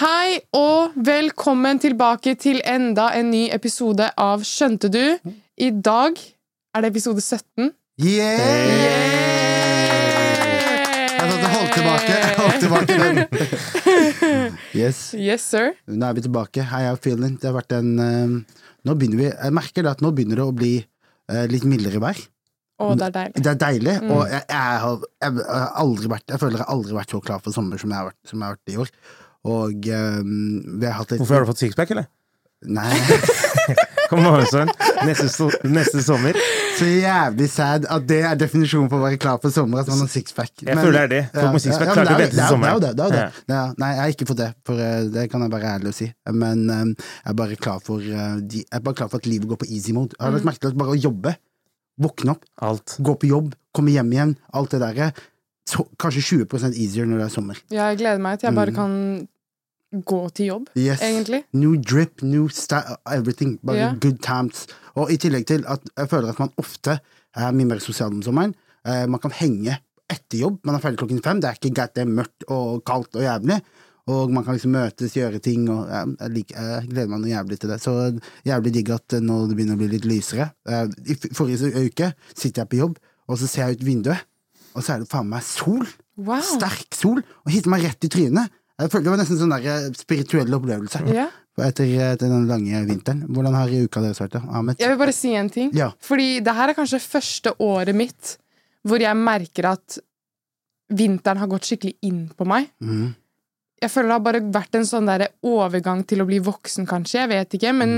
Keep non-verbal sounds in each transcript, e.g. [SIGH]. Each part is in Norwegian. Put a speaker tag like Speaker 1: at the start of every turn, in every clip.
Speaker 1: Hei og velkommen tilbake til enda en ny episode av Skjønte du? I dag er det episode 17.
Speaker 2: Yeah! Jeg satt og holdt tilbake. Jeg holdt tilbake den. [LAUGHS] Yes.
Speaker 1: Yes, sir.
Speaker 2: Nå er vi tilbake. Hei, jeg er Feeling. Det har vært en eh, Nå begynner vi Jeg merker det at nå begynner det å bli eh, litt mildere vær.
Speaker 1: Å, det er deilig.
Speaker 2: Det er deilig, og jeg, jeg, har, jeg, har aldri vært Jeg føler jeg har aldri vært så klar for sommer som jeg har vært, som jeg har vært i år. Og eh, vi har hatt litt
Speaker 3: Hvorfor har du fått sixpack, eller?
Speaker 2: [LAUGHS] Nei.
Speaker 3: Kom nå, sønn. Neste, so neste sommer.
Speaker 2: Så jævlig sad at det er definisjonen på å være klar for sommer. At man har sixpack.
Speaker 3: Jeg føler det er det. Folk med sixpack
Speaker 2: men
Speaker 3: klarer ikke å vente til sommeren.
Speaker 2: Det er jo det. det, er jo det. Ja. Nei, jeg har ikke fått det, for eh, det kan jeg være ærlig og si. Men eh, jeg er bare klar for, eh, de, jeg er bare klar for at livet går på easy mode. Jeg har
Speaker 3: Mm.
Speaker 2: lagt merke til at bare å jobbe, våkne opp,
Speaker 3: Alt.
Speaker 2: gå på jobb, komme hjem igjen, alt det derre så- Kanskje 20 easier når det er sommer.
Speaker 1: Jeg gleder meg til jeg
Speaker 2: Mm.
Speaker 1: bare kan gå til jobb,
Speaker 2: Yes.
Speaker 1: egentlig.
Speaker 2: New drip, new style, everything. Bare
Speaker 1: Ja.
Speaker 2: good times. Og i tillegg til at jeg føler at man ofte er mye mer sosial om sommeren. Eh, man kan henge etter jobb. Man er ferdig klokken fem. Det er ikke greit, det er mørkt og kaldt og jævlig. Og man kan liksom møtes, gjøre ting, og eh, jeg, liker, jeg gleder meg noe jævlig til det. Så jævlig digg at eh, når det begynner å bli litt lysere eh, I f- forrige uke sitter jeg på jobb, og så ser jeg ut vinduet, og så er det faen meg sol!
Speaker 1: Wow.
Speaker 2: Sterk sol! Og hitter meg rett i trynet. Jeg følte Det var nesten sånn der eh, spirituell opplevelse.
Speaker 1: Ja.
Speaker 2: Etter, etter den lange vinteren. Hvordan har uka deres vært, da, Ahmed?
Speaker 1: Jeg vil bare si en ting.
Speaker 2: Ja.
Speaker 1: Fordi det her er kanskje første året mitt hvor jeg merker at vinteren har gått skikkelig inn på meg.
Speaker 2: Mhm.
Speaker 1: Jeg føler det har bare vært en sånn der overgang til å bli voksen, kanskje. Jeg vet ikke, men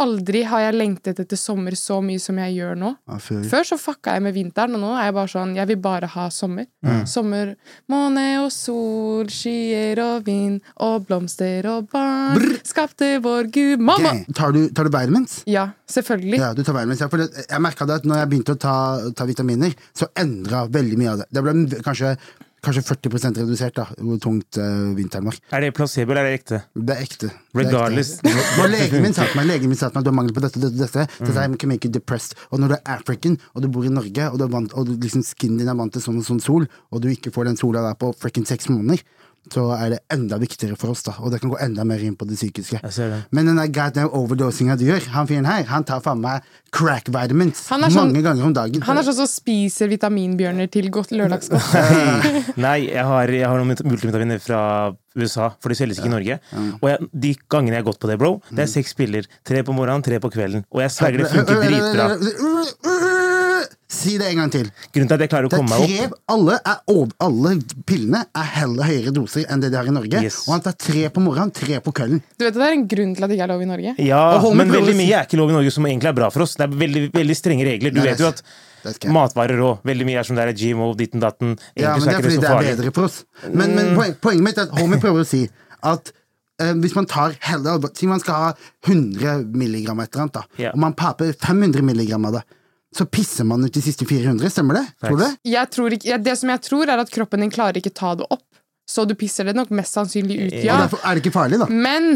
Speaker 1: aldri har jeg lengtet etter sommer så mye som jeg gjør nå.
Speaker 2: Ja, før.
Speaker 1: Før så fucka jeg med vinteren, og nå er jeg bare sånn Jeg vil bare ha sommer. Sommer, måne og sol, skyer og vind og blomster og barn. Skapte vår Gud mamma!
Speaker 2: Gang. Tar, du, tar du vitamins?
Speaker 1: Ja, selvfølgelig.
Speaker 2: Ja, du tar vitamins. Ja, for det, jeg merka at når jeg begynte å ta, ta vitaminer, så endra veldig mye av det. Det ble kanskje, kanskje 40 redusert, da, hvor tungt eh, vinteren var.
Speaker 3: Er det placebo, eller er det ekte?
Speaker 2: Det er ekte. Det er ekte.
Speaker 3: Regardless.
Speaker 2: Når legen min sa til meg legen min sa til meg, du har mangel på dette, dette, dette, dette her can make you depressed. Og når du er African, og du bor i Norge, og, du er vant, og du, liksom skinnen din er vant til sånn og sånn sol, og du ikke får den sola der på frikken seks måneder, så er det enda viktigere for oss, da. Og det kan gå enda mer inn på det psykiske.
Speaker 3: Jeg ser det.
Speaker 2: Men den der goddamn overdosinga du gjør, han fyren her, han tar faen meg crack vitamins
Speaker 1: Han er sånn-
Speaker 2: mange ganger om dagen.
Speaker 1: Han er sånn som spiser vitaminbjørner til godt
Speaker 2: [LAUGHS]
Speaker 1: lørdagsgodt.
Speaker 2: Eh,
Speaker 3: Nei, jeg har, jeg har noen multi- multivitaminer fra USA, for de selges ikke i Norge. Og jeg, de gangene jeg har gått på det, bro, det er
Speaker 2: Mm.
Speaker 3: seks piller. Tre på morgenen, tre på kvelden. Og jeg sverger, det funker dritbra.
Speaker 2: [LAUGHS] Si det en gang til.
Speaker 3: Grunnen til at jeg klarer å
Speaker 2: Det er
Speaker 3: komme meg
Speaker 2: tre,
Speaker 3: opp
Speaker 2: alle, er, over- alle pillene er heller høyere doser enn det de har i Norge.
Speaker 3: Yes.
Speaker 2: Og han tar tre på morgenen, tre på kvelden.
Speaker 1: Du vet at det er en grunn til at det ikke er lov i Norge?
Speaker 3: Ja,
Speaker 2: Og hold med
Speaker 3: men veldig
Speaker 2: prøvelsen.
Speaker 3: mye er ikke lov i Norge som egentlig er bra for oss. Det er veldig, veldig strenge regler. Du
Speaker 2: Nei,
Speaker 3: vet jo at
Speaker 2: det skal jeg.
Speaker 3: matvarer òg. Veldig mye er som det er GMO, ditten datten.
Speaker 2: Ja,
Speaker 3: Egentlig
Speaker 2: men
Speaker 3: så
Speaker 2: det er
Speaker 3: ikke
Speaker 2: fordi
Speaker 3: så
Speaker 2: det er
Speaker 3: farlig. Mm.
Speaker 2: bedre for oss. Men, men poen, poenget mitt er at Homie prøver å si at eh, hvis man tar heller Si man skal ha 100 milligram et eller annet, da,
Speaker 3: Ja.
Speaker 2: og man paper 500 milligram av det, så pisser man ut de siste 400, stemmer det? Tror du det?
Speaker 1: Jeg tror ikke, ja, det som jeg tror, er at kroppen din klarer ikke ta det opp. Så du pisser det nok mest sannsynlig ut, ja.
Speaker 2: Og derfor er det ikke farlig, da.
Speaker 1: Men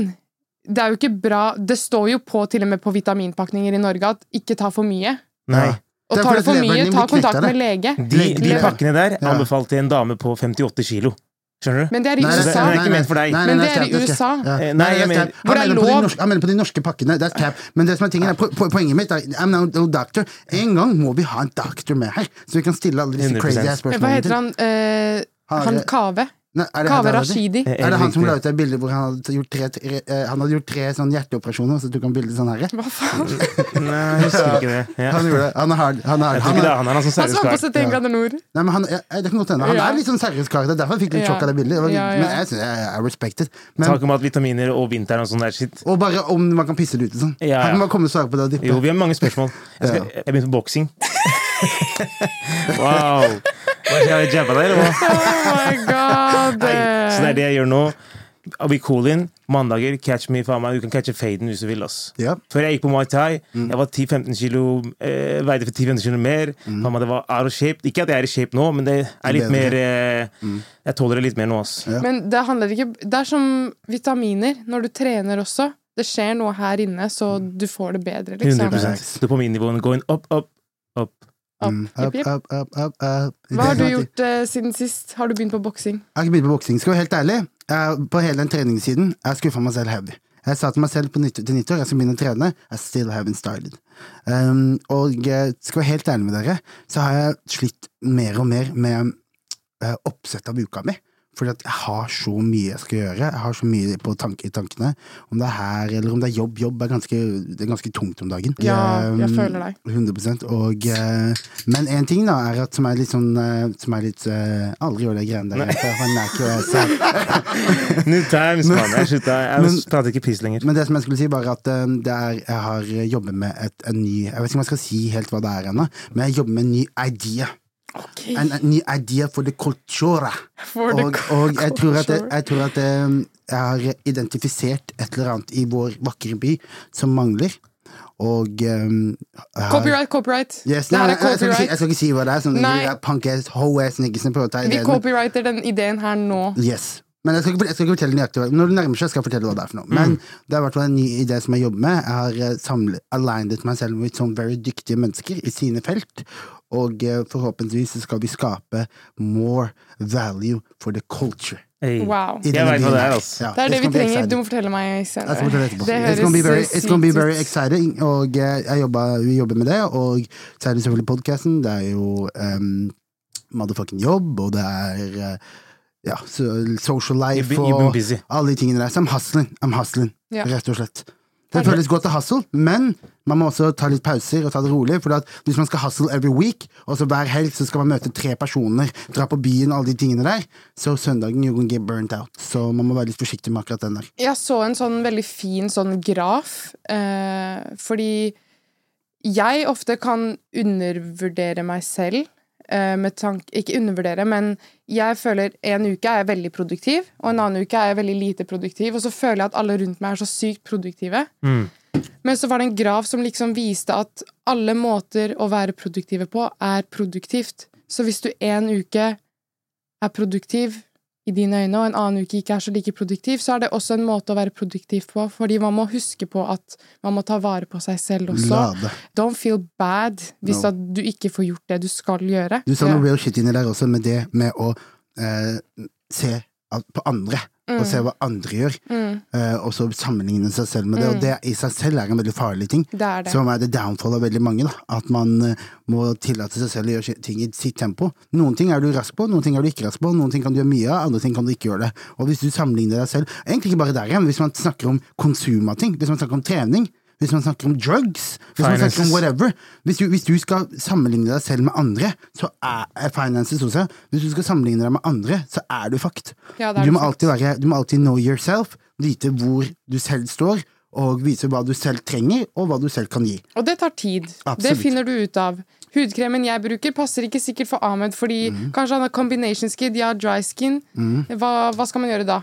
Speaker 1: det er jo ikke bra Det står jo på til og med på vitaminpakninger i Norge at ikke ta for mye.
Speaker 3: Nei.
Speaker 1: Og
Speaker 2: Det er
Speaker 1: tar
Speaker 2: fordi
Speaker 1: du for
Speaker 2: at leveren
Speaker 1: mye,
Speaker 2: din
Speaker 1: ta
Speaker 2: blir knekt
Speaker 1: kontakt
Speaker 2: av det. Mm.
Speaker 1: med lege.
Speaker 3: De, de
Speaker 1: Lever.
Speaker 3: pakkene der
Speaker 2: Ja.
Speaker 3: anbefalte en dame på 58 kilo. Skjønner du?
Speaker 1: Men det er i
Speaker 2: Nei, det-
Speaker 1: USA.
Speaker 3: den er ikke ment for deg.
Speaker 2: Nei, nei,
Speaker 1: Men
Speaker 2: nei,
Speaker 1: det er
Speaker 2: cap,
Speaker 1: i
Speaker 2: cap.
Speaker 1: USA.
Speaker 2: Ja.
Speaker 3: Eh, nei,
Speaker 2: Nei, det
Speaker 3: jeg
Speaker 2: er
Speaker 3: mener-
Speaker 2: cap.
Speaker 1: Hvor
Speaker 2: Han
Speaker 1: er
Speaker 2: mener på de
Speaker 1: lov?
Speaker 2: norske- Han mener på de norske pakkene. Det er cap. Men det som er tingen er, po po poenget mitt er I'm no, no doctor. En gang må vi ha en doktor med her, så vi kan stille alle disse
Speaker 3: 100%.
Speaker 2: crazy ass
Speaker 1: Hva
Speaker 2: spørsmålene.
Speaker 1: heter
Speaker 2: til-
Speaker 1: han? Eh,
Speaker 2: Har
Speaker 1: han
Speaker 2: det-
Speaker 1: Kave?
Speaker 2: Nei, er det- er
Speaker 1: Kave
Speaker 2: det- er det-
Speaker 1: Rashidi.
Speaker 3: Eh,
Speaker 2: Er det han som
Speaker 3: riktig.
Speaker 2: la ut det bildet hvor han hadde gjort tre, tre, eh, han hadde gjort tre sånne hjerteoperasjoner, så tok han bilde sånn herre?
Speaker 1: Hva faen?
Speaker 3: Nei, jeg husker ikke det. Ja.
Speaker 2: Han gjorde det. Han er hard. Han er hard. Han
Speaker 3: Jeg tror ikke det er
Speaker 2: er,
Speaker 3: han, han er sånn
Speaker 1: Han som
Speaker 3: seriøs
Speaker 1: har på
Speaker 3: kar.
Speaker 1: seg en Glanor.
Speaker 2: nei, men han, ja, det kan godt hende. Han
Speaker 1: Ja.
Speaker 2: er litt sånn seriøs kar. Det er derfor jeg fikk litt
Speaker 1: Ja.
Speaker 2: sjokk av det bildet. Det var-
Speaker 1: Ja, ja.
Speaker 2: Men jeg, synes- jeg, jeg respect it. Men,
Speaker 3: Snakk om at vitaminer og vinteren og sånn der shit.
Speaker 2: og bare om man kan pisse det ut og sånn.
Speaker 3: Ja, ja.
Speaker 2: Han kan bare komme og svare på det og dyppe.
Speaker 3: Jo, vi har mange spørsmål. Jeg, skal, jeg begynte på boksing. [LAUGHS] Wow. Hva skjer, har jeg jabba deg, eller hva?
Speaker 1: Oh my god!
Speaker 3: Så det er det jeg gjør nå. I'll be cool in. Mandager, catch me, faen meg. Du kan catche faden hvis du vil, ass.
Speaker 2: Ja.
Speaker 3: Før jeg gikk på Muay Thai,
Speaker 2: Mm.
Speaker 3: jeg var 10-15 kilo, eh, veide for 10-15 kilo mer. Faen meg, det var out of shape. Ikke at jeg er i shape nå, men det er litt
Speaker 2: Mm. Bedre. Mm.
Speaker 3: mer eh, Jeg tåler det litt mer nå, ass.
Speaker 1: Men det handler ikke Det er som vitaminer når du trener også. Det skjer noe her inne, så
Speaker 2: Mm.
Speaker 1: du får det bedre, liksom.
Speaker 3: 100 Dopaminnivåene going up, up, up.
Speaker 1: Opp,
Speaker 2: Mm.
Speaker 1: jipp,
Speaker 2: Up,
Speaker 1: jipp.
Speaker 2: up, up, up, up.
Speaker 1: Hva har du gjort eh, siden sist? Har du begynt på boksing?
Speaker 2: Jeg har ikke begynt på boksing. Skal jeg være helt ærlig, jeg, på hele den treningssiden, jeg skuffa meg selv heavy. Jeg sa til meg selv på nytt, til nyttår jeg skal begynne å trene. I still haven't started. Um, og eh, skal være helt ærlig med dere, så har jeg slitt mer og mer med eh, oppsett av uka mi. Fordi at jeg har så mye jeg skal gjøre. Jeg har så mye på tanke, i tankene. Om det er her, eller om det er jobb. Jobb er ganske, det er ganske tungt om dagen.
Speaker 1: Ja, jeg
Speaker 2: Um,
Speaker 1: føler deg.
Speaker 2: 100 og, eh, Men en ting da er at som er litt sånn eh, Som er litt eh, Aldri gjør det greiene der. for han er ikke jeg selv.
Speaker 3: New times, mann. Jeg slutta. Jeg
Speaker 2: Men-
Speaker 3: prater ikke piss lenger.
Speaker 2: Men det som jeg skulle si, bare at eh, det er, jeg har jobbet med et, en ny Jeg vet ikke om jeg skal si helt hva det er ennå, men jeg jobber med en ny idea. En, en ny idea for the culture.
Speaker 1: For the
Speaker 2: Og, og jeg tror at, jeg,
Speaker 1: culture.
Speaker 2: jeg, tror at eh, jeg har identifisert et eller annet i vår vakre by som mangler. Og eh, jeg har-
Speaker 1: Copyright, copyright!
Speaker 2: Yes,
Speaker 1: det
Speaker 2: nei,
Speaker 1: her
Speaker 2: nei,
Speaker 1: er
Speaker 2: jeg, skal ikke si, jeg
Speaker 1: copyright.
Speaker 2: skal ikke si hva det er. Sånn,
Speaker 1: Nei.
Speaker 2: det er Punk-ass, ho-ass, niggisen prøver å ta
Speaker 1: Vi
Speaker 2: ideen. men-
Speaker 1: copyrighter den ideen her nå.
Speaker 2: Yes. Men jeg skal, ikke, jeg skal ikke fortelle nøyaktig hva- Når det nærmer seg, skal jeg fortelle hva det er. for noe
Speaker 1: Mm.
Speaker 2: Men det er i hvert fall en ny idé som jeg jobber med. Jeg har eh, samlet, alignet meg selv med sånn very dyktige mennesker i sine felt. Og eh, forhåpentligvis så skal vi skape more value for the culture.
Speaker 3: Hey.
Speaker 1: Wow.
Speaker 2: i
Speaker 3: Jeg
Speaker 2: denne
Speaker 3: vet hva
Speaker 2: byen
Speaker 3: det er,
Speaker 2: her.
Speaker 3: altså.
Speaker 2: Ja,
Speaker 1: Det er det
Speaker 2: it's
Speaker 1: vi
Speaker 2: gonna be
Speaker 1: trenger.
Speaker 2: exciting.
Speaker 1: Du må fortelle meg
Speaker 2: Jeg skal fortelle
Speaker 1: senere.
Speaker 2: etterpå.
Speaker 1: Det
Speaker 2: It's gonna be very,
Speaker 1: høres
Speaker 2: it's gonna be very
Speaker 1: sykt ut.
Speaker 2: exciting. Og eh, jeg jobber, vi jobber med det, og så er det selvfølgelig podkasten. Det er jo em, motherfucking jobb, og det er eh, ja, so, social
Speaker 3: You've
Speaker 2: life
Speaker 3: been- you've
Speaker 2: og
Speaker 3: been busy.
Speaker 2: alle de tingene der. Så I'm hustling, I'm hustling
Speaker 1: Ja.
Speaker 2: rett og slett. Det føles godt å hustle, men man må også ta litt pauser og ta det rolig. For at hvis man skal hustle every week, og så hver helg så skal man møte tre personer, dra på byen, alle de tingene der, så søndagen you can get burnt out. Så man må være litt forsiktig med akkurat den der.
Speaker 1: Jeg så en sånn veldig fin sånn graf, eh, fordi jeg ofte kan undervurdere meg selv. eh, Med tank, ikke undervurdere, men jeg føler en uke er jeg veldig produktiv, og en annen uke er jeg veldig lite produktiv, og så føler jeg at alle rundt meg er så sykt produktive. Men så var det en graf som liksom viste at alle måter å være produktive på er produktivt. Så hvis du en uke er produktiv i dine øyne, og en annen uke ikke er så like produktiv, så er det også en måte å være produktiv på, fordi man må huske på at man må ta vare på seg selv også.
Speaker 2: Lade.
Speaker 1: Don't feel bad hvis
Speaker 2: No.
Speaker 1: at du ikke får gjort det du skal gjøre.
Speaker 2: Du sa
Speaker 1: Ja.
Speaker 2: noe real shit inni der også, med det med å eh, se at- på andre. Og
Speaker 1: Mm.
Speaker 2: se hva andre gjør, eh, og så sammenligne seg selv med det. Og det i seg selv er en veldig farlig ting.
Speaker 1: Mm. Det er det.
Speaker 2: Som er det downfall av veldig mange. Da. At man eh, må tillate seg selv å gjøre ting i sitt tempo. Noen ting er du rask på, noen ting er du ikke rask på, noen ting kan du gjøre mye av, andre ting kan du ikke gjøre det. Og hvis du sammenligner deg selv, egentlig ikke bare der igjen, hvis man snakker om konsum av ting, hvis man snakker om trening, hvis man snakker om drugs, hvis man
Speaker 3: Finances.
Speaker 2: snakker om whatever hvis du, hvis du skal sammenligne deg selv med andre, så er er finances også Hvis du skal sammenligne deg med andre, så er du fucked.
Speaker 1: Ja, det er
Speaker 2: du,
Speaker 1: du
Speaker 2: må
Speaker 1: fucked.
Speaker 2: alltid være, du må alltid know yourself, vite hvor du selv står, og vise hva du selv trenger, og hva du selv kan gi.
Speaker 1: Og det tar tid. Det
Speaker 2: Absolutt.
Speaker 1: finner du ut av. Hudkremen jeg bruker, passer ikke sikkert for Ahmed, fordi
Speaker 2: Mhm.
Speaker 1: kanskje han har combination skin, jeg har dry skin. Hva, hva skal man gjøre da?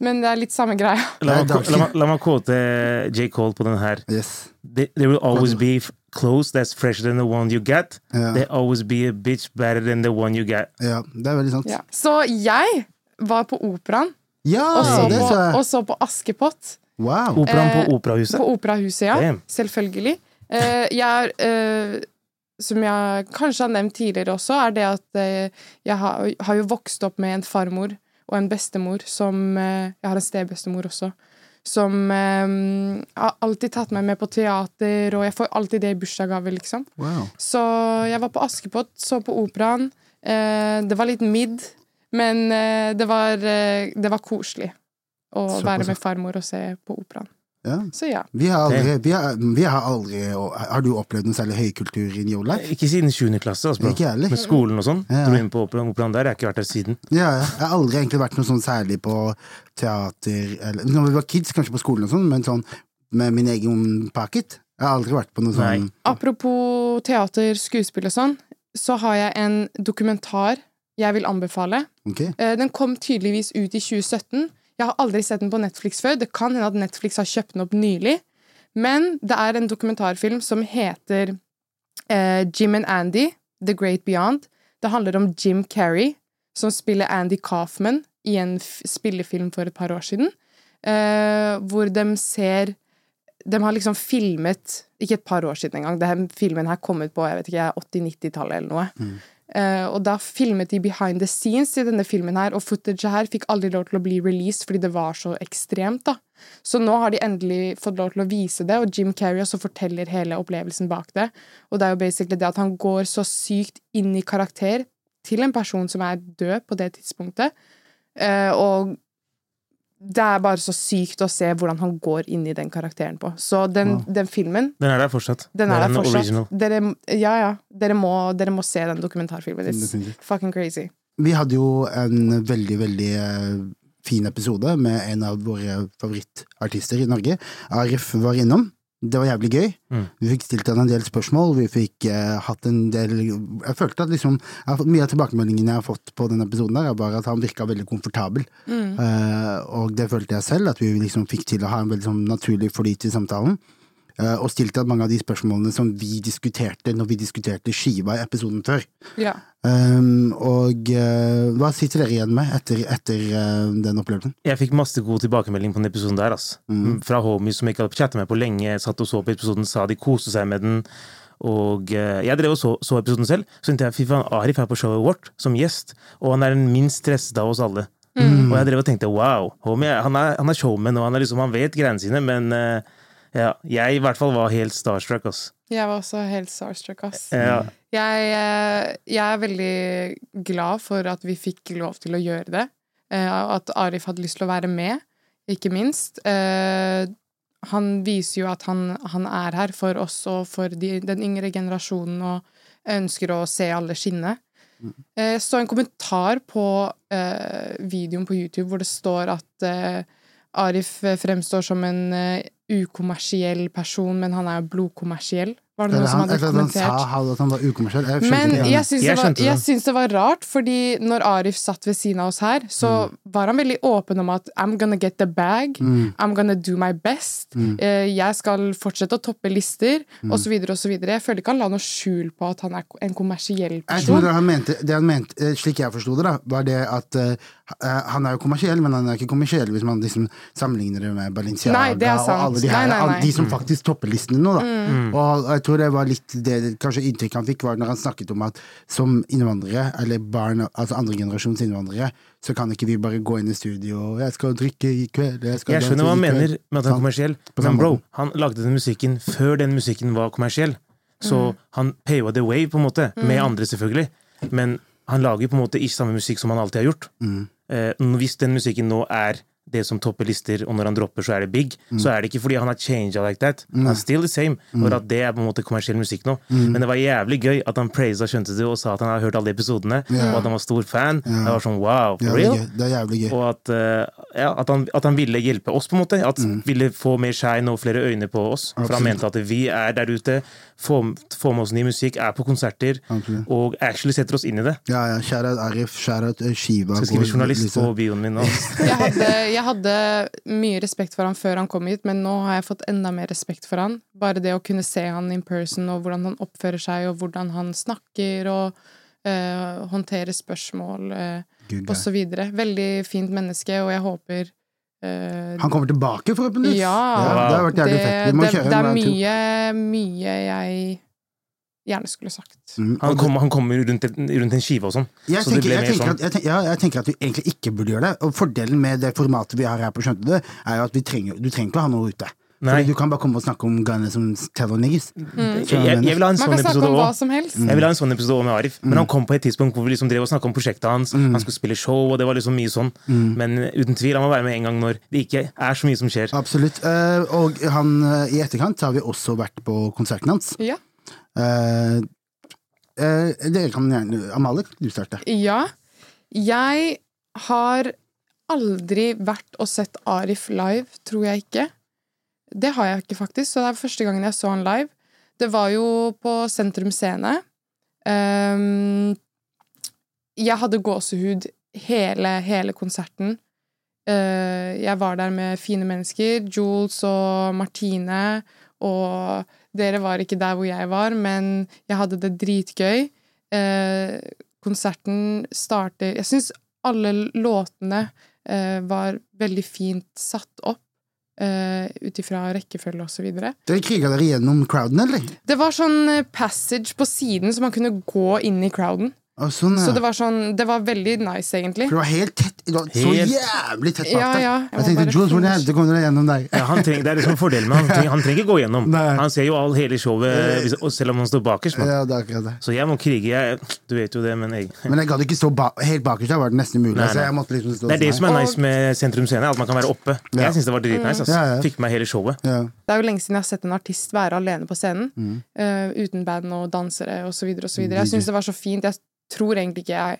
Speaker 1: Men det er litt samme greia.
Speaker 3: La
Speaker 2: Nei,
Speaker 3: meg,
Speaker 2: det er
Speaker 3: la, meg, la meg quote eh, J. Cole på den her.
Speaker 2: Yes.
Speaker 3: There there will always be f- clothes that's fresher than the one you get. There always be a bitch better than the one you get.
Speaker 2: Ja, det er veldig sant.
Speaker 1: Ja. Så jeg var på operaen
Speaker 2: Ja,
Speaker 1: og, så
Speaker 2: det
Speaker 1: på,
Speaker 2: sa jeg.
Speaker 1: og så på Askepott.
Speaker 2: Wow.
Speaker 3: Operaen
Speaker 1: Eh,
Speaker 3: på Operahuset.
Speaker 1: På Operahuset, ja.
Speaker 3: Damn.
Speaker 1: Selvfølgelig. Eh, jeg er eh, Som jeg kanskje har nevnt tidligere også, er det at eh, jeg har, har jo vokst opp med en farmor og en bestemor som eh, Jeg har en stebestemor også. Som eh, har alltid tatt meg med på teater, og jeg får alltid det i bursdagsgave, liksom.
Speaker 2: wow.
Speaker 1: Så jeg var på Askepott, så på operaen. Eh, det var litt midd, men eh, det, var, eh, det var koselig å
Speaker 2: Såpass,
Speaker 1: være
Speaker 2: ja.
Speaker 1: med farmor og se på operaen.
Speaker 2: Ja.
Speaker 1: Så ja.
Speaker 2: Vi har aldri, vi har, vi har aldri Har du opplevd noe særlig høykultur in your
Speaker 1: Eh,
Speaker 2: life?
Speaker 3: Ikke siden 7. klasse, altså, bro.
Speaker 2: Ikke jeg heller.
Speaker 3: Med skolen og sånn.
Speaker 2: Ja.
Speaker 3: Dro inn på operaen, operaen der. Jeg har ikke vært der siden.
Speaker 2: Ja, ja. Jeg har aldri egentlig vært noe sånn særlig på teater eller Når vi var kids, kanskje på skolen og sånn, men sånn med min egen pocket. Jeg har aldri vært på noe sånn
Speaker 3: Nei.
Speaker 1: Apropos teater, skuespill og sånn, så har jeg en dokumentar jeg vil anbefale.
Speaker 2: Ok.
Speaker 1: Eh, Den kom tydeligvis ut i 2017. Jeg har aldri sett den på Netflix før. Det kan hende at Netflix har kjøpt den opp nylig. Men det er en dokumentarfilm som heter eh, Jim and Andy, The Great Beyond. Det handler om Jim Carrey, som spiller Andy Kaufman i en f spillefilm for et par år siden. eh, hvor de ser De har liksom filmet Ikke et par år siden engang. Den filmen her kom ut på jeg vet ikke, 80-90-tallet eller noe. Eh, og da filmet de behind the scenes i denne filmen her, og footaget her fikk aldri lov til å bli released fordi det var så ekstremt, da. Så nå har de endelig fått lov til å vise det, og Jim Carrey også forteller hele opplevelsen bak det. Og det er jo basically det at han går så sykt inn i karakter til en person som er død på det tidspunktet, eh, og det er bare så sykt å se hvordan han går inn i den karakteren på. Så den, den filmen
Speaker 3: Den er der fortsatt.
Speaker 1: den er der
Speaker 3: en
Speaker 1: fortsatt.
Speaker 3: original.
Speaker 1: Dere, ja, ja. Dere må, dere må se den dokumentarfilmen. It's
Speaker 2: Definitivt.
Speaker 1: fucking crazy.
Speaker 2: Vi hadde jo en veldig, veldig eh, fin episode med en av våre favorittartister i Norge. Arif var innom. Det var jævlig gøy.
Speaker 3: Mm.
Speaker 2: Vi fikk stilt han en del spørsmål. Vi fikk eh, hatt en del Jeg følte at liksom jeg har fått- Mye av tilbakemeldingene jeg har fått på den episoden, der, var at han virka veldig komfortabel. Eh, og det følte jeg selv, at vi liksom fikk til å ha en veldig sånn naturlig flyt i samtalen. eh, og stilte at mange av de spørsmålene som vi diskuterte når vi diskuterte skiva i episoden før.
Speaker 1: Ja.
Speaker 2: Um, og eh, hva sitter dere igjen med etter, etter eh, den opplevelsen?
Speaker 3: Jeg fikk masse god tilbakemelding på den episoden der, ass.
Speaker 1: Mm.
Speaker 3: Fra homies som jeg ikke hadde chatta med på lenge, satt og så på episoden, sa de koste seg med den. Og eh, jeg drev og så, så episoden selv, så tenkte jeg fy faen, Arif er på showet vårt som gjest, og han er den minst stressede av oss alle.
Speaker 1: Mm.
Speaker 3: Og jeg drev og tenkte wow, homie, han er, han er showman, og han, er liksom, han vet greiene sine, men eh, ja, jeg i hvert fall var helt starstruck, ass.
Speaker 1: Jeg var også helt starstruck, ass.
Speaker 3: Ja,
Speaker 1: Jeg, eh, jeg er veldig glad for at vi fikk lov til å gjøre det. eh, og At Arif hadde lyst til å være med, ikke minst. Eh, Han viser jo at han, han er her for oss og for de, den yngre generasjonen, og ønsker å se alle skinne.
Speaker 2: Mm.
Speaker 1: Eh, så en kommentar på eh, videoen på YouTube hvor det står at eh, Arif fremstår som en eh, ukommersiell person, men han er jo blodkommersiell. Var det
Speaker 2: Eller
Speaker 1: noen som
Speaker 2: han,
Speaker 1: hadde
Speaker 2: eller at han sa
Speaker 1: kommentert?
Speaker 2: han- at han var ukommersiell. Jeg skjønte
Speaker 1: Men
Speaker 2: ikke det.
Speaker 1: jeg syns det,
Speaker 3: Jeg
Speaker 1: var-
Speaker 3: skjønte det.
Speaker 1: jeg syns det var rart, fordi når Arif satt ved siden av oss her, så
Speaker 2: Mm.
Speaker 1: var han veldig åpen om at I'm gonna get the bag, I'm gonna do my best,
Speaker 2: Mm.
Speaker 1: eh, jeg skal fortsette å toppe lister, og så videre og så videre. Jeg føler ikke han la noe skjul på at han er ko- en kommersiell
Speaker 2: jeg tror
Speaker 1: person.
Speaker 2: det han mente, det han mente eh, slik jeg forsto det, da, var det at eh, han er jo kommersiell, men han er ikke kommersiell hvis man liksom sammenligner det med Balenciaga
Speaker 1: Nei, det er
Speaker 2: og
Speaker 1: sant.
Speaker 2: alle de,
Speaker 1: Nei,
Speaker 2: her,
Speaker 1: nei, nei. Mm.
Speaker 2: alle de som faktisk topper listene nå. Da. Og jeg tror det var litt det kanskje inntrykket han fikk, var når han snakket om at som innvandrere, eller barn, altså andregenerasjons innvandrere, så kan ikke vi bare gå inn i studio 'Jeg skal drikke i kveld', jeg skal
Speaker 3: Jeg skjønner hva han
Speaker 2: danse i kveld».
Speaker 3: mener med at han er
Speaker 2: Sant?
Speaker 3: kommersiell,
Speaker 2: På samme
Speaker 3: men bro,
Speaker 2: måten.
Speaker 3: han lagde den musikken før den musikken var kommersiell. Så han pava the way, på en måte, med andre selvfølgelig, men han lager på en måte ikke samme musikk som han alltid har gjort.
Speaker 2: Mm.
Speaker 3: Eh, n- hvis den musikken nå er det som topper lister, og når han dropper, så er det big,
Speaker 2: Mm.
Speaker 3: så er det ikke fordi han har changed like that. Han er still the same, bare at det er på en måte kommersiell musikk nå.
Speaker 2: Mm.
Speaker 3: Men det var jævlig gøy at han praisa Skjønte du og sa at han har hørt alle episodene, og at han var stor fan. Det var sånn wow,
Speaker 2: Ja,
Speaker 3: for
Speaker 2: det er
Speaker 3: real?
Speaker 2: gøy. Det er jævlig gøy.
Speaker 3: Og at, eh, ja, at, han, at han ville hjelpe oss, på en måte. At ville få mer shine og flere øyne på oss. For han
Speaker 2: Mm. Absolutt.
Speaker 3: mente at vi er der ute, får, får med oss ny musikk, er på konserter
Speaker 2: Absolutt.
Speaker 3: og actually setter oss inn i det.
Speaker 2: Ja, ja, Shoutout Arif, shoutout eh, Shiva.
Speaker 3: Skal skrive
Speaker 2: Gol-
Speaker 3: journalist
Speaker 2: Lise.
Speaker 3: på bioen
Speaker 2: [LAUGHS]
Speaker 3: min nå.
Speaker 1: Jeg hadde, jeg hadde mye respekt for han før han kom hit, men nå har jeg fått enda mer respekt for han. Bare det å kunne se han in person, og hvordan han oppfører seg, og hvordan han snakker, og eh, håndterer spørsmål, uh,
Speaker 2: Good guy.
Speaker 1: og så videre. Veldig fint menneske, og jeg håper eh,
Speaker 2: Han kommer tilbake, forhåpentligvis.
Speaker 1: Ja.
Speaker 2: det har vært
Speaker 1: det,
Speaker 2: jævlig fett. Vi må
Speaker 1: det,
Speaker 2: kjøre
Speaker 1: det
Speaker 2: en
Speaker 1: er
Speaker 2: round two.
Speaker 1: mye, mye jeg gjerne skulle sagt.
Speaker 2: Mm,
Speaker 3: Han
Speaker 2: og
Speaker 3: kommer han kommer rundt, et- rundt en skive og sånn.
Speaker 2: Jeg
Speaker 3: så det
Speaker 2: tenker,
Speaker 3: ble
Speaker 2: jeg,
Speaker 3: mer
Speaker 2: tenker
Speaker 3: sånn.
Speaker 2: at, jeg, tenker, ja, jeg tenker at vi egentlig ikke burde gjøre det. Og fordelen med det formatet vi har her på Skjønte det, er jo at vi trenger, du trenger ikke å ha noe ute.
Speaker 3: Nei.
Speaker 2: Fordi du kan bare komme og snakke om Ghana som teller niggas.
Speaker 1: Mm.
Speaker 3: Jeg, jeg, jeg vil ha en
Speaker 1: Man
Speaker 3: sånn
Speaker 1: kan snakke
Speaker 3: episode
Speaker 1: om hva
Speaker 3: òg.
Speaker 1: som helst.
Speaker 3: Jeg vil ha en
Speaker 2: Mm.
Speaker 3: sånn episode også med Arif, men han kom på et tidspunkt hvor vi liksom drev og snakket om prosjektet hans.
Speaker 2: Mm.
Speaker 3: Han skulle spille show, og det var liksom mye sånn. Men uten tvil, han må være med en gang når det ikke er så mye som skjer.
Speaker 2: Absolutt. Eh, og han, eh, i etterkant så har vi også vært på konserten hans.
Speaker 1: Ja.
Speaker 2: Eh, eh, dere kan gjerne Amalie, kan du starte?
Speaker 1: Ja. Jeg har aldri vært og sett Arif live, tror jeg ikke. Det har jeg ikke, faktisk, så det er første gangen jeg så han live. Det var jo på Sentrum Scene. Ehm, jeg hadde gåsehud hele, hele konserten. Eh, jeg var der med fine mennesker, Jules og Martine, og dere var ikke der hvor jeg var, men jeg hadde det dritgøy. Eh, konserten starter Jeg syns alle låtene eh, var veldig fint satt opp, uh, ut ifra rekkefølge og så videre.
Speaker 2: Dere kriga dere gjennom crowden, eller?
Speaker 1: Det var sånn eh, passage på siden, så man kunne gå inn i crowden.
Speaker 2: Og sånn,
Speaker 1: Så
Speaker 2: ja.
Speaker 1: det var sånn Det var veldig nice, egentlig.
Speaker 2: For det var helt tett. Det var så
Speaker 3: Helt-
Speaker 2: jævlig tett bak
Speaker 1: Ja,
Speaker 2: deg.
Speaker 1: ja, jeg
Speaker 2: jeg
Speaker 1: må
Speaker 2: tenkte
Speaker 1: bare
Speaker 2: Jules, hvordan i
Speaker 1: finish.
Speaker 2: helvete kom dere gjennom deg?
Speaker 3: Ja, han trenger, det er liksom fordelen med han. trenger- Han trenger ikke gå gjennom.
Speaker 2: Nei. Eh.
Speaker 3: Han ser jo all, hele showet, hvis- og selv om han står bakerst. Man.
Speaker 2: Ja, det er akkurat det.
Speaker 3: Så jeg må krige. Jeg, du vet jo det, men jeg
Speaker 2: Men jeg gadd ikke stå ba helt bakerst, da var det nesten umulig.
Speaker 3: Nei,
Speaker 2: Så
Speaker 3: nei.
Speaker 2: jeg måtte liksom stå
Speaker 3: Det er det som
Speaker 2: sånn
Speaker 3: er
Speaker 1: Og-
Speaker 3: nice med Sentrum Scene, at man kan være oppe.
Speaker 2: Ja.
Speaker 3: Jeg syns det var dritnice. ass.
Speaker 2: Ja, ja.
Speaker 3: Fikk med meg hele showet.
Speaker 2: her. Ja.
Speaker 1: Det er jo lenge siden jeg har sett en artist være alene på scenen.
Speaker 2: Mm.
Speaker 1: eh, uten band og dansere og så videre og så videre. Jeg syns det var så fint. Jeg tror egentlig ikke jeg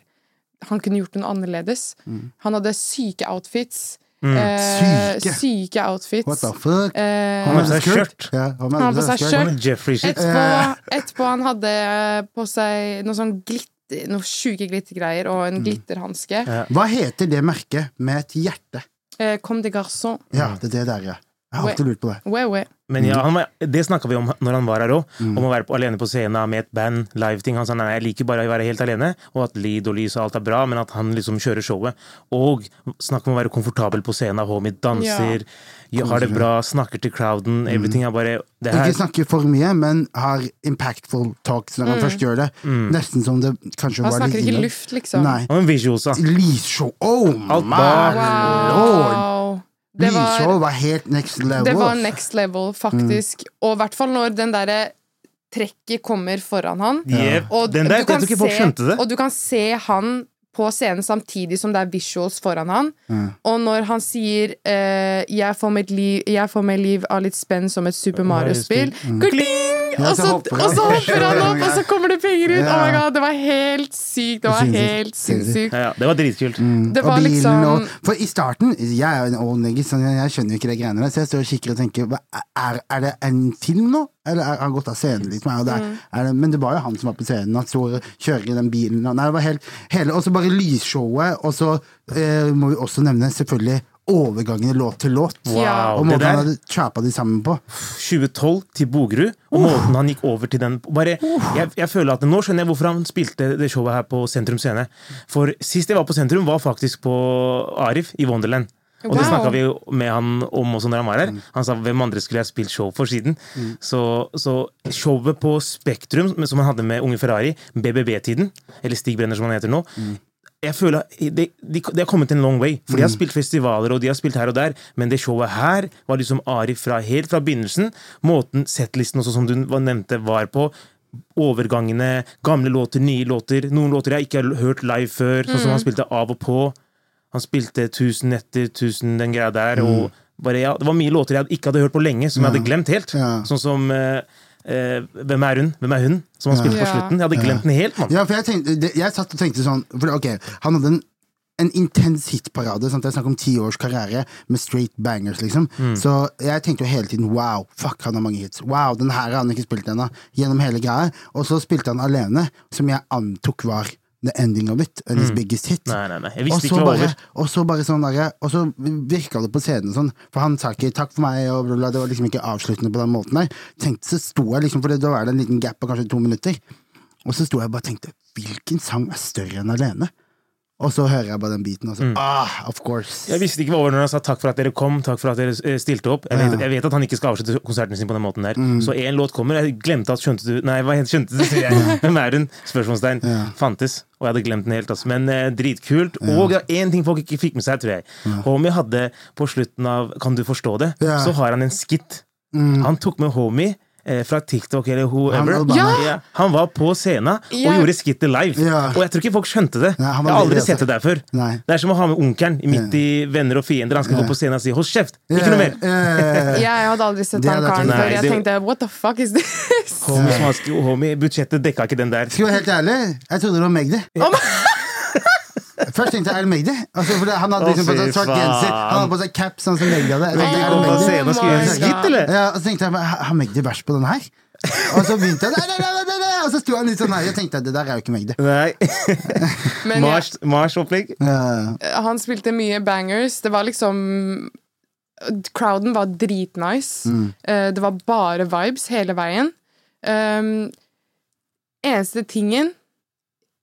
Speaker 1: han kunne gjort noe annerledes. Han hadde syke outfits. Eh,
Speaker 2: Mm. Syke?
Speaker 1: syke outfits.
Speaker 2: What the fuck?
Speaker 1: Eh,
Speaker 3: Han har på seg
Speaker 2: skirt.
Speaker 3: skjørt.
Speaker 2: Ja, han
Speaker 1: Han har på seg
Speaker 2: skirt.
Speaker 1: skjørt.
Speaker 3: Sånn Jeffrey-shit.
Speaker 1: Etterpå,
Speaker 2: Eh.
Speaker 1: etterpå han hadde eh, på seg noe sånn glitter, noe sjuke glittergreier og
Speaker 2: Mm.
Speaker 1: en glitterhanske.
Speaker 2: Hva heter det merket med et hjerte?
Speaker 1: Eh, Comme des garçons.
Speaker 2: Ja,
Speaker 3: Mm.
Speaker 2: det er det der, ja. Jeg har alltid lurt på det.
Speaker 1: Ouais, ouais.
Speaker 3: Men ja, han var, det snakka vi om når han var her òg,
Speaker 2: Mm.
Speaker 3: om å være på, alene på scenen med et band, live-ting. Han sa nei, jeg liker bare å være helt alene, og at lyd og lys og alt er bra, men at han liksom kjører showet. Og snakk om å være komfortabel på scenen, homie, danser, ja, har det bra, snakker til crowden, everything er bare det her,
Speaker 2: Ikke snakke for mye, men har impactful talks når han først gjør det.
Speaker 3: Mm.
Speaker 2: Nesten som det kanskje
Speaker 1: Mm. Han
Speaker 2: var litt
Speaker 1: snakker ikke
Speaker 2: innad.
Speaker 1: luft, liksom.
Speaker 2: Nei.
Speaker 3: Og en visuals, da.
Speaker 2: Lysshow. Oh,
Speaker 3: Alt
Speaker 2: my
Speaker 3: bak.
Speaker 2: lord!
Speaker 1: Wow. Det var,
Speaker 2: Lysshow var helt next level.
Speaker 1: det var next level,
Speaker 2: Mm.
Speaker 1: faktisk. Og i hvert fall når den derre trekket kommer foran han.
Speaker 3: Yep.
Speaker 1: Og
Speaker 3: Den der, jeg tror ikke folk skjønte det.
Speaker 1: og du kan se han på scenen samtidig som det er visuals foran han. Og når han sier eh, jeg, får mitt liv, 'Jeg får meg liv av litt spenn som et Super Mario-spill',
Speaker 3: Mm.
Speaker 1: Kling!
Speaker 2: Ja,
Speaker 1: og, så,
Speaker 2: så hopper han.
Speaker 1: og så hopper han opp, og så kommer det penger ut!
Speaker 2: Ja.
Speaker 1: Oh my god, Det var helt sykt! Det var
Speaker 2: Sinnssykt.
Speaker 1: helt sinnssykt.
Speaker 3: Ja, ja, det var dritkult.
Speaker 1: Det
Speaker 2: Mm. og
Speaker 1: var
Speaker 2: bilen
Speaker 1: liksom
Speaker 2: og For i starten Jeg er jo en old nigger, så jeg jeg skjønner jo ikke de greiene der. Så jeg står og kikker og tenker hva- er, er det en film nå? Eller er han gått av scenen? Liksom? Er det,
Speaker 1: Mm.
Speaker 2: er det, men det var jo han som var på scenen. Han står og kjører i den bilen. Og, nei, det var helt, hele, og så bare lysshowet. Og så eh, må vi også nevne selvfølgelig overgangene låt til låt.
Speaker 1: Ja.
Speaker 2: Og
Speaker 3: det
Speaker 2: måten
Speaker 3: der-
Speaker 2: han hadde chapa de sammen på.
Speaker 3: 2012 til Bogerud, og
Speaker 1: Uh.
Speaker 3: måten han gikk over til den bare, jeg, jeg føler at Nå skjønner jeg hvorfor han spilte det showet her på Sentrum Scene. For sist jeg var på Sentrum, var faktisk på Arif i Wonderland. Og det
Speaker 1: Wow. Mm.
Speaker 3: snakka vi jo med han om også når han var her. Han sa hvem andre skulle jeg spilt show for siden. Så, så showet på Spektrum, som- som han hadde med Unge Ferrari, BBB-tiden, eller Stig Brenner som han heter nå,
Speaker 1: Mm.
Speaker 3: jeg føler at det de, de har kommet en long way. For de
Speaker 2: Mm.
Speaker 3: har spilt festivaler og de har spilt her og der, men det showet her var liksom Ari fra, helt fra begynnelsen. Måten settlisten også, som du nevnte, var på. Overgangene, gamle låter, nye låter. Noen låter jeg ikke har hørt live før, sånn
Speaker 2: Mm.
Speaker 3: som han spilte av og på. Han spilte 'Tusen netter', 'Tusen den greia der'. Og bare, ja, det var mye låter jeg ikke hadde hørt på lenge, som jeg hadde glemt helt.
Speaker 2: Mm. Ja.
Speaker 3: Sånn som eh, eh, 'Hvem er hun?' Hvem er hun? Som han spilte på
Speaker 1: Ja.
Speaker 3: slutten. Jeg hadde glemt den helt, mann.
Speaker 2: Ja, for jeg, tenkte, det- jeg satt og tenkte sånn for, det- Ok, han hadde en, en intens hitparade. Sant? Det er snakk om ti års karriere med straight bangers, liksom. Så jeg tenkte jo hele tiden wow, fuck, han har mange hits. Wow, den her har han ikke spilt ennå. Gjennom hele greia. Og så spilte han alene, som jeg antok var the ending of it. and His biggest hit.
Speaker 3: Nei, nei, nei. Jeg
Speaker 2: Og
Speaker 3: visste ikke
Speaker 2: så,
Speaker 3: det var
Speaker 2: bare,
Speaker 3: over.
Speaker 2: og så bare sånn derre Og så virka det på scenen sånn, for han sa ikke 'takk for meg', og bla, bla, det var liksom ikke avsluttende på den måten der. Tenkte, så sto jeg liksom, for det- da var det en liten gap på kanskje to minutter. Og så sto jeg og bare tenkte 'hvilken sang er større enn alene'? Og så hører jeg bare den biten, og så
Speaker 3: Mm.
Speaker 2: ah, of course.
Speaker 3: Jeg visste ikke hva over når han sa 'takk for at dere kom', 'takk for at dere eh, stilte opp'. Jeg vet, jeg vet at han ikke skal avslutte konserten sin på den måten der.
Speaker 2: Mm.
Speaker 3: Så én låt kommer, jeg glemte at 'skjønte du' Nei, hva het- skjønte du? sier jeg. Hvem er hun? Spørsmålstegn. Fantes. Og jeg hadde glemt den helt, altså. Men eh, dritkult. Og det er én ting folk ikke fikk med seg, tror jeg. Homie hadde på slutten av 'Kan du forstå det',
Speaker 2: Ja. Mm.
Speaker 3: så har han en skit. Han tok med homie. eh, Fra TikTok eller whoever.
Speaker 2: Han var
Speaker 1: Ja!
Speaker 3: Ja, han var på scenen og
Speaker 1: Ja.
Speaker 3: gjorde skittet live.
Speaker 2: Ja.
Speaker 3: Og jeg tror ikke folk skjønte det.
Speaker 2: Nei, han var
Speaker 3: jeg har aldri
Speaker 2: veldig redd.
Speaker 3: sett det der før.
Speaker 2: Nei.
Speaker 3: Det er som å ha med onkelen i midt i venner og fiender. Han skal gå på scenen og si 'hold kjeft'! Ikke noe mer!
Speaker 2: mer!
Speaker 1: Jeg hadde aldri sett
Speaker 2: Det
Speaker 1: han
Speaker 2: hadde vært
Speaker 1: karen før.
Speaker 3: en- Nei,
Speaker 1: Jeg
Speaker 3: det-
Speaker 1: tenkte what the fuck is this?
Speaker 3: Homie, som han skrev, homie, budsjettet dekka ikke den der.
Speaker 2: Skal jeg være helt ærlig, jeg trodde det var Magdi. [LAUGHS] Først tenkte jeg El Magdi. Altså, for det, han hadde liksom
Speaker 3: Å,
Speaker 2: på seg
Speaker 3: fy
Speaker 2: svart genser,
Speaker 3: faen.
Speaker 2: han hadde på seg cap sånn som Magdi hadde. Jeg tenkte,
Speaker 3: Vil
Speaker 2: er det
Speaker 3: du gå på
Speaker 2: Magdi?
Speaker 3: scenen og
Speaker 1: Oh
Speaker 3: skrive
Speaker 1: my
Speaker 3: en skitt,
Speaker 1: God.
Speaker 3: eller?
Speaker 2: Ja, og så tenkte jeg, har Magdi vers på den her? Og så begynte jeg, nei, nei, nei, nei, nei, og så sto han litt sånn her. Jeg tenkte det der er jo ikke meg, det.
Speaker 3: Nei.
Speaker 1: Men jeg,
Speaker 3: [LAUGHS] Mars- Mars-opplegg.
Speaker 2: Ja,
Speaker 1: han spilte mye bangers. Det var liksom Crowden var dritnice.
Speaker 2: Mm.
Speaker 1: Eh, Det var bare vibes hele veien. Um, eneste tingen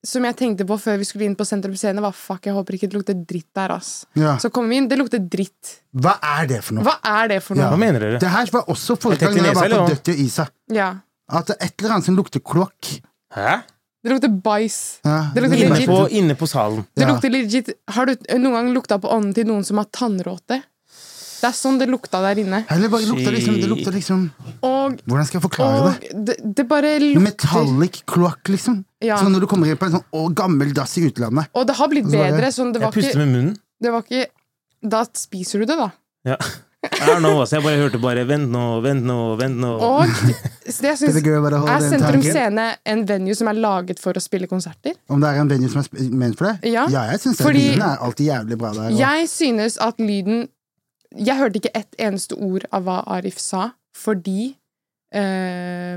Speaker 1: som jeg tenkte på før vi skulle inn på Sentrum Scene, var fuck, jeg håper ikke det lukter dritt der, ass.
Speaker 2: ja.
Speaker 1: Så kommer vi inn, det lukter dritt.
Speaker 2: Hva er det for noe?
Speaker 1: Hva er det for
Speaker 3: Hva
Speaker 1: noe?
Speaker 3: mener dere?
Speaker 2: Det her var også
Speaker 3: Er
Speaker 2: forrige gang
Speaker 3: det
Speaker 2: jeg
Speaker 3: tett i
Speaker 2: var
Speaker 3: nesa,
Speaker 2: på
Speaker 3: eller hva?
Speaker 2: Dødt i isa.
Speaker 1: Ja.
Speaker 2: At det er et eller annet som lukter kloakk.
Speaker 3: Hæ?
Speaker 1: Det lukter bæsj.
Speaker 2: Ja.
Speaker 1: Det lukter
Speaker 3: Inne
Speaker 1: legit.
Speaker 3: på, inne på salen.
Speaker 1: Det
Speaker 2: Ja.
Speaker 1: lukter legit Har du noen gang lukta på ånden til noen som har tannråte? Det er sånn det lukta der inne.
Speaker 2: Eller bare lukter liksom, det lukter liksom
Speaker 1: Og,
Speaker 2: Hvordan skal jeg forklare
Speaker 1: og
Speaker 2: det?
Speaker 1: det, det bare lukter
Speaker 2: Metallic kloakk, liksom.
Speaker 1: Ja.
Speaker 2: Sånn når du kommer inn på en sånn å, gammel dass i utlandet.
Speaker 1: Og det har blitt
Speaker 2: Så var det-
Speaker 1: bedre. Sånn, det,
Speaker 3: Jeg
Speaker 1: var
Speaker 3: puster
Speaker 1: ikke,
Speaker 3: med munnen.
Speaker 1: det var ikke Da spiser du det, da. [LAUGHS]
Speaker 3: Ja. I don't know, altså. Jeg bare hørte bare 'vent nå, vent nå, vent nå'.
Speaker 1: Og så det jeg
Speaker 2: Det
Speaker 1: syns
Speaker 2: er gøy å være
Speaker 1: Er
Speaker 2: holde den
Speaker 1: Sentrum
Speaker 2: tanken.
Speaker 1: Scene en venue som er laget for å spille konserter?
Speaker 2: Om det er en venue som er sp- ment for det?
Speaker 1: Ja.
Speaker 2: jeg syns
Speaker 1: Fordi-
Speaker 2: lyden er alltid jævlig bra der. og-
Speaker 1: Jeg synes at lyden Jeg hørte ikke ett eneste ord av hva Arif sa, fordi eh,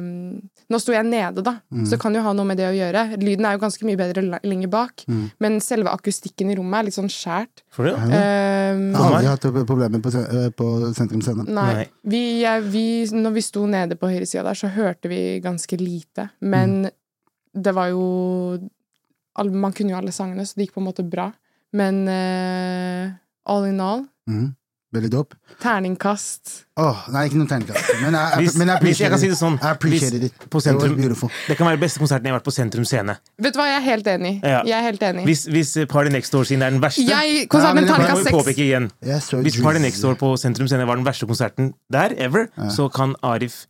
Speaker 1: Nå sto jeg nede, da,
Speaker 2: Mm.
Speaker 1: så kan jo ha noe med det å gjøre. Lyden er jo ganske mye bedre le- lenger bak,
Speaker 2: Mm.
Speaker 1: men selve akustikken i rommet er litt sånn skjært.
Speaker 3: For det?
Speaker 2: Jeg har
Speaker 1: Eh,
Speaker 2: aldri hatt problemer på, se- eh, på Sentrum Scene.
Speaker 1: Nei.
Speaker 3: Nei.
Speaker 1: Vi, jeg, vi, når vi sto nede på høyresida der, så hørte vi ganske lite. Men
Speaker 3: Mm.
Speaker 1: det var jo all- Man kunne jo alle sangene, så det gikk på en måte bra. Men eh, all in all
Speaker 2: Mhm. Veldig dope.
Speaker 1: terningkast.
Speaker 2: Åh, nei, ikke noe tegnekast. Men jeg,
Speaker 3: Hvis,
Speaker 2: men jeg
Speaker 3: hvis jeg
Speaker 2: appreciated
Speaker 3: kan si det
Speaker 2: it.
Speaker 3: sånn
Speaker 2: I appreciated
Speaker 3: hvis,
Speaker 2: it.
Speaker 3: på
Speaker 2: It was
Speaker 3: sentrum,
Speaker 2: beautiful.
Speaker 3: Det kan være beste konserten jeg har vært på Sentrum Scene.
Speaker 1: Vet du hva, jeg er helt enig.
Speaker 3: Ja.
Speaker 1: Jeg er helt enig.
Speaker 3: Hvis, hvis Party Next Door-siden er den verste,
Speaker 1: jeg,
Speaker 2: Ja, men
Speaker 1: konserten
Speaker 2: det var-
Speaker 3: da må
Speaker 1: terningkast
Speaker 3: vi
Speaker 1: seks.
Speaker 3: påpeke igjen.
Speaker 2: Jeg så
Speaker 3: Hvis
Speaker 2: Dreams.
Speaker 3: Party Next Door på Sentrum Scene var den verste konserten der ever, så kan Arif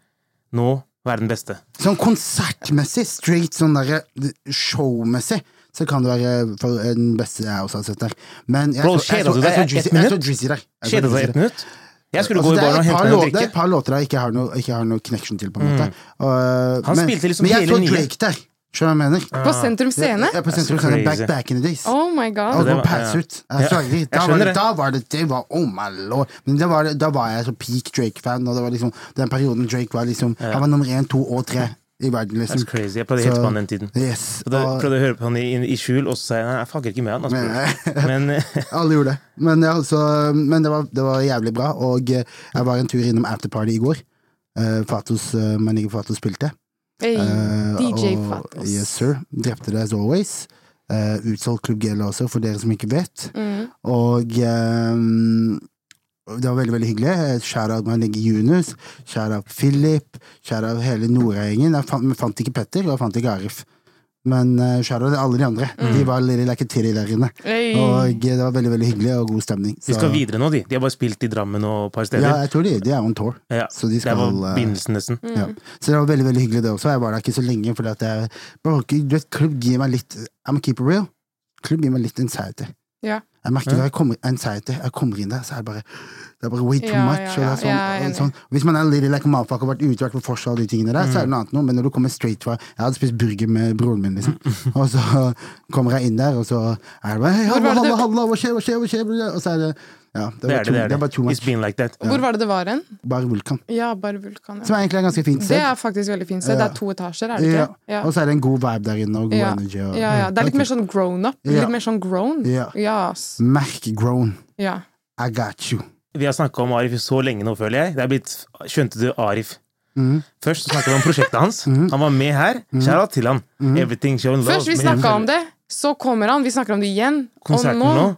Speaker 3: nå være den beste.
Speaker 2: Sånn konsertmessig, straight sånn der showmessig, så kan det være for den beste jeg også har sett der. Men jeg
Speaker 3: Bro,
Speaker 2: så- jeg
Speaker 3: kjeda
Speaker 2: så-
Speaker 3: du deg
Speaker 2: jeg så
Speaker 3: ett
Speaker 2: Drizzy- Jeg
Speaker 3: minutt?
Speaker 2: så Drizzy der. Jeg så Drizzy
Speaker 3: Kjeda deg
Speaker 2: der.
Speaker 3: et minutt? Jeg skulle
Speaker 2: Altså,
Speaker 3: gå i
Speaker 2: det, er et
Speaker 3: baren og
Speaker 2: par låter,
Speaker 3: hente meg en
Speaker 2: det er et
Speaker 3: drikke. Mm.
Speaker 2: par låter jeg ikke har noe, ikke har noe connection til, på en måte. Og- eh,
Speaker 3: Han spilte liksom
Speaker 2: men jeg
Speaker 3: hele
Speaker 2: så
Speaker 3: nye.
Speaker 2: Drake der, skjønner du hva jeg mener?
Speaker 1: På Sentrum Scene?
Speaker 2: Jeg, jeg på sentrum,
Speaker 3: That's
Speaker 2: sånn, back,
Speaker 3: crazy.
Speaker 2: back in the days.
Speaker 1: Oh my
Speaker 2: Og
Speaker 1: god.
Speaker 3: det
Speaker 2: det
Speaker 3: var-
Speaker 2: Ah, pass
Speaker 3: ja.
Speaker 2: ut. Jeg er
Speaker 3: Ja,
Speaker 2: sorry.
Speaker 3: jeg
Speaker 2: Da var
Speaker 3: skjønner
Speaker 2: det,
Speaker 3: det.
Speaker 2: da var det, det var, oh my lord. Men det var, da var jeg så peak Drake-fan, og det var liksom den perioden Drake var liksom Han var nummer én, to og tre i verden, liksom.
Speaker 3: That's crazy. Jeg prøvde helt
Speaker 2: Så- Ah.
Speaker 3: på han den tiden.
Speaker 2: Yes.
Speaker 3: Prøvde,
Speaker 2: og-
Speaker 3: prøvde å høre på han i, i skjul, og så sa jeg nei, jeg fucker ikke med han.
Speaker 2: Men-
Speaker 3: Altså, [LAUGHS]
Speaker 2: [LAUGHS]
Speaker 3: men
Speaker 2: [LAUGHS] Alle gjorde det. Men, ja, altså, men det, var, det var jævlig bra. Og eh, jeg var en tur innom afterparty i går. Eh, Fatos, uh, Manigo Fatos spilte.
Speaker 1: Hey,
Speaker 2: Eh,
Speaker 1: DJ
Speaker 2: og-
Speaker 1: Fatos.
Speaker 2: Yes, sir. Drepte det as always. Eh, utsolgt Klubb Gela også, for dere som ikke vet. Og eh, det var veldig veldig hyggelig. Shout-out Manigi Yunus, shout-out Philip, shout-out hele Nora-gjengen. Jeg fant, jeg fant ikke Petter, og jeg fant ikke Arif. Men uh, shout-out til alle de andre. De var litt like a titty der inne.
Speaker 1: Hey.
Speaker 2: Og eh, det var veldig veldig hyggelig og god stemning.
Speaker 3: de
Speaker 2: Så-
Speaker 3: skal videre nå, de. De har bare spilt i Drammen og et par steder.
Speaker 2: Ja, jeg tror de, de er on tour.
Speaker 3: Ja,
Speaker 2: Så de skal
Speaker 3: det var
Speaker 2: eh,
Speaker 3: begynnelsen, nesten.
Speaker 2: ja.
Speaker 1: Mm.
Speaker 2: Så det var veldig veldig hyggelig, det også. Jeg var der ikke så lenge, fordi at jeg bro, Du vet, klubb gir meg litt I'm a keeper real. Klubb gir meg litt anxiety.
Speaker 1: Ja.
Speaker 2: Jeg merker når jeg kommer, anxiety, jeg kommer inn der, så er det bare Det er bare way too
Speaker 1: Ja,
Speaker 2: much.
Speaker 1: ja,
Speaker 2: og
Speaker 1: ja,
Speaker 2: det er sånn,
Speaker 1: jeg er
Speaker 2: og
Speaker 1: enig.
Speaker 2: sånn. Hvis man er litty like a motherfucker og har vært ute vært på Fors og alle de tingene der,
Speaker 1: Mm.
Speaker 2: så er det noe annet noe. Men når du kommer straight fra Jeg hadde spist burger med broren min, liksom. Og så kommer jeg inn der, og så er det bare hei,
Speaker 1: Mm. var
Speaker 2: halla,
Speaker 1: det du-
Speaker 2: halla, halla, hva skjer, hva skjer, hva skjer? Og så er det Ja, det,
Speaker 3: Det
Speaker 2: var
Speaker 3: er
Speaker 2: too,
Speaker 3: det, det er det.
Speaker 2: var too much.
Speaker 3: It's been like that.
Speaker 1: Hvor var det det var hen?
Speaker 2: Bare vulkan.
Speaker 1: Ja, bare Vulkan.
Speaker 2: Som
Speaker 1: Ja.
Speaker 2: er egentlig et ganske fint sted.
Speaker 1: Det er faktisk veldig fint sted. Det
Speaker 2: Ja.
Speaker 1: er to etasjer, er det
Speaker 2: Ja.
Speaker 1: ikke? Ja.
Speaker 2: Og så er det en god vibe der inne, og god
Speaker 1: Ja.
Speaker 2: energy. Og,
Speaker 1: Ja, ja. Det er litt mer sånn grown up.
Speaker 2: Ja.
Speaker 1: Litt mer sånn grown.
Speaker 2: Ja.
Speaker 1: ass.
Speaker 2: Merk grown.
Speaker 1: Ja.
Speaker 2: I got you.
Speaker 3: Vi har snakka om Arif så lenge nå, føler jeg. Det er blitt, Skjønte du Arif? Først så snakket vi om prosjektet hans. Han var med her. Kjære til han. Everything shown love.
Speaker 1: Først vi
Speaker 3: Men jeg
Speaker 1: snakka om
Speaker 3: føler-
Speaker 1: det, så kommer han, vi snakker om det igjen.
Speaker 3: Konserten nå.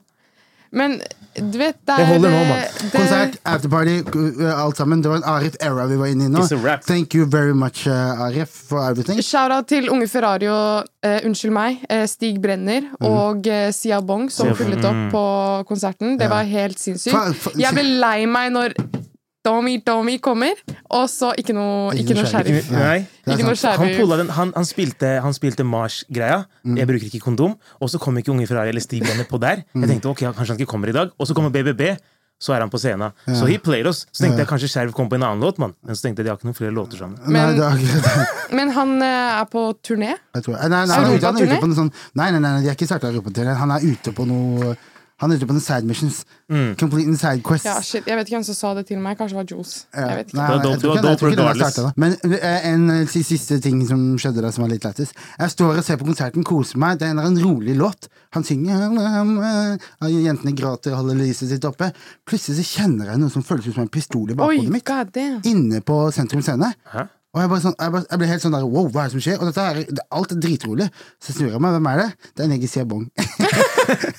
Speaker 1: Men du vet, det er eh,
Speaker 3: Det holder nå, mann.
Speaker 1: det-
Speaker 2: Konsert, afterparty, uh, uh, alt sammen. Det var en Arif-era vi var inne i nå.
Speaker 3: It's a wrap.
Speaker 2: Thank you very much, uh, Arif, for everything.
Speaker 1: Shout-out til Unge Ferrari og eh, unnskyld meg, eh, Stig Brenner og eh, Sia Bong, som
Speaker 3: Sia Bong,
Speaker 1: fullet opp på konserten. Det var helt
Speaker 2: Fa-
Speaker 1: sinnssykt.
Speaker 2: fa-
Speaker 1: Jeg ble lei meg når Domi Domi kommer, og så ikke noe,
Speaker 2: Ikke
Speaker 1: ikke
Speaker 2: noe
Speaker 1: noe
Speaker 2: sheriff.
Speaker 1: sheriff.
Speaker 3: Nei.
Speaker 2: Det er
Speaker 1: Ikke noe
Speaker 2: sant.
Speaker 3: Han,
Speaker 1: sheriff.
Speaker 3: pullet den, han, han spilte, han spilte Mars-greia. Jeg bruker ikke kondom. Og så kom ikke Unge Ferrari eller Stig Brenner på der. Jeg tenkte ok, kanskje han ikke kommer i dag. Og så kommer BBB. Så er han på scenen. Så he played us. Så tenkte jeg kanskje Skjerv kom på en annen låt, mann. Men så tenkte jeg de har ikke noen flere låter sammen.
Speaker 2: Nei,
Speaker 1: Men-
Speaker 2: det er [LAUGHS] akkurat det.
Speaker 1: Men han eh, er på turné.
Speaker 2: Jeg tror- Nei, nei, han er ute- han er
Speaker 1: Europaturné?
Speaker 2: ute på noe sånn Nei, nei, nei, de har ikke starta europaturné. Han er ute på noe Han er ute på en side missions.
Speaker 3: Mm.
Speaker 2: Complete inside quests.
Speaker 1: Ja, shit. Jeg vet ikke hvem som sa det til meg. Kanskje det var Jules.
Speaker 2: Ja.
Speaker 1: Jeg vet ikke.
Speaker 2: Nei,
Speaker 3: Det var
Speaker 2: jeg
Speaker 3: dope-
Speaker 2: tror
Speaker 3: det var
Speaker 2: ikke- jeg tror
Speaker 3: dope
Speaker 2: ikke det var
Speaker 3: regardless.
Speaker 2: startet da. Men eh, en eh, si- siste ting som skjedde der som var litt lættis. Jeg står og ser på konserten, koser meg. Det er en eller annen rolig låt. Han synger um, um, uh, og Jentene gråter, holder lyset sitt oppe. Plutselig så kjenner jeg noe som føles ut som en pistol i
Speaker 1: Oi,
Speaker 2: bakhodet mitt.
Speaker 1: god
Speaker 2: [LAUGHS]
Speaker 1: damn.
Speaker 2: Inne på Sentrum Scene.
Speaker 3: Hæ?
Speaker 2: Og jeg, bare sånn, jeg, bare, jeg ble helt sånn der Wow, hva er det som skjer? Og dette er, det, alt er dritrolig. Så snur jeg meg. Hvem er det? Det er Negi Siabong.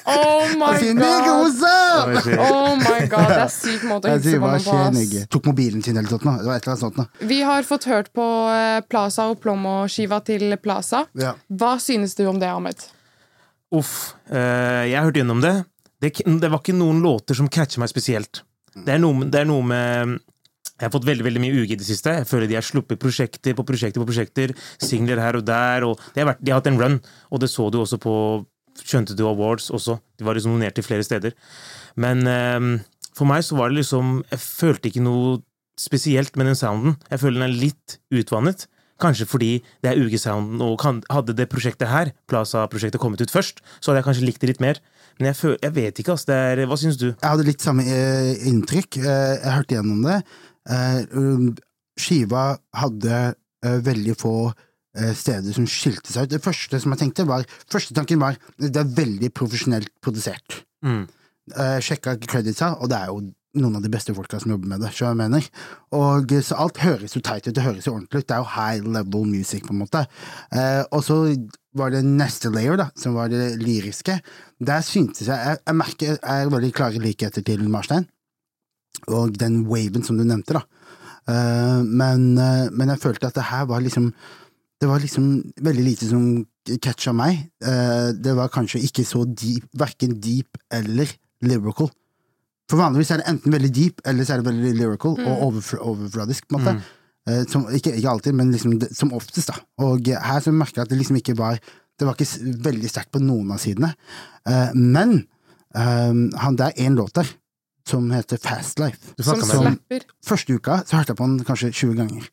Speaker 1: Oh my
Speaker 2: [LAUGHS] Han sier, "Nigga,
Speaker 1: god.
Speaker 2: what's up?"
Speaker 1: Oh my god, Det er sykt måte å
Speaker 2: Jeg
Speaker 1: hilse
Speaker 2: sier,
Speaker 1: på
Speaker 2: hva
Speaker 1: noen på.
Speaker 2: skjer, Nigge?
Speaker 1: ass.
Speaker 2: Tok mobilen sin eller noe sånt nå. Det var et eller annet sånt nå.
Speaker 1: Vi har fått hørt på eh, Plaza og Plomo-skiva til Plaza.
Speaker 2: Ja.
Speaker 1: Hva synes du om det, Ahmed?
Speaker 3: Uff. eh, jeg har hørt gjennom det. det. k- Det var ikke noen låter som catcher meg spesielt. Det er noe, med- det er noe med mm, Jeg har fått veldig veldig mye UG i det siste. Jeg føler de har sluppet prosjekter på prosjekter på prosjekter. Singler her og der. Og de, har vært, de har hatt en run, og det så du også på Skjønte du Awards også. De var liksom nominert til flere steder. Men eh, for meg så var det liksom Jeg følte ikke noe spesielt med den sounden. Jeg føler den er litt utvannet. Kanskje fordi det er UG-sounden, og kan, hadde det prosjektet her, Plaza-prosjektet, kommet ut først, så hadde jeg kanskje likt det litt mer. Men jeg, føl, jeg vet ikke, ass. Det er, hva syns du?
Speaker 2: Jeg hadde litt samme eh, inntrykk. Eh, jeg hørte gjennom det. Eh, um, skiva hadde eh, veldig få eh, steder som skilte seg ut. Det første som jeg tenkte var, første tanken var det er veldig profesjonelt produsert.
Speaker 3: Mm.
Speaker 2: Eh, sjekka creditsa, og det er jo noen av de beste folka som jobber med det. skjønner du hva jeg mener. Og eh, Så alt høres jo teit ut, det høres jo ordentlig ut. Det er jo high level music, på en måte. Eh, og så var det neste layer, da, som var det lyriske. Der syntes jeg Jeg, jeg merker jeg er veldig klare likheter til Marstein, og den waven som du nevnte, da. Eh, men, eh, men jeg følte at det her var liksom det var liksom veldig lite som catcha meg. Eh, det var kanskje ikke så deep, verken deep eller lyrical. For vanligvis er det enten veldig deep, eller så er det veldig lyrical og overfl overfladisk, på en måte. Eh, som, ikke, ikke alltid, men liksom det, som oftest, da. Og her så merker jeg at det liksom ikke var Det var ikke s- veldig sterkt på noen av sidene. Eh, men eh, han der er en låt der, som heter Fast Life.
Speaker 3: Du
Speaker 1: Som
Speaker 3: snakket med ham.
Speaker 1: slapper.
Speaker 2: Første uka så hørte jeg på den kanskje 20 ganger.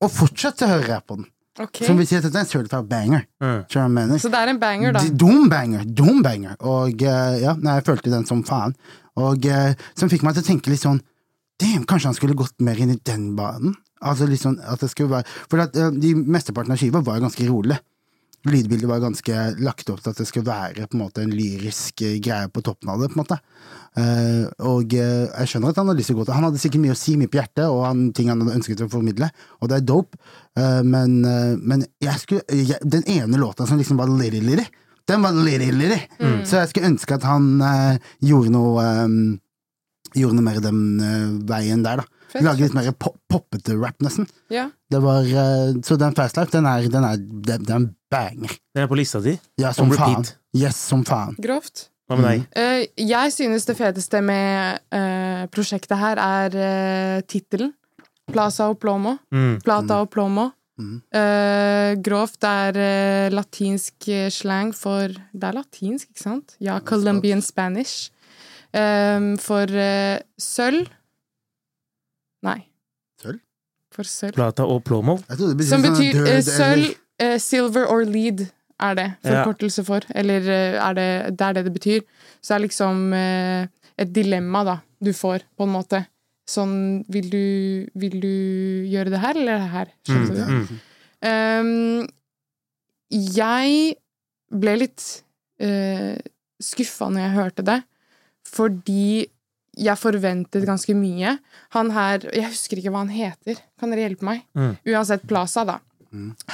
Speaker 2: Og fortsatt så hører jeg på den.
Speaker 1: Ok.
Speaker 2: Som vil si at dette er en certified banger.
Speaker 3: Mm.
Speaker 2: Skjønner du hva jeg mener?
Speaker 1: Så det er en banger, da.
Speaker 2: D- Dum banger, dum banger. Og eh, ja, nei, jeg følte den som faen. Og eh, som fikk meg til å tenke litt sånn Damn, kanskje han skulle gått mer inn i den banen? Altså litt sånn at det skulle være For at, eh, de mesteparten av skiva var jo ganske rolig. Lydbildet var ganske lagt opp til at det skulle være på en måte en lyrisk eh, greie på toppen av det. på en måte. Eh, og eh, jeg skjønner at han hadde lyst til å gå til Han hadde sikkert mye å si, mye på hjertet, og han, ting han hadde ønsket å formidle, og det er dope, Eh, men, eh, men jeg skulle, jeg, den ene låta som liksom var lirri-lirri, den var lirri-lirri. Så jeg skulle ønske at han eh, gjorde noe eh, Gjorde noe mer den eh, veien der, da.
Speaker 1: Fett,
Speaker 2: Lage litt mer pop, poppete rap, nesten.
Speaker 1: Ja.
Speaker 2: Det var, eh, så den Fast Life, den er, den er, den, den banger.
Speaker 3: Den er på lista di.
Speaker 2: Ja, som
Speaker 3: On
Speaker 2: faen.
Speaker 3: repeat.
Speaker 2: Yes, som faen.
Speaker 1: Grovt.
Speaker 3: Hva med deg?
Speaker 1: Eh, jeg synes det feteste med eh, prosjektet her er uh, tittelen. Plaza og plomo.
Speaker 3: Mm.
Speaker 1: Plata og plomo.
Speaker 2: Mm.
Speaker 1: Eh, grovt er eh, latinsk eh, slang for Det er latinsk, ikke sant? Ja, Colombian Spanish. Eh, for eh, sølv Nei.
Speaker 2: Sølv?
Speaker 1: For sølv.
Speaker 3: Plata og Plomo.
Speaker 2: Jeg trodde det
Speaker 1: Som
Speaker 2: sånn
Speaker 1: betyr
Speaker 2: død
Speaker 1: eh,
Speaker 2: eller-
Speaker 1: sølv, eh, silver or lead er det
Speaker 3: Ja.
Speaker 1: forkortelse for. Eller eh, er det, det er det det betyr. Så det er liksom eh, et dilemma da, du får, på en måte. Sånn, vil du, vil du gjøre det her eller det her? Skjønte du?
Speaker 3: Mm.
Speaker 1: Um, jeg ble litt uh, skuffa når jeg hørte det, fordi jeg forventet ganske mye. Han her Jeg husker ikke hva han heter. Kan dere hjelpe meg?
Speaker 3: Mm.
Speaker 1: Uansett Plaza, da.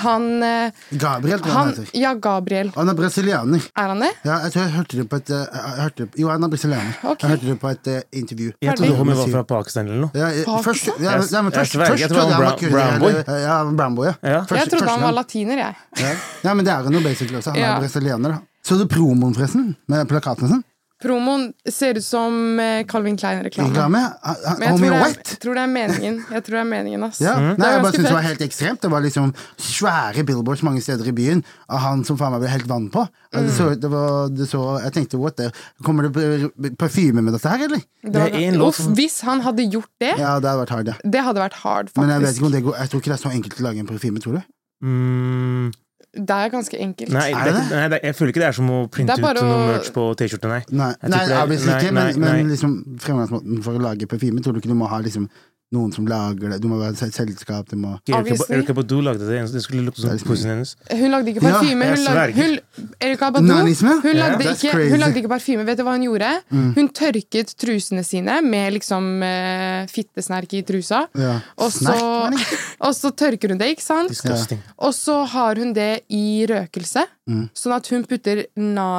Speaker 1: Han, eh,
Speaker 2: Gabriel, tror Mm. jeg han
Speaker 1: han
Speaker 2: heter.
Speaker 1: Ja, Gabriel.
Speaker 2: Han er brasilianer.
Speaker 1: Er han det?
Speaker 2: Ja, jeg tror jeg hørte det på et eh, jeg hørte det, Jo, han er brasilianer.
Speaker 1: Ok.
Speaker 2: Jeg hørte det på et eh, intervju.
Speaker 3: Jeg
Speaker 1: Ferdig.
Speaker 3: trodde Homie var fra Pakistan eller noe.
Speaker 2: Ja, eh,
Speaker 1: Pakistan?
Speaker 2: først, ja, ja, men
Speaker 3: Jeg- jeg
Speaker 2: først,
Speaker 3: sverger,
Speaker 2: først
Speaker 3: jeg tror
Speaker 2: trodde jeg
Speaker 3: han
Speaker 2: han
Speaker 3: var
Speaker 2: var kurder.
Speaker 3: brown- brown
Speaker 2: eller- Ja, han var brown boy, ja.
Speaker 3: Ja.
Speaker 2: Først-
Speaker 1: Jeg trodde
Speaker 2: første
Speaker 1: han var
Speaker 2: gang.
Speaker 1: latiner, jeg.
Speaker 2: Ja. ja, men det er han jo basically også. Han
Speaker 1: Ja.
Speaker 2: er brasilianer, da. Så du promoen, forresten? Med plakaten sin?
Speaker 1: Promoen ser ut som eh, Calvin Klein-reklame.
Speaker 2: Reklame?
Speaker 1: Men jeg
Speaker 2: Homie
Speaker 1: tror det, er,
Speaker 2: White?
Speaker 1: jeg tror det er meningen. Jeg tror det er meningen, ass.
Speaker 2: Ja.
Speaker 1: Mm.
Speaker 3: Mm.
Speaker 1: Det
Speaker 2: Nei,
Speaker 1: er
Speaker 2: jeg bare
Speaker 1: ganske
Speaker 2: synes det var
Speaker 1: fett.
Speaker 2: helt ekstremt. Det var liksom svære billboards mange steder i byen av han som faen meg ble helt vann på. Ja,
Speaker 1: Mm.
Speaker 2: Det så, det var, det så, jeg tenkte what the Kommer det p- parfyme med dette her, eller?
Speaker 1: Det var
Speaker 3: Det er en låt.
Speaker 1: Uff, hvis han hadde gjort det,
Speaker 2: Ja, det hadde vært hard, ja.
Speaker 1: det hadde vært hard, faktisk.
Speaker 2: Men jeg vet ikke om det går Jeg tror ikke det er så enkelt å lage en parfyme, tror du?
Speaker 3: Mm.
Speaker 1: Det er ganske enkelt.
Speaker 3: Nei,
Speaker 2: Er det
Speaker 3: det, er ikke- nei, det, er- jeg føler ikke det er som å printe
Speaker 1: Det er bare
Speaker 3: ut noe
Speaker 1: å-
Speaker 3: merch på T-skjorte, nei.
Speaker 2: Nei,
Speaker 3: Jeg
Speaker 2: nei,
Speaker 3: tror det er-
Speaker 2: obviously
Speaker 3: nei,
Speaker 2: ikke, men,
Speaker 3: nei,
Speaker 2: men
Speaker 3: nei.
Speaker 2: liksom fremgangsmåten for å lage parfyme Tror du ikke du må ha liksom noen som lager det? Du må være et selskap, du må
Speaker 3: Ikke Erika,
Speaker 1: Obviously.
Speaker 3: Erika Badu lagde det. Det skulle lukte som pussen hennes.
Speaker 1: Hun lagde ikke
Speaker 2: Ja,
Speaker 1: parfyme.
Speaker 3: jeg
Speaker 1: hun, lagde,
Speaker 3: sverger.
Speaker 1: hun, Erika Badu,
Speaker 2: Nanisme?
Speaker 1: hun,
Speaker 2: Ja,
Speaker 1: lagde
Speaker 2: that's
Speaker 1: ikke,
Speaker 2: crazy. Mm.
Speaker 1: hun lagde ikke parfyme. Vet du hva hun gjorde? Hun tørket trusene sine med liksom eh, fittesnerk i trusa.
Speaker 2: Ja.
Speaker 1: Og, så,
Speaker 2: Snerk, mener
Speaker 1: og så tørker hun det, ikke sant?
Speaker 3: Disgusting.
Speaker 1: Og så har hun det i røkelse,
Speaker 2: Mm.
Speaker 1: sånn at hun putter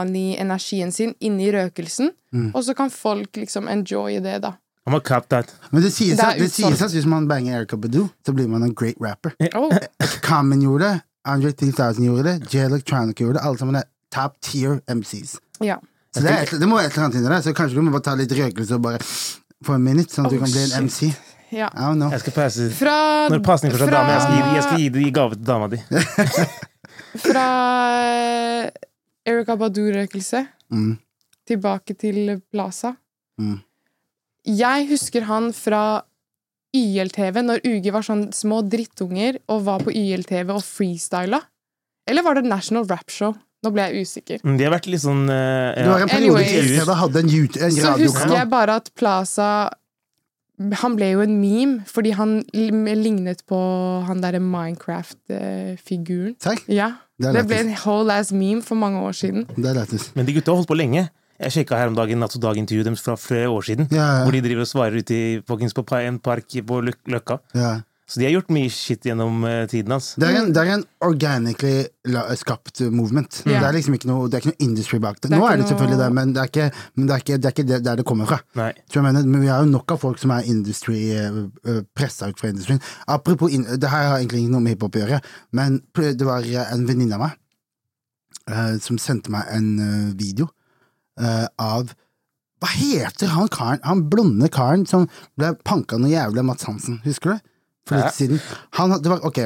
Speaker 1: nani-energien sin inni røkelsen.
Speaker 2: Mm.
Speaker 1: Og så kan folk liksom enjoye det, da.
Speaker 3: I'm a cop that.
Speaker 2: Men det sies,
Speaker 1: Det er
Speaker 2: at, det
Speaker 1: utsolgt.
Speaker 2: sies at hvis man banger Erika Badu, så blir man en great rapper.
Speaker 1: Oh,
Speaker 2: Common gjorde det, Andre 3000 gjorde det, J Electronic gjorde det. Alle sammen er top tier MCs.
Speaker 1: ja.
Speaker 2: Så det, er, et- det må være et eller annet inni deg. Så kanskje du må bare ta litt røkelse og bare for en minutt, sånn at du
Speaker 1: Oh,
Speaker 2: kan bli en MC.
Speaker 1: ja.
Speaker 2: I don't know.
Speaker 3: Jeg skal passe det.
Speaker 1: Fra,
Speaker 3: Når pasning fra dame, jeg skal, gi, jeg skal
Speaker 1: fra,
Speaker 3: gi det i gave til dama di.
Speaker 1: fra Erika Badu-røkelse
Speaker 2: Mm.
Speaker 1: tilbake til Plaza.
Speaker 2: Mm.
Speaker 1: Jeg husker han fra YLTV, når UG var sånn små drittunger og var på YLTV og freestyla. Eller var det National Rap Show? Nå ble jeg usikker.
Speaker 3: Men De har vært litt sånn eh,
Speaker 2: Det var en
Speaker 3: ja.
Speaker 2: periode
Speaker 1: Anyways.
Speaker 2: til jeg hadde en, YouTube- en
Speaker 1: Så husker
Speaker 2: radiokanal.
Speaker 1: jeg bare at Plaza Han ble jo en meme fordi han lim- lignet på han derre Minecraft-figuren.
Speaker 2: Takk.
Speaker 1: Ja.
Speaker 2: Det er
Speaker 1: Det ble
Speaker 2: lættis.
Speaker 1: en whole ass meme for mange år siden.
Speaker 2: Det er lættis.
Speaker 3: Men de gutta har holdt på lenge. Jeg sjekka her om dagen Natt og Dag-intervjuet deres fra flere år siden.
Speaker 2: Ja, ja.
Speaker 3: Hvor de driver og svarer ute i fuckings på pa- en park på Løk- Løkka.
Speaker 2: Ja.
Speaker 3: Så de har gjort mye shit gjennom eh, tiden hans.
Speaker 2: Det er en, det er en organically la, skapt movement.
Speaker 1: Ja.
Speaker 2: Det er liksom ikke noe, det er ikke noe industry bak det.
Speaker 1: Det er
Speaker 2: Nå
Speaker 1: ikke
Speaker 2: er det selvfølgelig det,
Speaker 1: noe-
Speaker 2: men det er ikke, men det, er ikke, det, er ikke det, der det kommer fra.
Speaker 3: Nei.
Speaker 2: Så jeg mener, men vi har jo nok av folk som er industry pressa ut fra industrien. Apropos in, Det her har egentlig ikke noe med hiphop å gjøre, men pr- det var eh, en venninne av meg eh, som sendte meg en eh, video eh, av Hva heter han karen, han blonde karen som ble panka noe jævlig av Mads Hansen? Husker du? For litt siden. Han, det var, ok,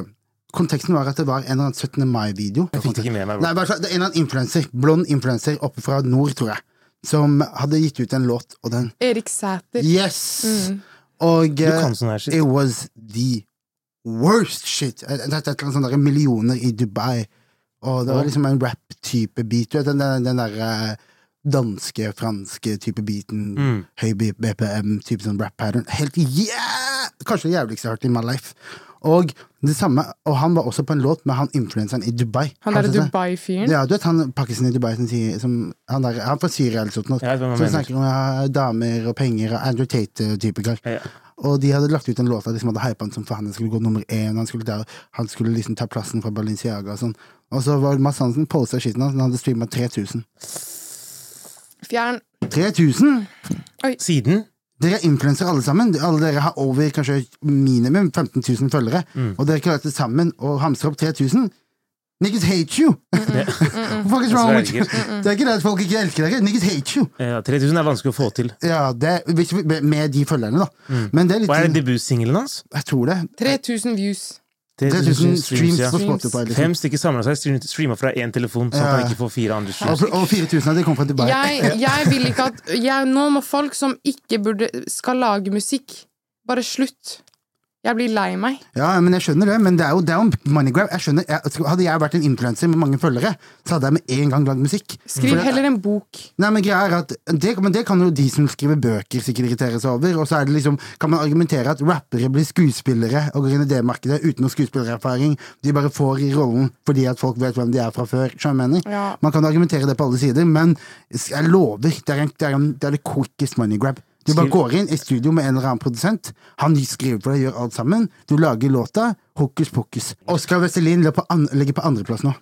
Speaker 2: Konteksten var at det var en eller annen 17. mai-video.
Speaker 3: Jeg fikk det ikke med meg.
Speaker 2: Nei,
Speaker 3: Bro.
Speaker 2: i hvert fall, det er en eller annen influenser, blond influenser oppe fra nord, tror jeg, som hadde gitt ut en låt, og den
Speaker 1: Erik Sæter.
Speaker 2: Yes! Mm. Og
Speaker 3: Du
Speaker 2: eh,
Speaker 3: kan sånn her shit.
Speaker 2: it was the worst shit. Eh, Dette er et eller annet sånn derre millioner i Dubai, og det var liksom en rap-type beat. Du vet, den, den, den derre danske-franske type beaten,
Speaker 3: Mm.
Speaker 2: høy B- BPM, type sånn rap-pattern. Helt yeah! Kanskje det jævligste jeg har hørt in my life. Og det samme, og han var også på en låt med han influenseren i Dubai.
Speaker 1: Han derre
Speaker 2: som-
Speaker 3: Mm.
Speaker 1: Dubai-fyren.
Speaker 2: ja, du vet han pakkisen i Dubai som sier som, han, der, han er fra Syria eller sånt noe.
Speaker 3: Jeg vet hvem han
Speaker 2: Som
Speaker 3: mener.
Speaker 2: snakker om ja, damer og penger og Andrew Tate-type kar.
Speaker 3: Ja.
Speaker 2: Og de hadde lagt ut en låt der de som hadde hypa han som faen. Han skulle gå nummer én, han skulle, der, han skulle liksom ta plassen fra Balenciaga og sånn. Og så var Mads Hansen posta skitten hans, han hadde streama 3000.
Speaker 1: Fjern.
Speaker 2: 3000?!
Speaker 3: Siden
Speaker 2: Dere er influensere alle sammen. Alle dere har over kanskje minimum 15 000 følgere.
Speaker 3: Mm.
Speaker 2: Og dere klarer til sammen å hamstre opp 3000. Niggas hate you! [LAUGHS] What fuck is wrong with you?
Speaker 3: Jeg
Speaker 2: [LAUGHS] Det er ikke det at folk ikke elsker dere. Niggas hate you!
Speaker 3: eh, Ja, 3000 er vanskelig å få til.
Speaker 2: Ja, det, hvis vi, med de følgerne, da. Men det er litt sånn-
Speaker 3: Hva er det debutsingelen hans?
Speaker 2: Jeg tror det.
Speaker 1: 3000 views.
Speaker 2: 3000 streams
Speaker 3: sånn ja.
Speaker 2: på Spotify. Liksom.
Speaker 3: Fem stykker samla seg, streama fra én telefon, sånn at han ikke får fire andre
Speaker 2: Og,
Speaker 3: streams.
Speaker 2: og 4000 av de kom fra Dubai.
Speaker 1: Jeg, jeg vil ikke at jeg, Nå må folk som ikke burde skal lage musikk, bare slutt. Jeg blir lei meg.
Speaker 2: Ja, men jeg skjønner det, men det er jo, det er jo money grab. Jeg skjønner, jeg, altså, hadde jeg vært en influenser med mange følgere, så hadde jeg med en gang lagd musikk.
Speaker 1: Skriv
Speaker 2: For-
Speaker 1: heller en bok.
Speaker 2: Nei, men greia er at det, men det kan jo de som skriver bøker sikkert irritere seg over, og så er det liksom, kan man argumentere at rappere blir skuespillere og går inn i det markedet uten noe skuespillererfaring. De bare får i rollen fordi at folk vet hvem de er fra før. skjønner du hva jeg mener?
Speaker 1: Ja.
Speaker 2: Man kan argumentere det på alle sider, men jeg lover, det er, en, det, er en, det er det quickest money grab. Du bare
Speaker 3: Skriv-
Speaker 2: går inn i studio med en eller annen produsent, han skriver for deg, gjør alt sammen, du lager låta, hokus pokus. Oskar Westerlin ligger på an- ligger på andreplass nå,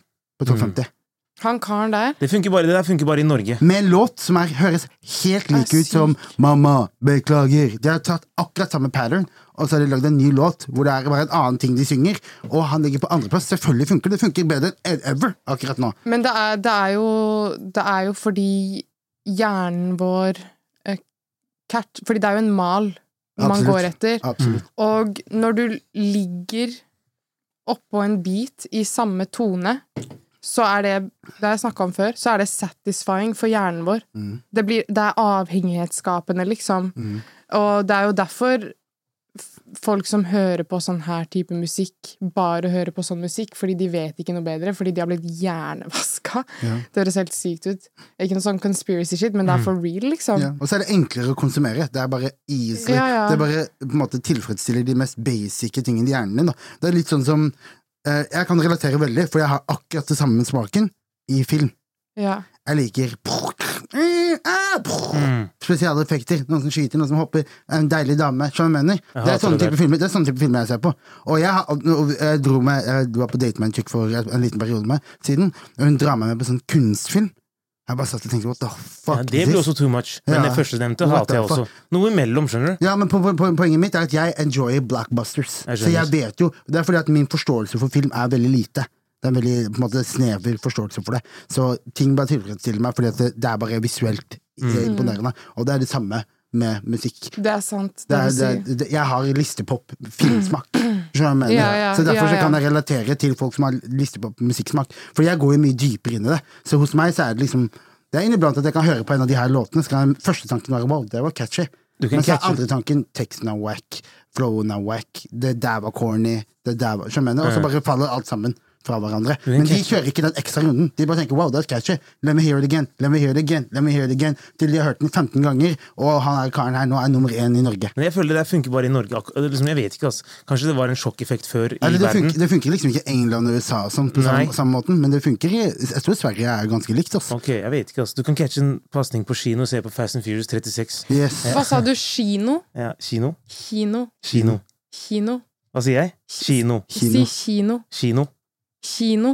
Speaker 2: på topp 50.
Speaker 1: Han karen der
Speaker 3: Det funker bare, det der funker bare i Norge.
Speaker 2: med en låt som er, høres helt lik
Speaker 1: Er
Speaker 2: ut som Mamma, beklager. De har tatt akkurat samme pattern, og så har de lagd en ny låt hvor det er bare en annen ting de synger, og han ligger på andreplass. Selvfølgelig funker det. Det funker bedre enn ever akkurat nå.
Speaker 1: Men det er, det er, jo, det er jo fordi hjernen vår eh, catch, Fordi det er jo en mal man
Speaker 2: Absolutt.
Speaker 1: går etter.
Speaker 2: Absolutt.
Speaker 1: Og når du ligger oppå en beat i samme tone, så er det Det har jeg snakka om før. Så er det satisfying for hjernen vår.
Speaker 2: Mm.
Speaker 1: Det, blir, det er avhengighetsskapende, liksom. Og det er jo derfor f- folk som hører på sånn her type musikk, bare hører på sånn musikk fordi de vet ikke noe bedre, fordi de har blitt hjernevaska.
Speaker 2: Ja. Mm.
Speaker 1: Det høres helt sykt ut. Ikke noe sånn conspiracy shit, men det er for real, liksom.
Speaker 2: Ja. Og så er det enklere å konsumere. Det er bare easy.
Speaker 1: Ja, ja.
Speaker 2: Det er bare på en måte tilfredsstiller de mest basice tingene i hjernen din. Da. Det er litt sånn som eh, Jeg kan relatere veldig, for jeg har akkurat det samme smaken i film.
Speaker 1: Ja.
Speaker 2: Jeg liker eh, ah,
Speaker 3: Mm.
Speaker 2: Spesiale effekter. Noen som skyter, noen som hopper. En deilig dame. Skjønner du hva jeg mener? Det er
Speaker 3: hater
Speaker 2: sånne
Speaker 3: det
Speaker 2: type filmer Det er sånne type filmer jeg ser på. Og jeg, har- og jeg dro med Jeg var på date med en chick for en liten periode med siden, og hun drar meg med på sånn kunstfilm. Jeg bare satt og tenkte what the fuck
Speaker 3: Ja,
Speaker 2: is
Speaker 3: det blir
Speaker 2: this?
Speaker 3: også too much. Men
Speaker 2: Ja.
Speaker 3: det førstnevnte
Speaker 2: What
Speaker 3: hater jeg
Speaker 2: the
Speaker 3: også. Noe imellom, skjønner du.
Speaker 2: Ja, men po po poenget mitt er at jeg enjoyer blockbusters.
Speaker 3: Jeg skjønner.
Speaker 2: så jeg vet jo Det er fordi at min forståelse for film er veldig lite. Det er en veldig på en måte, snever forståelse for det. Så ting bare tilfredsstiller meg, fordi at det, det er bare visuelt eh,
Speaker 3: Mm.
Speaker 2: imponerende. Og det er det samme med musikk.
Speaker 1: Det er sant.
Speaker 2: Det er,
Speaker 1: du
Speaker 2: det,
Speaker 1: sier.
Speaker 2: det, jeg har listepop-filmsmak. Skjønner du hva jeg mener?
Speaker 1: Ja, ja,
Speaker 2: så derfor
Speaker 1: ja,
Speaker 2: så kan
Speaker 1: ja.
Speaker 2: jeg relatere til folk som har listepop-musikksmak. For jeg går jo mye dypere inn i det. Så hos meg så er det liksom Det er inniblant at jeg kan høre på en av de her låtene, så kan første tanken være wow, det var catchy.
Speaker 3: Du kan
Speaker 2: Men så er
Speaker 3: catche.
Speaker 2: andre tanken teksten er whack, flowen er whack, det der var corny, det der var Skjønner du? hva jeg mener? Og så bare faller alt sammen fra hverandre.
Speaker 3: kan
Speaker 2: Men de
Speaker 3: catche.
Speaker 2: kjører ikke den ekstra runden. De bare tenker wow, that's catchy. Let me hear it again. Let me hear it again. Let me hear it again. Til de har hørt den 15 ganger, og han her karen her nå er nummer én i Norge.
Speaker 3: Men jeg føler det der funker bare i Norge. Ak eller liksom, jeg vet ikke, altså. Kanskje det var en sjokkeffekt før i
Speaker 2: Eller det,
Speaker 3: verden.
Speaker 2: funker, det funker liksom ikke i England og USA og sånn på
Speaker 3: Nei.
Speaker 2: samme, samme måten, men det funker i Jeg tror Sverige er ganske likt, altså.
Speaker 3: Ok, jeg vet ikke, altså. Du kan catche en pasning på kino og se på Fast and Furious 36.
Speaker 2: Yes.
Speaker 1: Hva sa du? Kino?
Speaker 3: Ja, kino?
Speaker 1: Kino?
Speaker 3: Kino.
Speaker 1: Kino?
Speaker 3: Hva sier jeg? Kino.
Speaker 1: Si
Speaker 2: Kino.
Speaker 1: kino.
Speaker 3: Kino.
Speaker 1: Kino.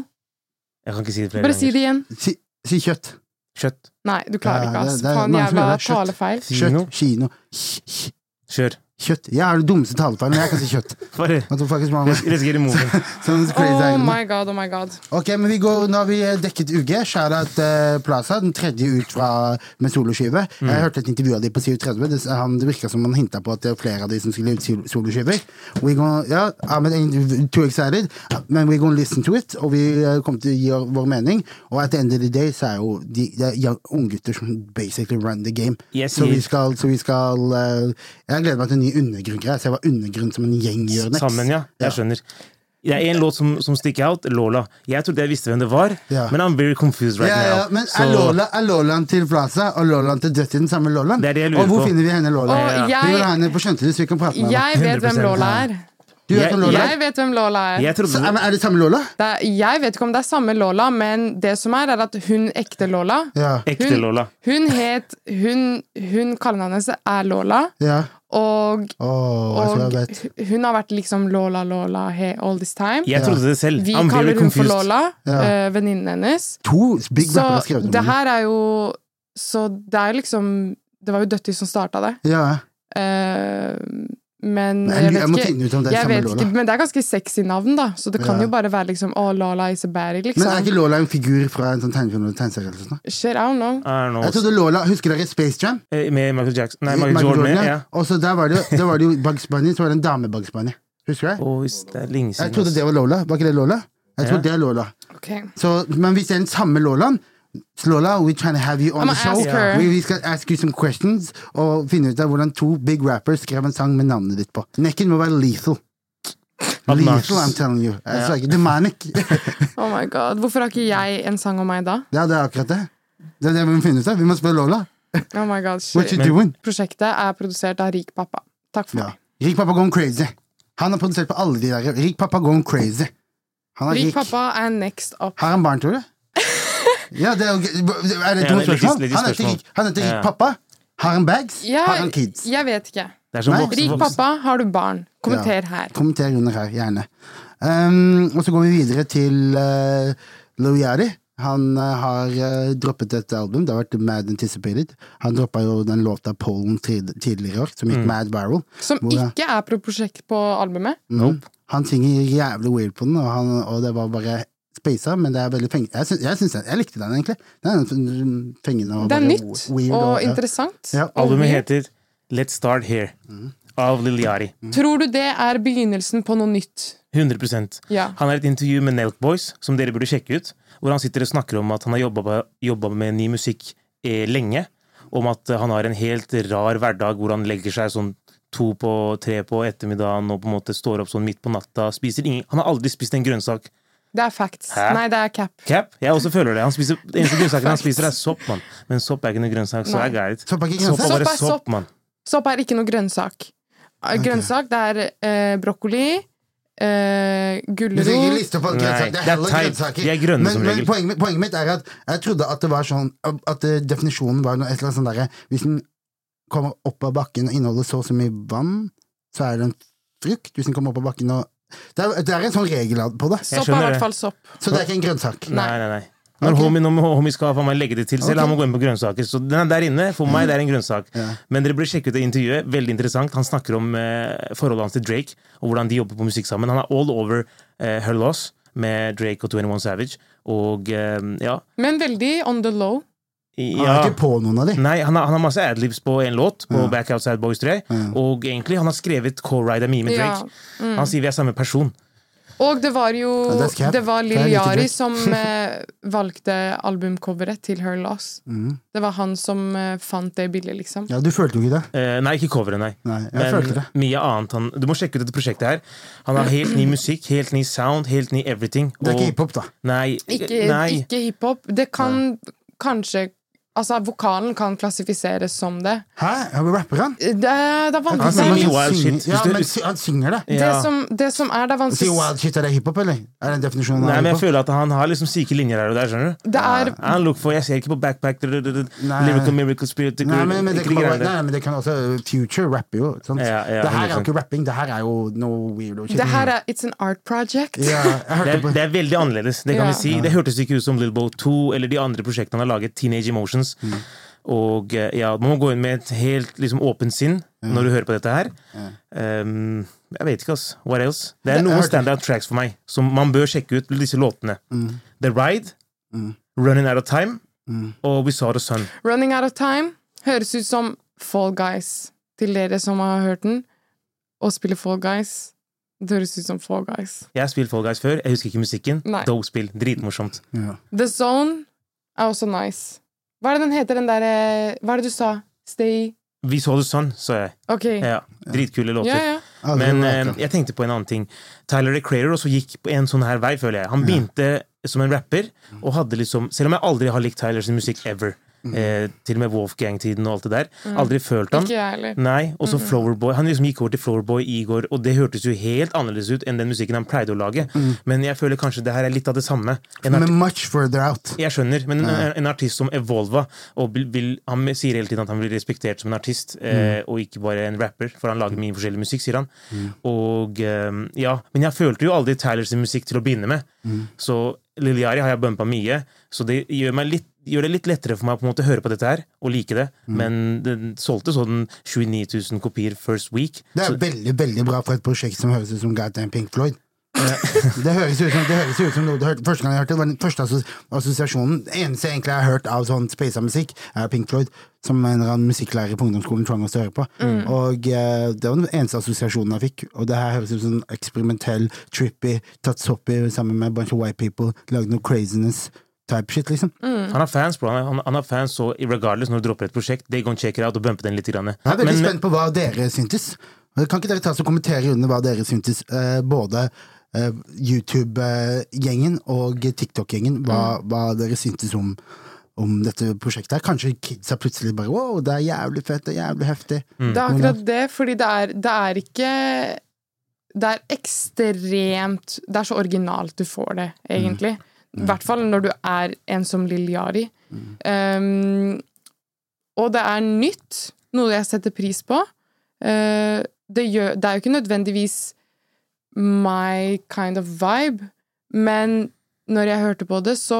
Speaker 3: Jeg kan ikke si det flere
Speaker 1: Bare si
Speaker 3: ganger.
Speaker 1: det igjen.
Speaker 2: Si, si kjøtt.
Speaker 3: Kjøtt.
Speaker 1: Nei, du klarer
Speaker 2: Ja,
Speaker 1: ikke, ass.
Speaker 2: det- det er
Speaker 1: Faen
Speaker 2: mange som
Speaker 1: jævla
Speaker 2: gjør det. Shit.
Speaker 1: talefeil.
Speaker 3: Kino.
Speaker 2: Kjøtt, kino, Kj- kj-
Speaker 3: Kjør.
Speaker 2: kjøtt. Jeg har det dummeste talefeilen, men jeg kan si kjøtt.
Speaker 3: Bare
Speaker 2: What the fuck is
Speaker 3: [LAUGHS]
Speaker 2: wrong with-
Speaker 3: let's get it moving.
Speaker 2: Sounds sånn crazy,
Speaker 1: Oh
Speaker 2: I know.
Speaker 1: my god, oh my god.
Speaker 2: Ok, men vi går, Nå har vi eh, dekket UG. Sharat eh, Plaza, den tredje ut fra med soloskive.
Speaker 3: Mm.
Speaker 2: Jeg hørte et intervju av de på 37. Det, han, det virka som han hinta på at det er flere av de som skulle ut sol- soloskiver. We gonna, ja, I'm an- too excited, men we're gonna listen to it. Og vi eh, kommer til å gi vår mening. Og at the end of the day så er jo de, det er young- unggutter som basically run the game.
Speaker 3: Yes,
Speaker 2: så, vi
Speaker 3: yes.
Speaker 2: skal, så vi skal eh, Jeg gleder meg til en ny undergrunngreie. Se hva undergrunn som en gjeng gjør next.
Speaker 3: Sammen, ja.
Speaker 2: Ja.
Speaker 3: Jeg skjønner. Det er en låt som, som stikker out, Lola. Jeg trodde jeg visste hvem det var,
Speaker 2: Ja.
Speaker 3: men I'm very confused right
Speaker 2: ja, ja,
Speaker 3: now.
Speaker 2: men
Speaker 3: Så-
Speaker 2: er, Lola, er Lolaen til Plaza og Lolaen til Dutty den samme Lolaen?
Speaker 3: Det er det jeg lurer
Speaker 2: og hvor
Speaker 3: på.
Speaker 2: finner vi henne Lola?
Speaker 1: Å, jeg-
Speaker 2: Vi vil ha henne på Skjønte du, så vi kan prate med henne.
Speaker 1: Jeg vet hvem
Speaker 3: 100%
Speaker 1: Lola er.
Speaker 2: Du vet
Speaker 3: Jeg-
Speaker 2: om Lola?
Speaker 1: Jeg vet hvem Lola er.
Speaker 3: jeg
Speaker 2: Så,
Speaker 3: trodde
Speaker 2: er, men er det samme Lola?
Speaker 1: Det er, jeg vet ikke om det er samme Lola, men det som er, er at hun ekte Lola
Speaker 2: Ja.
Speaker 3: Ekte Lola.
Speaker 1: Hun het Hun, hun kallenavnet hennes er Lola,
Speaker 2: ja.
Speaker 1: og,
Speaker 2: Å, jeg tror jeg
Speaker 1: og
Speaker 2: vet.
Speaker 1: hun har vært liksom Lola, Lola he, all this time.
Speaker 3: Jeg trodde det selv.
Speaker 1: Vi
Speaker 3: I'm very
Speaker 1: kaller hun for
Speaker 3: confused.
Speaker 1: Lola,
Speaker 2: Ja.
Speaker 1: eh, venninnen hennes.
Speaker 2: To big
Speaker 1: Så
Speaker 2: rappere har skrevet om
Speaker 1: det
Speaker 2: henne.
Speaker 1: her er jo Så det er liksom Det var jo Døtti som starta det.
Speaker 2: Ja.
Speaker 1: Eh, men
Speaker 2: Men
Speaker 1: jeg
Speaker 2: jeg,
Speaker 1: vet
Speaker 2: jeg må
Speaker 1: ikke
Speaker 2: finne ut om det er
Speaker 1: jeg
Speaker 2: samme
Speaker 1: vet
Speaker 2: Lola.
Speaker 1: ikke, men det er ganske sexy navn, da. Så det kan
Speaker 2: Ja.
Speaker 1: jo bare være liksom Å, Lala is a baddie, liksom.
Speaker 2: Men er ikke Lola en figur fra en sånn tegnefilm eller tegneserie? eller sånt?
Speaker 1: Shit, I don't know.
Speaker 3: I don't know.
Speaker 2: Jeg trodde Lola, Husker dere Space Jam?
Speaker 3: Eh, Med Michael Jackson. Nei, Michael, Jordan.
Speaker 2: Jordan,
Speaker 3: ja.
Speaker 2: Og så der var det, jo- der var det jo Bugs Bunny, så var det en dame Bugs Bunny. Husker du?
Speaker 3: Å, hvis det er lenge siden.
Speaker 2: Jeg trodde
Speaker 3: ass.
Speaker 2: det var Lola. Var ikke det Lola? Jeg tror
Speaker 3: Ja.
Speaker 2: det er Lola.
Speaker 1: Ok.
Speaker 2: Så, men hvis det er den samme Lolan Lola, we're trying to have you on
Speaker 1: I'ma
Speaker 2: the show.
Speaker 1: ask her.
Speaker 2: Vi, vi skal ask you some questions og finne ut av hvordan to big rappers skrev en sang med navnet ditt på. Nekken må være lethal.
Speaker 3: Obnoxious.
Speaker 2: Lethal, I'm telling you. Jeg sa ikke demonic.
Speaker 1: Oh my god. Hvorfor har ikke jeg en sang om meg da?
Speaker 2: [LAUGHS] ja, det er akkurat det. Det er det vi må finne ut av. Vi må spørre Lola.
Speaker 1: Oh my god,
Speaker 2: What
Speaker 1: shit.
Speaker 2: you doing?
Speaker 1: Prosjektet er produsert av Rik pappa. Takk for
Speaker 2: Ja.
Speaker 1: meg.
Speaker 2: Rik pappa gone crazy. Han har produsert på alle de der. Rik pappa gone crazy. Han er
Speaker 1: Rik
Speaker 2: rik.
Speaker 1: pappa er next up.
Speaker 2: Har han
Speaker 1: [LAUGHS]
Speaker 2: barn, tror du? Ja, det er, jo- er det
Speaker 3: Ja,
Speaker 2: et dumt
Speaker 3: legg- legg-
Speaker 2: spørsmål?
Speaker 3: legg-
Speaker 2: Han heter
Speaker 3: spørsmål.
Speaker 2: rik, han heter rik
Speaker 3: Ja.
Speaker 2: pappa. Har han bags?
Speaker 1: Jeg,
Speaker 2: Har han kids?
Speaker 1: jeg vet ikke.
Speaker 3: Det er som
Speaker 2: Nei,
Speaker 3: voksen,
Speaker 1: Rik
Speaker 3: voksen.
Speaker 1: pappa, har du barn? Kommenter her.
Speaker 2: Kommenter under her, gjerne. Ehm, og så går vi videre til uh, Lou Yachty. Han eh, har eh, droppet et album, det har vært Mad Anticipated. Han droppa jo den låta Polen tid- tidligere i år, som gikk
Speaker 3: Mm.
Speaker 2: mad viral.
Speaker 1: Som
Speaker 2: Hvor er-
Speaker 1: ikke er pro- prosjekt på albumet.
Speaker 2: Mm. Han synger jævlig weird på den, og, han, og det var bare spasa, men det er veldig fengende. Jeg, syns- jeg, syns den- jeg likte den, egentlig. Den er f- fengende og
Speaker 1: Det er
Speaker 2: bare
Speaker 1: nytt
Speaker 2: weird
Speaker 1: og
Speaker 2: ja.
Speaker 1: interessant. Mm.
Speaker 2: Ja.
Speaker 1: Og
Speaker 3: Albumet
Speaker 1: weird.
Speaker 3: heter Let's Start Here.
Speaker 2: Mm.
Speaker 3: Av Liliari.
Speaker 1: Tror du det er begynnelsen på noe nytt?
Speaker 3: 100
Speaker 1: Ja.
Speaker 3: Han har et intervju med Nelk Boys, som dere burde sjekke ut. Hvor han sitter og snakker om at han har jobba jobba med ny musikk eh, lenge. Om at eh, han har en helt rar hverdag hvor han legger seg sånn to på tre på ettermiddagen og på en måte står opp sånn midt på natta. spiser ingen, Han har aldri spist en grønnsak.
Speaker 1: Det er facts.
Speaker 3: Hæ?
Speaker 1: Nei, det er cap.
Speaker 3: Cap? Jeg også føler det. Han spiser, den eneste grønnsaken han spiser, er sopp, mann. Men sopp er ikke noe grønnsak, så
Speaker 1: Nei.
Speaker 3: er greit.
Speaker 2: Sopp er ikke grønnsak.
Speaker 3: Sopp er
Speaker 1: Sopp
Speaker 3: bare
Speaker 1: er sopp.
Speaker 3: sopp, mann.
Speaker 1: Sopp er ikke noe grønnsak. Eh, Grønnsak, det er eh, brokkoli, eh,
Speaker 2: Du trenger ikke
Speaker 1: gulrot
Speaker 2: liste på
Speaker 3: Nei,
Speaker 2: grønnsaker. Det
Speaker 3: det
Speaker 2: er
Speaker 3: er
Speaker 2: heller
Speaker 3: teip.
Speaker 2: grønnsaker.
Speaker 3: De er grønne
Speaker 2: men,
Speaker 3: som
Speaker 2: men
Speaker 3: regel.
Speaker 2: poenget, mitt, poenget mitt er at jeg trodde at det var sånn At eh, definisjonen var noe, et eller annet sånn derre Hvis den kommer opp av bakken og inneholder så og så mye vann, så er det en frukt. Hvis den kommer opp av bakken og Det er, det er en sånn regel på det.
Speaker 3: Jeg
Speaker 1: Sopp er i
Speaker 3: skjønner
Speaker 1: hvert
Speaker 3: det.
Speaker 1: fall sopp.
Speaker 2: Så det er ikke en grønnsak.
Speaker 3: Nei, nei, nei. Når
Speaker 2: Ok.
Speaker 3: homie, når homie skal faen meg legge det til selv,
Speaker 2: Ok. Mm.
Speaker 3: han må gå inn på grønnsaker. Så den er der inne. For meg, det er en grønnsak.
Speaker 2: Ja.
Speaker 3: Men dere bør sjekke ut det intervjuet. Veldig interessant. Han snakker om eh, forholdet hans til Drake, og hvordan de jobber på musikk sammen. Han er all over eh, her loss med Drake og 21 Savage. Og eh, ja,
Speaker 1: Men veldig on the low.
Speaker 2: Han
Speaker 3: ja. Mm.
Speaker 2: er ikke på noen av de.
Speaker 3: Nei, han har, han har masse adlibs på en låt, på
Speaker 2: Ja.
Speaker 3: Back Outside Boys 3. Og egentlig, han har skrevet Co-Ride er mye med
Speaker 1: Ja,
Speaker 3: Drake. Han sier vi er samme person.
Speaker 1: Og det var jo
Speaker 2: Ja, det er skap.
Speaker 1: Det var
Speaker 2: Det er
Speaker 1: Lill
Speaker 2: like
Speaker 1: Yari
Speaker 2: dritt. [LAUGHS]
Speaker 1: som eh, valgte albumcoveret til Her Loss. Det var han som eh, fant det bildet, liksom.
Speaker 2: Mm. Ja, du følte jo ikke det.
Speaker 3: Eh, nei, ikke coveret, nei.
Speaker 2: Nei, jeg
Speaker 3: Men
Speaker 2: følte det.
Speaker 3: mye annet han Du må sjekke ut dette prosjektet her. Han har helt ny musikk, helt ny sound, helt ny everything.
Speaker 2: Det er ikke
Speaker 3: og-
Speaker 2: hiphop, da.
Speaker 3: Nei.
Speaker 1: Ikke,
Speaker 3: nei.
Speaker 1: ikke hiphop. Det kan kanskje Altså, vokalen kan klassifiseres som det.
Speaker 2: Hæ? Har vi rapper han?
Speaker 1: Det, er- det er
Speaker 3: Han
Speaker 1: vanskelig det,
Speaker 3: sier mye
Speaker 1: er-
Speaker 3: wild shit.
Speaker 2: Ja,
Speaker 3: Hvis du-
Speaker 2: men sy- han synger det.
Speaker 1: det,
Speaker 3: Altså, Ja. altså,
Speaker 1: som, det som er, det er
Speaker 2: Sier
Speaker 1: vanskelig
Speaker 2: wild shit, er det hiphop, eller? Er det definisjonen
Speaker 3: Nei,
Speaker 2: av
Speaker 3: men jeg
Speaker 2: hiphop?
Speaker 3: føler at han har liksom syke linjer her og der, skjønner du.
Speaker 1: Det er
Speaker 3: Han look for, Jeg ser ikke på backpack dr- dr- dr-
Speaker 2: Nei.
Speaker 3: Lyrical miracle spirit
Speaker 2: Nei, men, men, det kan
Speaker 3: ikke de
Speaker 2: bare,
Speaker 3: greiene
Speaker 2: nei,
Speaker 3: der.
Speaker 2: men det kan også Future rapper jo. ikke Sant?
Speaker 3: Ja, ja,
Speaker 2: det her er jo
Speaker 3: 100%.
Speaker 2: ikke rapping, det her er jo noe weirdo shit.
Speaker 1: Det her er It's an art project.
Speaker 2: Ja, jeg
Speaker 3: Det
Speaker 2: hørte
Speaker 3: er,
Speaker 2: på
Speaker 3: det er veldig annerledes. Det kan
Speaker 1: Ja.
Speaker 3: vi si. Det hørtes ikke ut som Little Boat 2 eller de andre prosjektene han har laget. Teenage Emotions.
Speaker 1: Mm.
Speaker 3: Og eh, ja, Man må gå inn med et helt liksom, åpent sinn når du hører på dette her. Um, jeg vet ikke, ass. What else? Det er noen
Speaker 2: hørte-
Speaker 3: standout tracks for meg som man bør sjekke ut. Disse låtene.
Speaker 1: Mm.
Speaker 3: The Ride, Running Out of Time og We Saw The Sun.
Speaker 1: Running Out of Time høres ut som Fall Guys. Til dere som har hørt den, og spiller Fall Guys. Det høres ut som Fall Guys.
Speaker 3: Jeg har spilt Fall Guys før. Jeg husker ikke musikken.
Speaker 1: Nei.
Speaker 3: Dope spill. Dritmorsomt.
Speaker 2: ja.
Speaker 1: The Zone er også nice. Hva er det den heter, den derre Hva er det du sa? Stay
Speaker 3: We Saw The Sun, sa jeg.
Speaker 1: Ok. Ja,
Speaker 3: Ja, dritkule låter.
Speaker 1: ja.
Speaker 2: Aldri
Speaker 3: Men
Speaker 2: rapper.
Speaker 3: eh, jeg tenkte på en annen ting. Tyler The Creator også gikk på en sånn her vei, føler jeg. Han begynte som en rapper, og hadde liksom Selv om jeg aldri har likt Tylers musikk ever, eh, til og med Wolfgang-tiden og alt det der, aldri følt han.
Speaker 1: Mm. Ikke jeg heller. Mm.
Speaker 3: Nei, også Flowerboy. Han liksom gikk over til Flowerboy i går, og det hørtes jo helt annerledes ut enn den musikken han pleide å lage. Men jeg føler kanskje det her er litt av det samme. En
Speaker 2: Men much further out.
Speaker 3: jeg skjønner, men en, en artist som Evolva og vil, vil, Han sier hele tiden at han blir respektert som en artist,
Speaker 2: Mm.
Speaker 3: eh, og ikke bare en rapper, for han lager mye forskjellig musikk, sier han. Og eh, ja, Men jeg følte jo aldri Tyler sin musikk til å begynne med,
Speaker 2: Mm.
Speaker 3: så Lil Yari har jeg bumpa mye, så det gjør, meg litt, gjør det litt lettere for meg å på en måte høre på dette her og like det,
Speaker 2: Mm.
Speaker 3: men den solgte sånn 29 000 kopier first week.
Speaker 2: Det er
Speaker 3: så,
Speaker 2: veldig veldig bra for et prosjekt som høres ut som Goddamn Pink Floyd. det høres ut som, det høres ut som noe det hørte, Første gang jeg hørte det, var den første assos- assosiasjonen. Det eneste jeg egentlig har hørt av sånn spasa musikk, er Pink Floyd, som en eller annen musikklærer på ungdomsskolen tvang oss til å høre på. Og eh, Det var den eneste assosiasjonen jeg fikk. Og det her høres ut som sånn eksperimentell, trippy, tatt soppy sammen med a bunch of white people, lagd noe craziness type shit, liksom.
Speaker 3: han har fans, bro. Han, han, han har fans, så regardless når du dropper et prosjekt, they gonna check it out og bumpe den litt. Grann.
Speaker 2: Jeg er veldig
Speaker 3: Men-
Speaker 2: spent på hva dere syntes. Kan ikke dere ta oss og kommentere under hva dere syntes, eh, både eh, YouTube-gjengen og TikTok-gjengen, hva, hva dere syntes om, om dette prosjektet? her. Kanskje kidsa plutselig bare wow, det er jævlig fett, det er jævlig heftig.
Speaker 1: Det er akkurat det, fordi det er, det er ikke Det er ekstremt Det er så originalt du får det, egentlig. I hvert fall når du er en som Lill Yari. Um, og det er nytt, noe jeg setter pris på. Eh, det, gjør, det er jo ikke nødvendigvis my kind of vibe, men når jeg hørte på det, så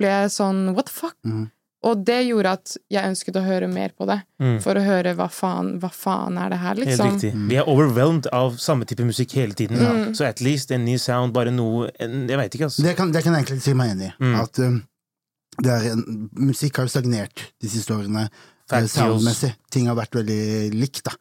Speaker 1: ble jeg sånn what the fuck? Og det gjorde at jeg ønsket å høre mer på det. For å høre hva faen, hva faen er det her,
Speaker 3: Helt
Speaker 1: liksom.
Speaker 3: riktig. Vi er overwhelmed av samme type musikk hele tiden. Så at least en ny sound, bare noe en, Jeg veit ikke, altså.
Speaker 2: Mm. Det kan, det kan jeg egentlig si meg enig i.
Speaker 3: Mm.
Speaker 2: At um, det er en, musikk har jo stagnert de siste årene eh,
Speaker 3: Facts,
Speaker 2: soundmessig. Ting har vært veldig likt, da.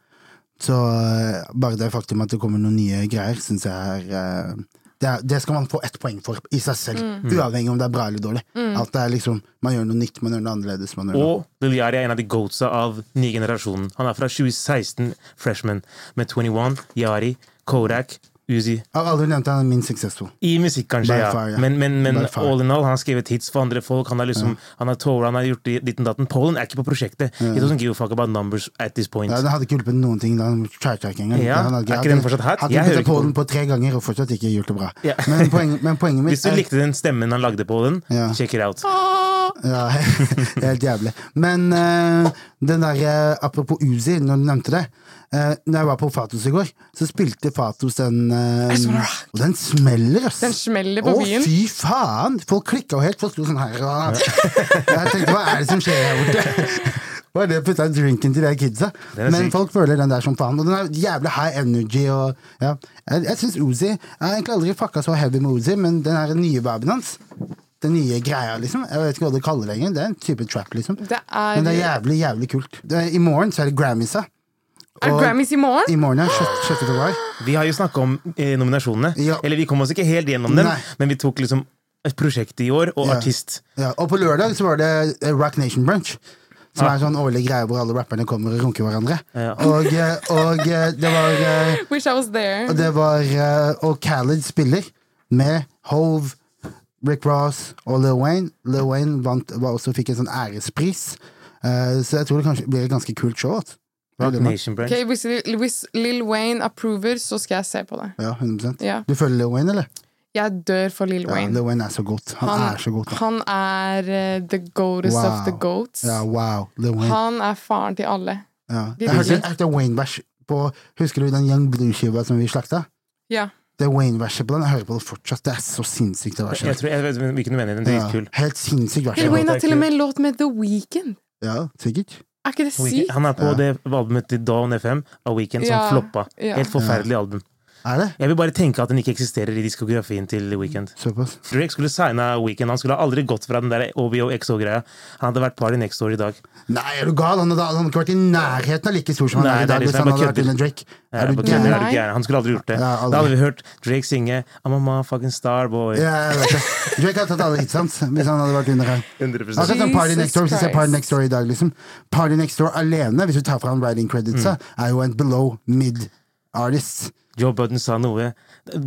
Speaker 2: Så eh, bare det faktum at det kommer noen nye greier, syns jeg er eh, Det, er, det skal man få ett poeng for i seg selv,
Speaker 3: Mm.
Speaker 2: uavhengig om det er bra eller dårlig. At det er liksom, man gjør noe nytt, man gjør noe annerledes. Man gjør noe.
Speaker 3: Og Lil Yachty er en av de goatsa av ny generasjon. Han er fra 2016, freshman, med 21, Yari, Kodak, Uzi.
Speaker 2: Jeg har aldri nevnt at han er minst successful.
Speaker 3: I musikk, kanskje,
Speaker 2: By
Speaker 3: ja.
Speaker 2: far, ja.
Speaker 3: Men, men, men
Speaker 2: By far.
Speaker 3: all in all, han har skrevet hits for andre folk. Han har liksom, han har Torah, han har gjort dit- ditten datten. Polen er ikke på prosjektet. He doesn't give a fuck about numbers at this point.
Speaker 2: Ja, det hadde ikke hjulpet noen ting. da Han try-try ikke engang.
Speaker 3: Ja,
Speaker 2: Han hadde-
Speaker 3: er ikke den fortsatt hat?
Speaker 2: Hadde
Speaker 3: Jeg hører
Speaker 2: hjulpet
Speaker 3: ikke på
Speaker 2: på den
Speaker 3: den.
Speaker 2: på tre ganger og fortsatt ikke gjort det bra.
Speaker 3: Ja.
Speaker 2: Men, poenget, men
Speaker 3: [LAUGHS]
Speaker 2: poenget mitt
Speaker 3: Hvis du likte den stemmen han lagde på den,
Speaker 2: Ja.
Speaker 3: check it out.
Speaker 2: Ja, [LAUGHS] helt jævlig. Men eh, den der, eh, apropos Uzi, når du nevnte det. Uh, når jeg var på Fatos i går, så spilte Fatos den eh, Og den smeller, ass!
Speaker 1: Den smeller på
Speaker 2: Å,
Speaker 1: byen.
Speaker 2: fy faen! Folk klikka jo helt. Folk sto sånn her. Og, [LAUGHS] jeg tenkte, hva er det som skjer her borte? [LAUGHS] Hva er det å putte en drink inn til de kidsa?
Speaker 3: Den er
Speaker 2: Men
Speaker 3: syk.
Speaker 2: folk føler den der som faen. Og den er jævlig high energy. Og, ja. Jeg, jeg syns Uzi Jeg har egentlig aldri fucka så heavy med Uzi, men den her nye babyen hans den nye greia, liksom. Jeg vet ikke hva du kaller det lenger. Det er en type trap, liksom.
Speaker 1: Det er-
Speaker 2: Men det er jævlig, jævlig kult. Det er, I morgen så er det Grammysa.
Speaker 1: Er det
Speaker 2: Og-
Speaker 1: Grammys i
Speaker 2: I
Speaker 1: morgen?
Speaker 2: morgen er 6. februar.
Speaker 3: Vi har jo snakka om eh, nominasjonene.
Speaker 2: Ja.
Speaker 3: Eller vi kom oss ikke helt gjennom dem,
Speaker 2: Nei.
Speaker 3: men vi tok liksom et prosjekt i år, og
Speaker 2: Ja.
Speaker 3: artist.
Speaker 2: Ja, og på lørdag så var det eh, Rock Nation Brunch. Som er en sånn årlig greie hvor alle rapperne kommer og runker hverandre.
Speaker 3: Ja.
Speaker 2: Og, eh, og eh, det var eh,
Speaker 1: Wish I was there.
Speaker 2: Og det var eh, Og Khaled spiller med Hove, Rick Ross og Lil Wayne. Lil Wayne vant, var også fikk en sånn ærespris. Eh, så jeg tror det kanskje blir et ganske kult show. ass.
Speaker 3: Rock
Speaker 2: Veldig bra.
Speaker 3: Nation Branch.
Speaker 1: Ok, hvis, hvis Lil Wayne approver, så skal jeg se på det.
Speaker 2: Ja, 100
Speaker 1: Ja.
Speaker 2: Du følger Lil Wayne, eller?
Speaker 1: Jeg dør for Lil
Speaker 2: Ja,
Speaker 1: Wayne.
Speaker 2: Lil Wayne er så godt. Han, er så godt. da.
Speaker 1: han er eh, the goatest of the goats.
Speaker 2: Ja, wow. Lil Wayne.
Speaker 1: Han er faren til alle.
Speaker 2: Ja.
Speaker 1: de-
Speaker 2: Jeg hørte et Wayne-vers på Husker du den Young Blue-skiva som vi slakta?
Speaker 1: Ja.
Speaker 2: Det Wayne-verset på den. Jeg hører på det fortsatt. Det er så sinnssykt, det
Speaker 3: Jeg
Speaker 2: verset.
Speaker 3: tror jeg vet hvilken du mener. Den er
Speaker 2: Ja,
Speaker 3: dritkul.
Speaker 2: helt sinnssykt vers.
Speaker 1: Lil
Speaker 3: Ja,
Speaker 1: Wayne
Speaker 3: det
Speaker 1: har
Speaker 3: er
Speaker 1: til og
Speaker 3: kult.
Speaker 1: med en låt med The Weeknd.
Speaker 2: Ja, sikkert.
Speaker 1: Er ikke det
Speaker 3: Weekend.
Speaker 1: sykt?
Speaker 3: Han er på det albumet til Dawn FM av Weekend som
Speaker 1: Ja,
Speaker 3: floppa.
Speaker 1: ja.
Speaker 3: Helt forferdelig album.
Speaker 2: Er det?
Speaker 3: Jeg vil bare tenke at den ikke eksisterer i diskografien til Weekend.
Speaker 2: Såpass.
Speaker 3: Drake skulle signa Weekend. Han skulle aldri gått fra den der OBO-XO-greia. Han hadde vært Party Next Door i dag.
Speaker 2: Nei, er du gal? Han hadde, han hadde ikke vært i nærheten av like stor som han
Speaker 3: Nei,
Speaker 2: er i
Speaker 3: det er
Speaker 2: dag.
Speaker 3: det
Speaker 2: Hvis
Speaker 3: som
Speaker 2: han
Speaker 3: er
Speaker 2: hadde vært
Speaker 3: kødder.
Speaker 2: under Drake.
Speaker 3: Ja,
Speaker 2: Er
Speaker 3: Eh, på
Speaker 2: du
Speaker 3: kødder,
Speaker 2: gæren?
Speaker 3: er du gæren? Han skulle aldri gjort det.
Speaker 2: Ja, aldri.
Speaker 3: Da hadde vi hørt Drake synge I'm a motherfucking starboy.
Speaker 2: Ja, jeg vet det. Drake hadde tatt alle hitsa hans hvis han hadde vært under her.
Speaker 3: 100%.
Speaker 2: Akkurat som Party
Speaker 1: Jesus
Speaker 2: Next Door. Hvis du ser
Speaker 1: Christ.
Speaker 2: Party Next Door i dag, liksom. Party Next Door alene, hvis du tar fram writing
Speaker 3: Mm.
Speaker 2: creditsa, er jo en below mid artist.
Speaker 3: Joe Budden sa noe.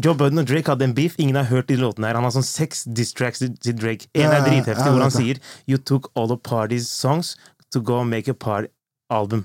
Speaker 3: Joe Budden og Drake hadde en beef. Ingen har hørt de låtene her. Han har sånn seks distracts til til Drake. En
Speaker 2: Ja,
Speaker 3: er
Speaker 2: ja,
Speaker 3: dritheftig,
Speaker 2: ja,
Speaker 3: hvor han
Speaker 2: jeg
Speaker 3: sier You took all of party's songs to go and make a party album.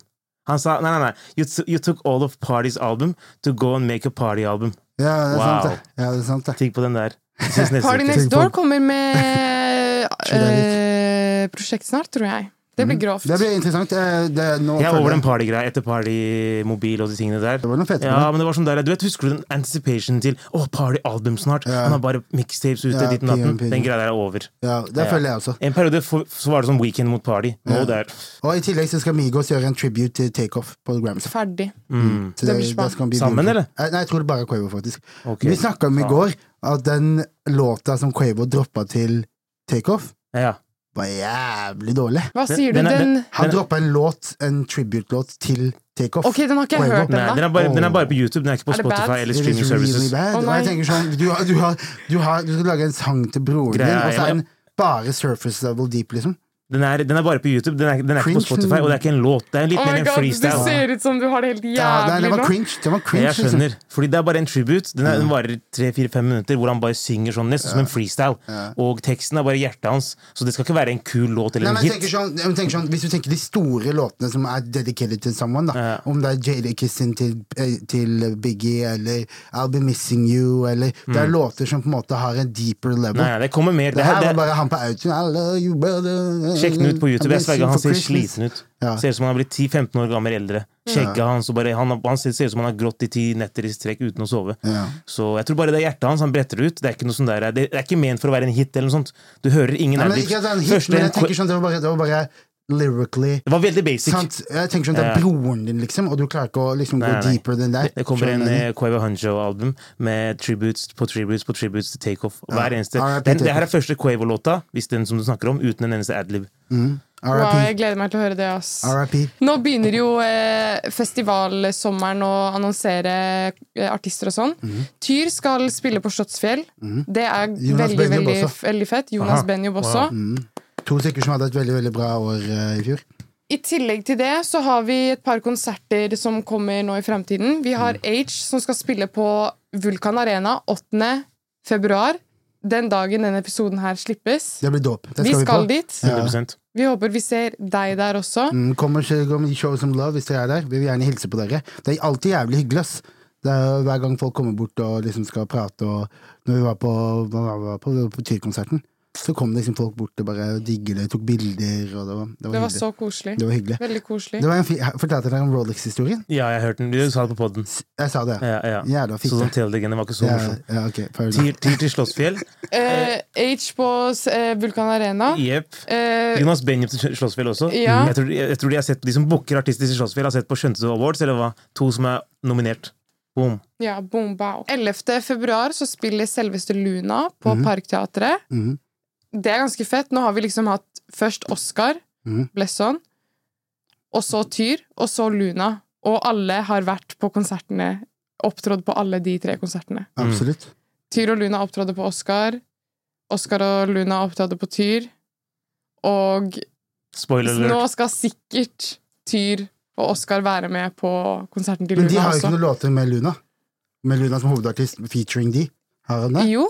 Speaker 3: Han sa nei, nei, nei. You, t- you took all of party's album to go and make a party album.
Speaker 2: Ja, det er
Speaker 3: Wow.
Speaker 2: sant, det. Ja, det er sant, det.
Speaker 3: Tenk på den der. Jeg
Speaker 2: [LAUGHS]
Speaker 3: synes nesten
Speaker 1: Party
Speaker 3: ikke.
Speaker 1: Next
Speaker 2: Tenk på-
Speaker 1: Door kommer med
Speaker 2: Tror det
Speaker 1: eh, prosjekt snart, tror jeg. Det blir grovt.
Speaker 2: Mhm. Det blir interessant. Eh, Det, nå
Speaker 3: Jeg er
Speaker 2: føler
Speaker 3: over den partygreia etter partymobil og de tingene der.
Speaker 2: Det var noen fete
Speaker 3: ja,
Speaker 2: på det.
Speaker 3: men det var sånn der, du vet, Husker du den anticipationen til Å, partyalbum snart? Han har bare mixtapes ute,
Speaker 2: Ja,
Speaker 3: ditt og datten.
Speaker 2: PMP.
Speaker 3: Den greia der er over.
Speaker 2: Ja, det
Speaker 3: Ja.
Speaker 2: føler jeg også.
Speaker 3: En periode for, så var det sånn Weekend mot party. Nå
Speaker 2: Ja.
Speaker 3: det er
Speaker 2: Og i tillegg så skal Migos gjøre en tribute til Takeoff på Grams.
Speaker 1: Ferdig.
Speaker 3: mm.
Speaker 2: Så
Speaker 1: Det blir spennende.
Speaker 2: skal bli
Speaker 3: Sammen,
Speaker 2: beautiful.
Speaker 3: eller?
Speaker 2: Eh, Nei, jeg tror det bare er Quavo, faktisk.
Speaker 3: Ok.
Speaker 2: Vi snakka om i
Speaker 3: Ja.
Speaker 2: går at den låta som Quavo droppa til Takeoff,
Speaker 3: Ja, ja.
Speaker 2: var jævlig dårlig.
Speaker 1: Hva
Speaker 3: Den-
Speaker 1: sier du?
Speaker 3: den er-
Speaker 1: Den
Speaker 2: Han
Speaker 3: Den-
Speaker 2: droppa en låt, en tribute-låt, til Takeoff.
Speaker 1: Ok, den har ikke jeg
Speaker 2: Quavo.
Speaker 1: hørt
Speaker 3: Nei, den
Speaker 1: ennå.
Speaker 3: er, bare, den er bare på
Speaker 2: Åh.
Speaker 3: YouTube, den er ikke på
Speaker 1: Er det bad?
Speaker 3: Spotify eller
Speaker 2: It is
Speaker 3: streaming
Speaker 2: really
Speaker 3: services.
Speaker 2: bad.
Speaker 1: Å,
Speaker 2: og
Speaker 1: nei.
Speaker 2: jeg tenker sånn, du, har, du, har, du, har, du skal lage en sang til broren din,
Speaker 3: Greia
Speaker 2: og så
Speaker 3: er-
Speaker 2: er den bare surface level deep, liksom.
Speaker 3: Den er, den er bare på YouTube, den er, den er ikke på
Speaker 2: Cringe.
Speaker 3: Spotify, og det er ikke en låt. Det er litt
Speaker 1: Oh
Speaker 3: mer
Speaker 1: my
Speaker 3: en
Speaker 1: god, det
Speaker 3: freestyle.
Speaker 1: ser ut som du har det helt
Speaker 2: Ja, nei,
Speaker 1: jævlig
Speaker 2: det var
Speaker 1: nå.
Speaker 2: cringe. Det var cringe liksom.
Speaker 3: Jeg skjønner, fordi det er bare en tribute. Den, er, den varer tre-fire-fem minutter, hvor han bare synger sånn, nesten som en freestyle. Og teksten er bare hjertet hans, så det skal ikke være en kul låt
Speaker 2: Nei,
Speaker 3: eller en
Speaker 2: men jeg tenker
Speaker 3: hit.
Speaker 2: sånn, jeg tenker sånn, hvis du tenker de store låtene som er dedicated til someone, da,
Speaker 3: Ja.
Speaker 2: om det er Jadakissen til, eh, til Biggie, eller I'll Be Missing You, eller Det er låter som på en måte har en deeper level.
Speaker 3: Mm. Nei, det kommer mer.
Speaker 2: det
Speaker 3: Det,
Speaker 2: her
Speaker 3: det,
Speaker 2: var bare han på autoen. I love you, brother.
Speaker 3: Sjekk den ut på YouTube.
Speaker 2: I'm
Speaker 3: Jeg sverger, han
Speaker 2: for
Speaker 3: ser
Speaker 2: Christmas.
Speaker 3: sliten ut.
Speaker 2: Ja.
Speaker 3: Ser ut som han har blitt 10-15 år gammel eldre. Skjegget hans og bare, han, har- han ser, ser ut som han har grått i ti netter i strekk uten å sove.
Speaker 2: Ja.
Speaker 3: Så jeg tror bare det er hjertet hans. Han bretter det ut. Det er ikke noe sånn der, det, det er ikke ment for å være en hit eller noe sånt. Du hører ingen
Speaker 2: Nei, men
Speaker 3: adlibs.
Speaker 2: ikke at det er en hit,
Speaker 3: Første-
Speaker 2: men jeg tenker sånn, det var bare, det var bare lyrically
Speaker 3: Det var veldig basic.
Speaker 2: sant? Jeg tenker sånn, Det
Speaker 3: Ja.
Speaker 2: er broren din, liksom, og du klarer ikke å liksom,
Speaker 3: Nei,
Speaker 2: gå
Speaker 3: nei.
Speaker 2: deeper than that.
Speaker 3: Det kommer en
Speaker 2: Skjønner du?
Speaker 3: eh, Quavo Hunjo-album med tributes på tributes på tributes til takeoff. Hver eneste.
Speaker 2: R.I.P.
Speaker 3: Den, det her er
Speaker 2: Takeoff.
Speaker 3: første Quavo-låta, hvis den som du snakker om, uten en eneste adlib.
Speaker 1: Wow, jeg
Speaker 2: RIP.
Speaker 1: gleder meg til å høre det. ass.
Speaker 2: RIP.
Speaker 1: Nå begynner jo eh, festivalsommeren å annonsere eh, artister og sånn.
Speaker 2: Mhm.
Speaker 1: Tyr skal spille på Slottsfjell. Det er
Speaker 2: Jonas
Speaker 1: veldig,
Speaker 2: Benjob
Speaker 1: veldig,
Speaker 2: også. Mhm.
Speaker 1: veldig fett. Jonas
Speaker 3: Aha.
Speaker 1: Benjob også.
Speaker 2: To stykker som hadde et veldig veldig bra år eh, i fjor.
Speaker 1: I tillegg til det så har vi et par konserter som kommer nå i fremtiden. Vi har
Speaker 2: Mhm.
Speaker 1: Age som skal spille på Vulkan Arena 8. februar. Den dagen denne episoden her slippes.
Speaker 2: Det blir dåp. Det
Speaker 1: vi
Speaker 2: skal vi
Speaker 1: skal
Speaker 2: på.
Speaker 1: dit.
Speaker 3: 100
Speaker 1: Vi håper vi ser deg der også.
Speaker 2: Mm, Kom og se- kom i show som love hvis dere er der. Vi vil gjerne hilse på dere. Det er alltid jævlig hyggelig, ass. Det er, jo hver gang folk kommer bort og liksom skal prate og Når vi var på, hva var vi på, på Tyr-konserten, så kom det liksom folk bort og bare digger det, tok bilder, og det var, det var,
Speaker 1: Det var så
Speaker 2: hyggelig.
Speaker 1: koselig.
Speaker 2: Det var hyggelig.
Speaker 1: Veldig koselig.
Speaker 2: Det var en fi jeg Fortalte dere om Rolex-historien?
Speaker 3: Ja, jeg hørte den. Du sa det på poden.
Speaker 2: S- Jeg sa det,
Speaker 3: Ja, ja.
Speaker 2: Jævla fitte.
Speaker 3: Så sånn telelegende var ikke så
Speaker 2: Ja,
Speaker 3: morsom.
Speaker 2: ja, ok, fair enough.
Speaker 3: Tyr tyr til Slottsfjell.
Speaker 1: Eh, Age på eh, Vulkan Arena.
Speaker 3: Jepp.
Speaker 1: Eh,
Speaker 3: Jonas Benjup til Sl- Slottsfjell også.
Speaker 1: Ja.
Speaker 3: Jeg, tror, jeg, jeg tror De har sett de som booker artister til Slottsfjell, har sett på Skjønte du Awards, eller hva? To som er nominert. Boom.
Speaker 1: ja, boom, bow. 11. februar så spiller selveste Luna på Parkteatret.
Speaker 2: Mhm.
Speaker 1: Det er ganske fett. Nå har vi liksom hatt først Oscar
Speaker 2: Mhm.
Speaker 1: Blesson, og så Tyr, og så Luna. Og alle har vært på konsertene, opptrådt på alle de tre konsertene.
Speaker 2: Absolutt.
Speaker 1: Tyr og Luna opptrådde på Oscar. Oscar og Luna opptrådte på Tyr. Og
Speaker 3: Spoiler
Speaker 1: nå
Speaker 3: alert.
Speaker 1: skal sikkert Tyr og Oscar være med på konserten til
Speaker 2: Men de
Speaker 1: Luna
Speaker 2: har jo
Speaker 1: også.
Speaker 2: ikke noen låter med Luna. Med Luna som hovedartist, featuring de. Har han det?
Speaker 1: Jo.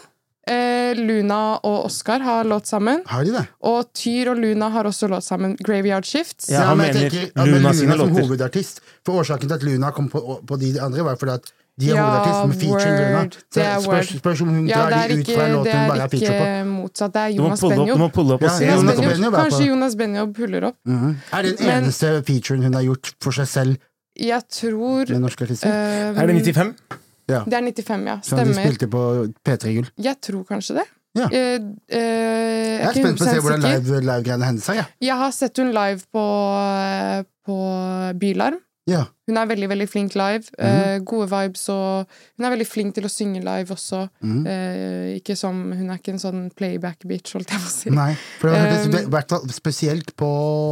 Speaker 1: Eh, Luna og Oscar har låt sammen.
Speaker 2: Har de det?
Speaker 1: Og Tyr og Luna har også låt sammen. Graveyard Shifts.
Speaker 3: Ja, han
Speaker 2: men jeg
Speaker 3: mener
Speaker 2: tenker at
Speaker 3: Luna
Speaker 2: Luna
Speaker 3: sine
Speaker 2: som
Speaker 3: låter.
Speaker 2: hovedartist. For årsaken til at Luna kom på, på de andre, var fordi at de er
Speaker 1: Ja,
Speaker 2: hovedartist med featuring Luna.
Speaker 1: word.
Speaker 2: Så
Speaker 1: Det er
Speaker 2: spørs,
Speaker 1: word.
Speaker 2: spørs om hun
Speaker 1: Ja, det
Speaker 2: drar
Speaker 1: er
Speaker 2: de ut
Speaker 1: ikke,
Speaker 2: fra en låt
Speaker 1: det
Speaker 2: hun bare
Speaker 1: er
Speaker 2: har feature på.
Speaker 1: ikke motsatt. Det er
Speaker 3: Du må
Speaker 1: Jonas
Speaker 3: pulle opp, du
Speaker 1: Benjob.
Speaker 3: må pulle opp og
Speaker 2: Ja,
Speaker 3: se
Speaker 2: Jonas
Speaker 3: om det
Speaker 2: Benjob.
Speaker 3: kommer.
Speaker 2: Benjob er på.
Speaker 1: Kanskje Jonas Benjob puller opp.
Speaker 2: Mhm. Er det den
Speaker 1: Men-
Speaker 2: eneste featuren hun har gjort for seg selv
Speaker 1: Jeg tror
Speaker 2: med norske artister?
Speaker 1: eh,
Speaker 3: Er det 95?
Speaker 2: ja.
Speaker 1: Det er 95, ja.
Speaker 2: Som de
Speaker 1: Stemmer.
Speaker 2: spilte på P3 Gull.
Speaker 1: Jeg tror kanskje det.
Speaker 2: Ja.
Speaker 1: Eh, eh, jeg er
Speaker 2: Jeg er
Speaker 1: ikke
Speaker 2: spent på å se
Speaker 1: 100%
Speaker 2: hvordan
Speaker 1: sikker.
Speaker 2: live- live-greiene hennes er. Ja.
Speaker 1: Jeg har sett hun live på, eh, på Bylarm.
Speaker 2: Ja.
Speaker 1: Hun er veldig veldig flink live. eh,
Speaker 2: Mhm.
Speaker 1: gode vibes og Hun er veldig flink til å synge live også.
Speaker 2: Mhm.
Speaker 1: Eh, ikke som, hun er ikke en sånn playback-bitch, holdt jeg på å si.
Speaker 2: Nei, for det var,
Speaker 1: Um,
Speaker 2: i hvert fall spesielt på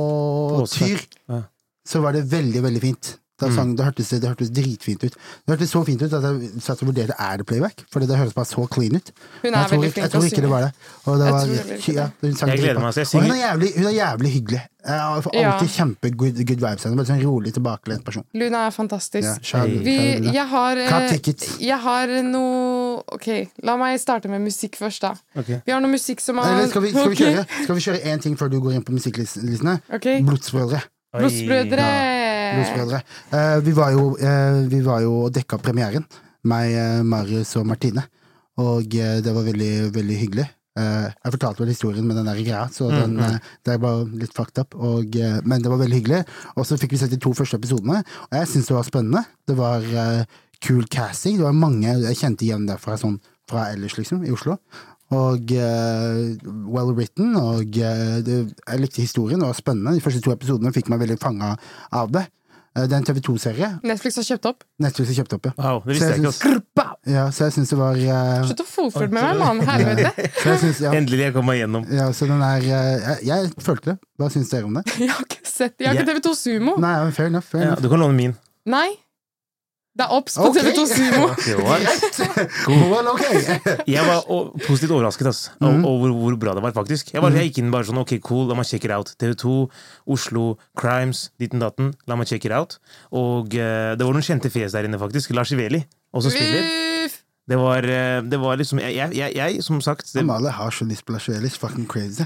Speaker 3: Oscar.
Speaker 2: Tyr
Speaker 3: Ja.
Speaker 2: så var det veldig, veldig fint. Da
Speaker 1: Mm.
Speaker 2: sang, det, hørtes, det hørtes dritfint ut. Det hørtes så fint ut at jeg satt og vurderte er det playback, for det hørtes bare så clean
Speaker 1: Hun
Speaker 2: ut. Men
Speaker 1: er
Speaker 2: jeg tror,
Speaker 1: veldig
Speaker 2: ikke-
Speaker 1: flink
Speaker 2: jeg
Speaker 1: til å
Speaker 2: tror ikke det var det. Og det
Speaker 1: Jeg
Speaker 2: var,
Speaker 1: tror heller ikke
Speaker 2: ja, hun sang
Speaker 3: Jeg gleder
Speaker 2: dritbra.
Speaker 3: meg, så jeg
Speaker 2: Og hun er
Speaker 3: synger.
Speaker 2: jævlig, hun er jævlig hyggelig. Jeg får alltid kjempegod good vibes av henne. Bare Sånn rolig, tilbakelent person.
Speaker 1: Luna er
Speaker 2: Ja,
Speaker 1: fantastisk.
Speaker 2: kjære-
Speaker 1: Vi,
Speaker 2: kjære Luna.
Speaker 1: jeg har eh,
Speaker 2: Cut ticket.
Speaker 1: Jeg har noe Ok, la meg starte med musikk først, da.
Speaker 3: Ok.
Speaker 1: Vi har noe musikk som har
Speaker 2: Eller skal vi, skal vi
Speaker 1: Ok.
Speaker 2: kjøre Skal vi kjøre én ting før du går inn på musikklistene?
Speaker 1: Ok.
Speaker 2: Blodsbrødre.
Speaker 3: Oi.
Speaker 1: Blodsbrødre!
Speaker 2: Blodsbrødre. Eh, vi, var jo, eh, vi var jo og dekka premieren, meg, eh, Marius og Martine. Og eh, det var veldig, veldig hyggelig. Eh, jeg fortalte vel historien med den der greia, så den, eh, det er bare litt fucked up. Og, eh, men det var veldig hyggelig. Og så fikk vi sett de to første episodene, og jeg syns det var spennende. Det var eh, kul casting. Det var mange jeg kjente igjen derfra, sånn fra ellers, liksom, i Oslo. Og eh, well written, og eh, det, jeg likte historien, det var spennende. De første to episodene fikk meg veldig fanga av det. Eh, Det er en TV2-serie.
Speaker 1: Netflix har kjøpt opp.
Speaker 2: Netflix har kjøpt opp, ja.
Speaker 3: Wow, det
Speaker 2: Så
Speaker 3: visste jeg
Speaker 2: jeg
Speaker 3: ikke.
Speaker 2: syns- ja så jeg syns det var eh,
Speaker 1: Slutt å fotfølge med meg, mann! Helvete!
Speaker 2: [LAUGHS]
Speaker 1: [LAUGHS]
Speaker 2: så jeg
Speaker 3: [LAUGHS]
Speaker 2: syns,
Speaker 3: ass.
Speaker 2: ja,
Speaker 3: Endelig jeg kom meg gjennom.
Speaker 2: ja, så den er eh, jeg, jeg følte det. Hva syns dere om det?
Speaker 1: Jeg har ikke sett Jeg har ikke
Speaker 3: Jeg-
Speaker 1: TV2 Sumo.
Speaker 2: Nei, ja, fair enough. Fair
Speaker 3: Ja,
Speaker 2: enough.
Speaker 3: du kan låne min.
Speaker 1: Nei. Det er obs på
Speaker 2: Ok.
Speaker 1: TV2 Sumo.
Speaker 2: [LAUGHS] Well, ok!
Speaker 3: Jeg var o- positivt overrasket ass, over, over hvor bra det var, faktisk. Jeg, bare, jeg gikk inn bare sånn Ok, cool, la meg check it out. TV2, Oslo, Crimes, ditten datten. La meg check it out. Og eh, det var noen kjente fjes der inne, faktisk. Lars Iveli, også spiller.
Speaker 1: Uff.
Speaker 3: Det var, eh, det var liksom jeg, jeg, jeg, jeg, som sagt det,
Speaker 2: Amalie har så lyst på Lars Velis. Fucking crazy.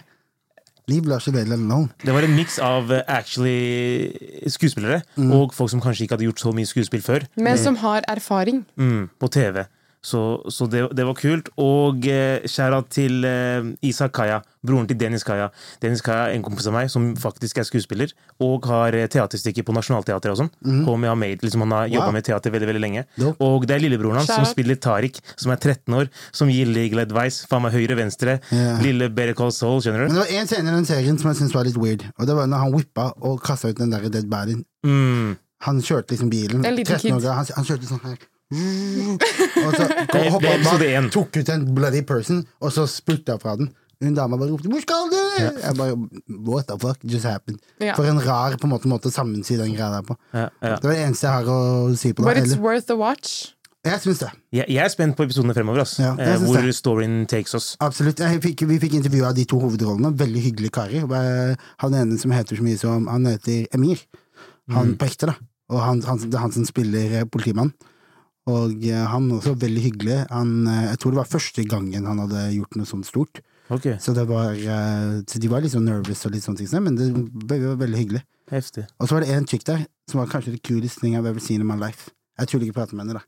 Speaker 2: Leave Lars Velis alone.
Speaker 3: det var en miks av eh, actually skuespillere og folk som kanskje ikke hadde gjort så mye skuespill før.
Speaker 1: Men som har erfaring.
Speaker 3: Mm, på TV. Så, så det, det var kult. Og eh, skjæra til eh, Isak Kaya, broren til Dennis Kaya. Dennis Kaya er en kompis av meg som faktisk er skuespiller, og har eh, teaterstykker på Nationaltheatret og sånn. Og med Ahmed, liksom Han har jobba med teater veldig veldig lenge.
Speaker 2: Mhm. Dope.
Speaker 3: Og det er lillebroren hans som
Speaker 1: Shout out.
Speaker 3: spiller Tariq, som er 13 år, som gir legal advice. Faen meg høyre, venstre.
Speaker 2: Ja.
Speaker 3: Lille Better Call Soul, skjønner
Speaker 2: Men
Speaker 3: du?
Speaker 2: det var én scene i den serien som jeg syntes var litt weird. Og det var når han whippa og kasta ut den der dead badien.
Speaker 3: Mm.
Speaker 2: Han kjørte liksom bilen.
Speaker 1: En liten
Speaker 2: 13 år,
Speaker 1: kid.
Speaker 2: gammel, han, han kjørte sånn her. Og så
Speaker 3: det er
Speaker 2: hoppa han
Speaker 3: [LAUGHS] episode én.
Speaker 2: bak, tok ut en bloody person, og så spurta fra den. Hun dama bare ropte 'Hvor skal du?' Jeg bare What the fuck just happened?
Speaker 1: Ja.
Speaker 2: For en rar på en måte, måte å sammensi den greia der på.
Speaker 3: Ja, ja.
Speaker 2: Det var det eneste jeg har å si på
Speaker 1: But
Speaker 2: det.
Speaker 1: it's
Speaker 2: Eller,
Speaker 1: worth a watch.
Speaker 2: jeg syns det.
Speaker 3: Jeg, jeg er spent på episodene fremover, ass.
Speaker 2: Ja, jeg
Speaker 3: eh,
Speaker 2: synes
Speaker 3: hvor
Speaker 2: det.
Speaker 3: storyen takes oss.
Speaker 2: Absolutt. Jeg fikk, vi fikk intervju av de to hovedrollene. Veldig hyggelige karer. Eh, Han ene som heter så mye som Han heter Emir. Han på ekte, da. Og han, han, det er han som spiller eh, politimannen. Og eh, han også veldig hyggelig. Han, eh, jeg tror det var første gangen han hadde gjort noe sånt stort.
Speaker 3: Ok,
Speaker 2: Så, det var, eh, så de var litt sånn nervous og litt sånne ting, men det var veldig hyggelig.
Speaker 3: heftig.
Speaker 2: Og så var det en chick der som var kanskje the coolest thing I've ever seen in my life. Jeg tuller ikke prate med henne, da.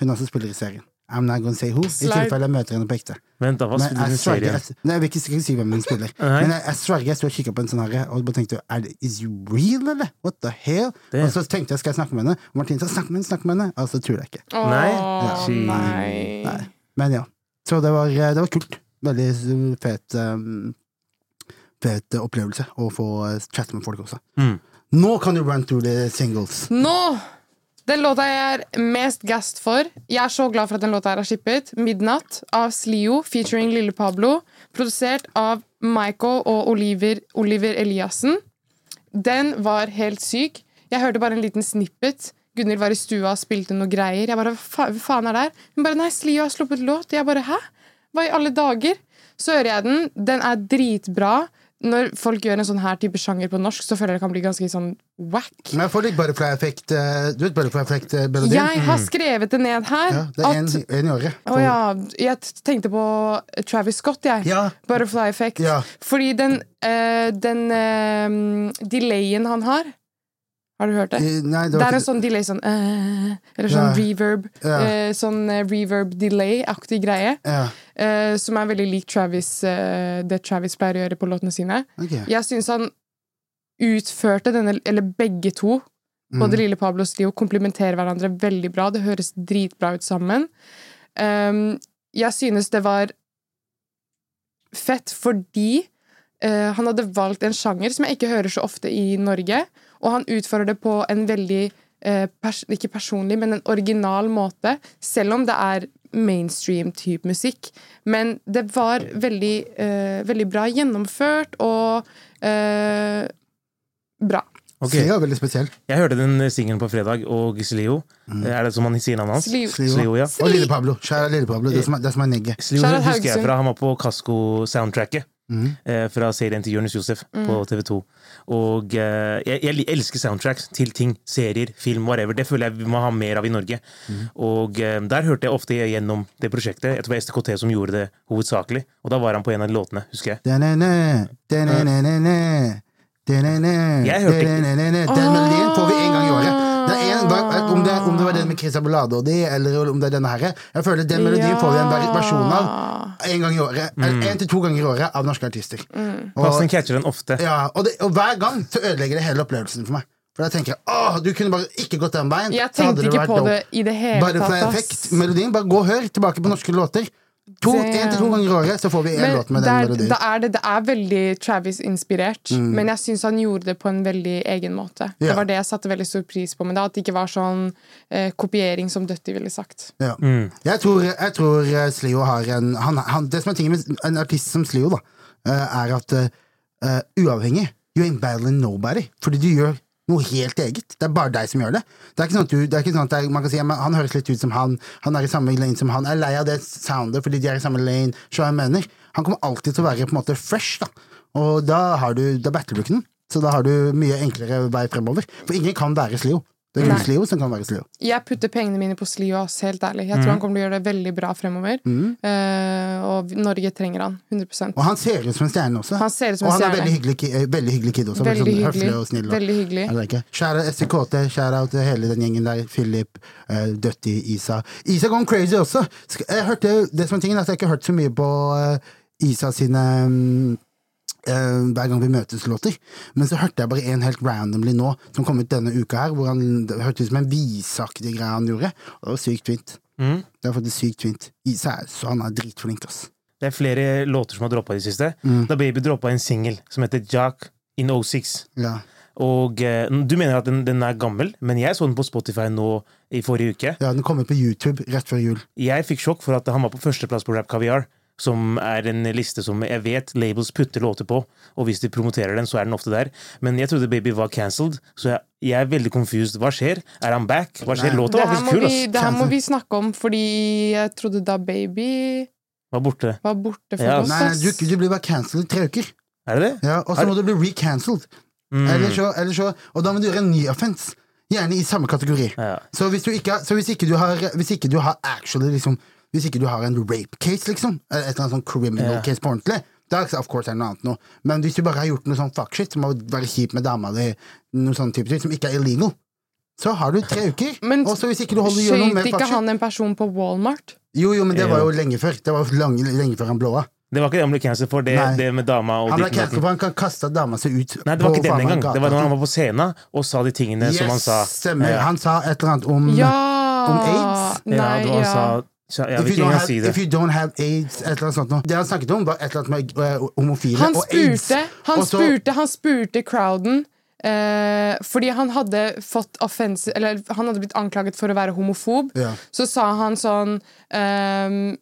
Speaker 2: Hun også spiller i serien. I'm not gonna say who, i
Speaker 1: Slide.
Speaker 2: tilfelle jeg møter henne på ekte.
Speaker 3: Vent, da, hva
Speaker 2: Men
Speaker 3: spiller
Speaker 2: jeg
Speaker 3: den
Speaker 2: sverger
Speaker 3: serien?
Speaker 2: jeg, Nei, jeg vil ikke sikkert si hvem hun spiller.
Speaker 3: Nei.
Speaker 2: Men jeg, jeg sverger jeg sto og kikka på en sånn herre og bare tenkte er det, Is you real, eller? What the hell?
Speaker 3: Det-
Speaker 2: Og så tenkte jeg skal jeg snakke med henne, og Martin sa snakk med henne, snakk med henne, og så tuller jeg ikke.
Speaker 1: Åh,
Speaker 3: Nei.
Speaker 1: nei.
Speaker 3: Shit.
Speaker 2: Men ja. Så det var, eh, det var kult. Veldig fet, um, fet opplevelse å få eh, chatte med folk også.
Speaker 3: Mm.
Speaker 2: Nå kan du run through the singles.
Speaker 1: Nå! Den låta jeg er mest gassed for. Jeg er så glad for at den låta her er shippet. 'Midnatt' av Slio featuring Lille Pablo. Produsert av Michael og Oliver, Oliver Eliassen. Den var helt syk. Jeg hørte bare en liten snippet. Gunhild var i stua og spilte noe greier. Jeg bare, Hva fa- hva faen er det her? Hun bare Nei, Slio har sluppet låt. Jeg bare Hæ? Hva i alle dager? Så hører jeg den. Den er dritbra. Når folk gjør en sånn her type sjanger på norsk, så føler jeg det kan bli ganske sånn whack.
Speaker 2: Men jeg får litt butterfly effect eh, Du vet butterfly effect eh, melodien?
Speaker 1: Jeg har skrevet det ned her.
Speaker 2: Ja, det er
Speaker 1: at,
Speaker 2: en, en i året.
Speaker 1: Å ja, jeg t- tenkte på Travis Scott, jeg.
Speaker 2: Ja.
Speaker 1: Butterfly Effect.
Speaker 2: Ja.
Speaker 1: Fordi den, eh, den eh, delayen han har Har du hørt det?
Speaker 2: Eh, Nei,
Speaker 1: Det
Speaker 2: det
Speaker 1: er
Speaker 2: var
Speaker 1: en
Speaker 2: ikke
Speaker 1: sånn delay sånn eh, Eller sånn
Speaker 2: Ja.
Speaker 1: reverb.
Speaker 2: Ja.
Speaker 1: eh, sånn eh, reverb delay-aktig greie.
Speaker 2: ja,
Speaker 1: eh, som er veldig lik Travis, eh, det Travis pleier å gjøre på låtene sine.
Speaker 2: ok.
Speaker 1: Jeg syns han utførte denne, eller begge to, både Lille Pablo og Slio, komplementerer hverandre veldig bra. Det høres dritbra ut sammen. Ehm, jeg synes det var fett fordi eh, han hadde valgt en sjanger som jeg ikke hører så ofte i Norge, og han utfører det på en veldig eh, pers ikke personlig, men en original måte, selv om det er mainstream-type musikk. Men det var veldig, eh, veldig bra gjennomført og eh, bra.
Speaker 3: Ok,
Speaker 2: Sli var veldig spesiell.
Speaker 3: Jeg hørte den singelen på fredag, og Slio Er det som han sier navnet hans?
Speaker 1: Mm. Slio.
Speaker 2: Slio.
Speaker 3: Slio, ja.
Speaker 2: Og Lille Pablo. Kjære Lille Pablo, det som er, det som er negget.
Speaker 3: Slio
Speaker 1: Shout out
Speaker 3: husker jeg
Speaker 1: Haugesund. Mm.
Speaker 3: fra han var på Kasko-soundtracket. Eh, fra serien til Jonis Josef på TV2. Og eh, jeg, jeg li- elsker soundtracks til ting. Serier, film, whatever. Det føler jeg vi må ha mer av i Norge.
Speaker 1: Mm.
Speaker 3: Og eh, der hørte jeg ofte gjennom det prosjektet. Jeg tror det var STKT som gjorde det hovedsakelig. Og da var han på en av låtene, husker jeg.
Speaker 2: Da-na-na, da-na-na-na-na, da-na-na,
Speaker 3: Jeg hørte ikke-
Speaker 2: da-na-na-na. Den melodien får vi en gang i året. Det er en, hva- om, det, om det var den med Christian Bolade og de, eller om det er denne her Jeg føler den melodien får vi en ver- versjon av en gang i året. Eller en til to ganger i året av norske artister.
Speaker 1: Mm.
Speaker 2: Og,
Speaker 3: Bassen catcher Mm. den ofte.
Speaker 2: ja, og, det, og hver gang så ødelegger det hele opplevelsen for meg. For da tenker jeg åh, du kunne bare ikke gått den veien.
Speaker 1: Jeg
Speaker 2: så hadde
Speaker 1: tenkte ikke
Speaker 2: vært
Speaker 1: på
Speaker 2: dope."
Speaker 1: det i det hele tatt.
Speaker 2: Butterfly
Speaker 1: ass.
Speaker 2: Effect-melodien. Bare gå og hør tilbake på norske låter. To,
Speaker 1: Damn.
Speaker 2: en til to ganger i året, så får vi en
Speaker 1: Men
Speaker 2: låt med
Speaker 1: det
Speaker 2: den
Speaker 1: er,
Speaker 2: melodien.
Speaker 1: da er det, det er veldig Travis-inspirert, men jeg syns han gjorde det på en veldig egen måte.
Speaker 2: Ja.
Speaker 1: Det var det jeg satte veldig stor pris på med det, at det ikke var sånn eh, kopiering som Dutty ville sagt.
Speaker 2: Ja. Jeg, tror, jeg tror eh, Slio har en han, han, Det som er tingen med en artist som Slio, da, eh, er at eh, uavhengig You ain't battling nobody. Fordi du gjør noe helt eget. Det er bare deg som gjør det. Det er ikke sånn at, du, det er ikke sånn at det er, man kan si ja, men han høres litt ut som han, han er i samme lane som han, jeg er lei av det soundet fordi de er i samme lane. Så jeg mener, han kommer alltid til å være på en måte fresh, da. Og da har du, da battler du ikke noen. Så da har du mye enklere vei fremover. For ingen kan være Slio. Det er kun Slio som kan være Slio.
Speaker 1: Jeg putter pengene mine på Slio, ass, helt ærlig.
Speaker 2: Mm.
Speaker 1: Jeg tror han kommer til å gjøre det veldig bra fremover. Eh, og Norge trenger han, 100
Speaker 2: Og han ser ut som en stjerne også.
Speaker 1: Han ser ut som
Speaker 2: og
Speaker 1: en
Speaker 2: han er
Speaker 1: stjerne.
Speaker 2: veldig hyggelig, ki- eh, veldig hyggelig kid også.
Speaker 1: Veldig
Speaker 2: Veldig, sånn
Speaker 1: hyggelig.
Speaker 2: høflig og snill.
Speaker 1: Veldig hyggelig.
Speaker 2: Er det ikke? Kjære STKT, kjære out til hele den gjengen der. Philip, uh, Dutty, Isa. Isa gone crazy også! Sk- Jeg hørte, det som er tingen er at jeg ikke har hørt så mye på eh, Isa sine mm, eh, hver gang vi møtes-låter. Men så hørte jeg bare en helt randomly nå, som kom ut denne uka her, hvor han det hørtes ut som en viseaktig greie han gjorde. Og det var sykt fint. Det var faktisk sykt fint. Isa er, så han er dritflink, ass.
Speaker 3: Det er flere låter som har droppa i det siste.
Speaker 1: Mm.
Speaker 3: Da Baby droppa en singel som heter Jack in 06.
Speaker 2: Ja.
Speaker 3: Og eh, du mener at den, den er gammel, men jeg så den på Spotify nå i forrige uke.
Speaker 2: Ja, den kom ut på YouTube rett før jul.
Speaker 3: Jeg fikk sjokk for at han var på førsteplass på Rap Kaviar. som er en liste som jeg vet labels putter låter på, og hvis de promoterer den, så er den ofte der. Men jeg trodde Baby var cancelled, så jeg, jeg er veldig confused. Hva skjer? Er han back? Hva skjer?
Speaker 2: Nei.
Speaker 3: Låta
Speaker 1: Det
Speaker 3: var
Speaker 1: her,
Speaker 3: faktisk
Speaker 1: må
Speaker 3: kul,
Speaker 1: vi,
Speaker 3: ass.
Speaker 1: det her må vi snakke om, fordi jeg trodde da baby
Speaker 3: Var borte.
Speaker 1: var borte for
Speaker 3: Ja.
Speaker 1: oss.
Speaker 2: Nei, nei,
Speaker 1: ass.
Speaker 2: du, du blir bare cancelled i tre uker.
Speaker 3: Er det Mm. det?
Speaker 2: Ja, og så må du bli recancelled. Eller så, eller så, og da må du gjøre en ny offense. Gjerne i samme kategori.
Speaker 3: Ja.
Speaker 2: Så hvis, du ikke, har- så hvis ikke du har Hvis ikke du har actually liksom Hvis ikke du har en rape case, liksom, eller et eller annet sånn criminal
Speaker 3: Ja.
Speaker 2: case på ordentlig, da er det of course er det noe annet nå. Men hvis du bare har gjort noe sånn fuck shit, som å være kjip med dama di, noe sånn type ting, som ikke er illegal, så har du tre uker.
Speaker 1: Men
Speaker 2: og så hvis ikke du holder gjør noe
Speaker 1: Skøyt
Speaker 2: med fuck
Speaker 1: ikke
Speaker 2: shit
Speaker 1: han en person på Walmart?
Speaker 2: Jo, jo, men det
Speaker 3: Ja.
Speaker 2: var jo lenge før. Det var jo lang, lenge før han blåa.
Speaker 3: Det var ikke det han ble cancelled for, det,
Speaker 2: Nei.
Speaker 3: det med dama og
Speaker 2: Han ble
Speaker 3: ditten og
Speaker 2: cancelled
Speaker 3: datten.
Speaker 2: for han kan kaste dama si ut
Speaker 3: Nei, det var
Speaker 2: på
Speaker 3: ikke den
Speaker 2: faen meg
Speaker 3: engang. Det var
Speaker 2: gata.
Speaker 3: når han var på scenen og sa de tingene som han sa.
Speaker 2: stemmer.
Speaker 3: Ja.
Speaker 2: Han sa et eller annet om
Speaker 1: Ja!
Speaker 2: Mm. Om aids?
Speaker 1: Nei,
Speaker 3: ja, det var han
Speaker 1: ja.
Speaker 3: sa ja, Jeg
Speaker 2: If
Speaker 3: vil
Speaker 2: you,
Speaker 3: ikke
Speaker 2: don't
Speaker 3: engang
Speaker 2: have,
Speaker 3: si det.
Speaker 2: if you don't have aids, et eller annet sånt noe. Det han snakket om, var et eller annet med eh, homofile
Speaker 1: Han
Speaker 2: og aids.
Speaker 1: spurte, han
Speaker 2: Og så-
Speaker 1: spurte, han spurte crowden eh, fordi han hadde fått offense, eller han hadde blitt anklaget for å være homofob.
Speaker 2: Ja.
Speaker 1: Så sa han sånn ehm,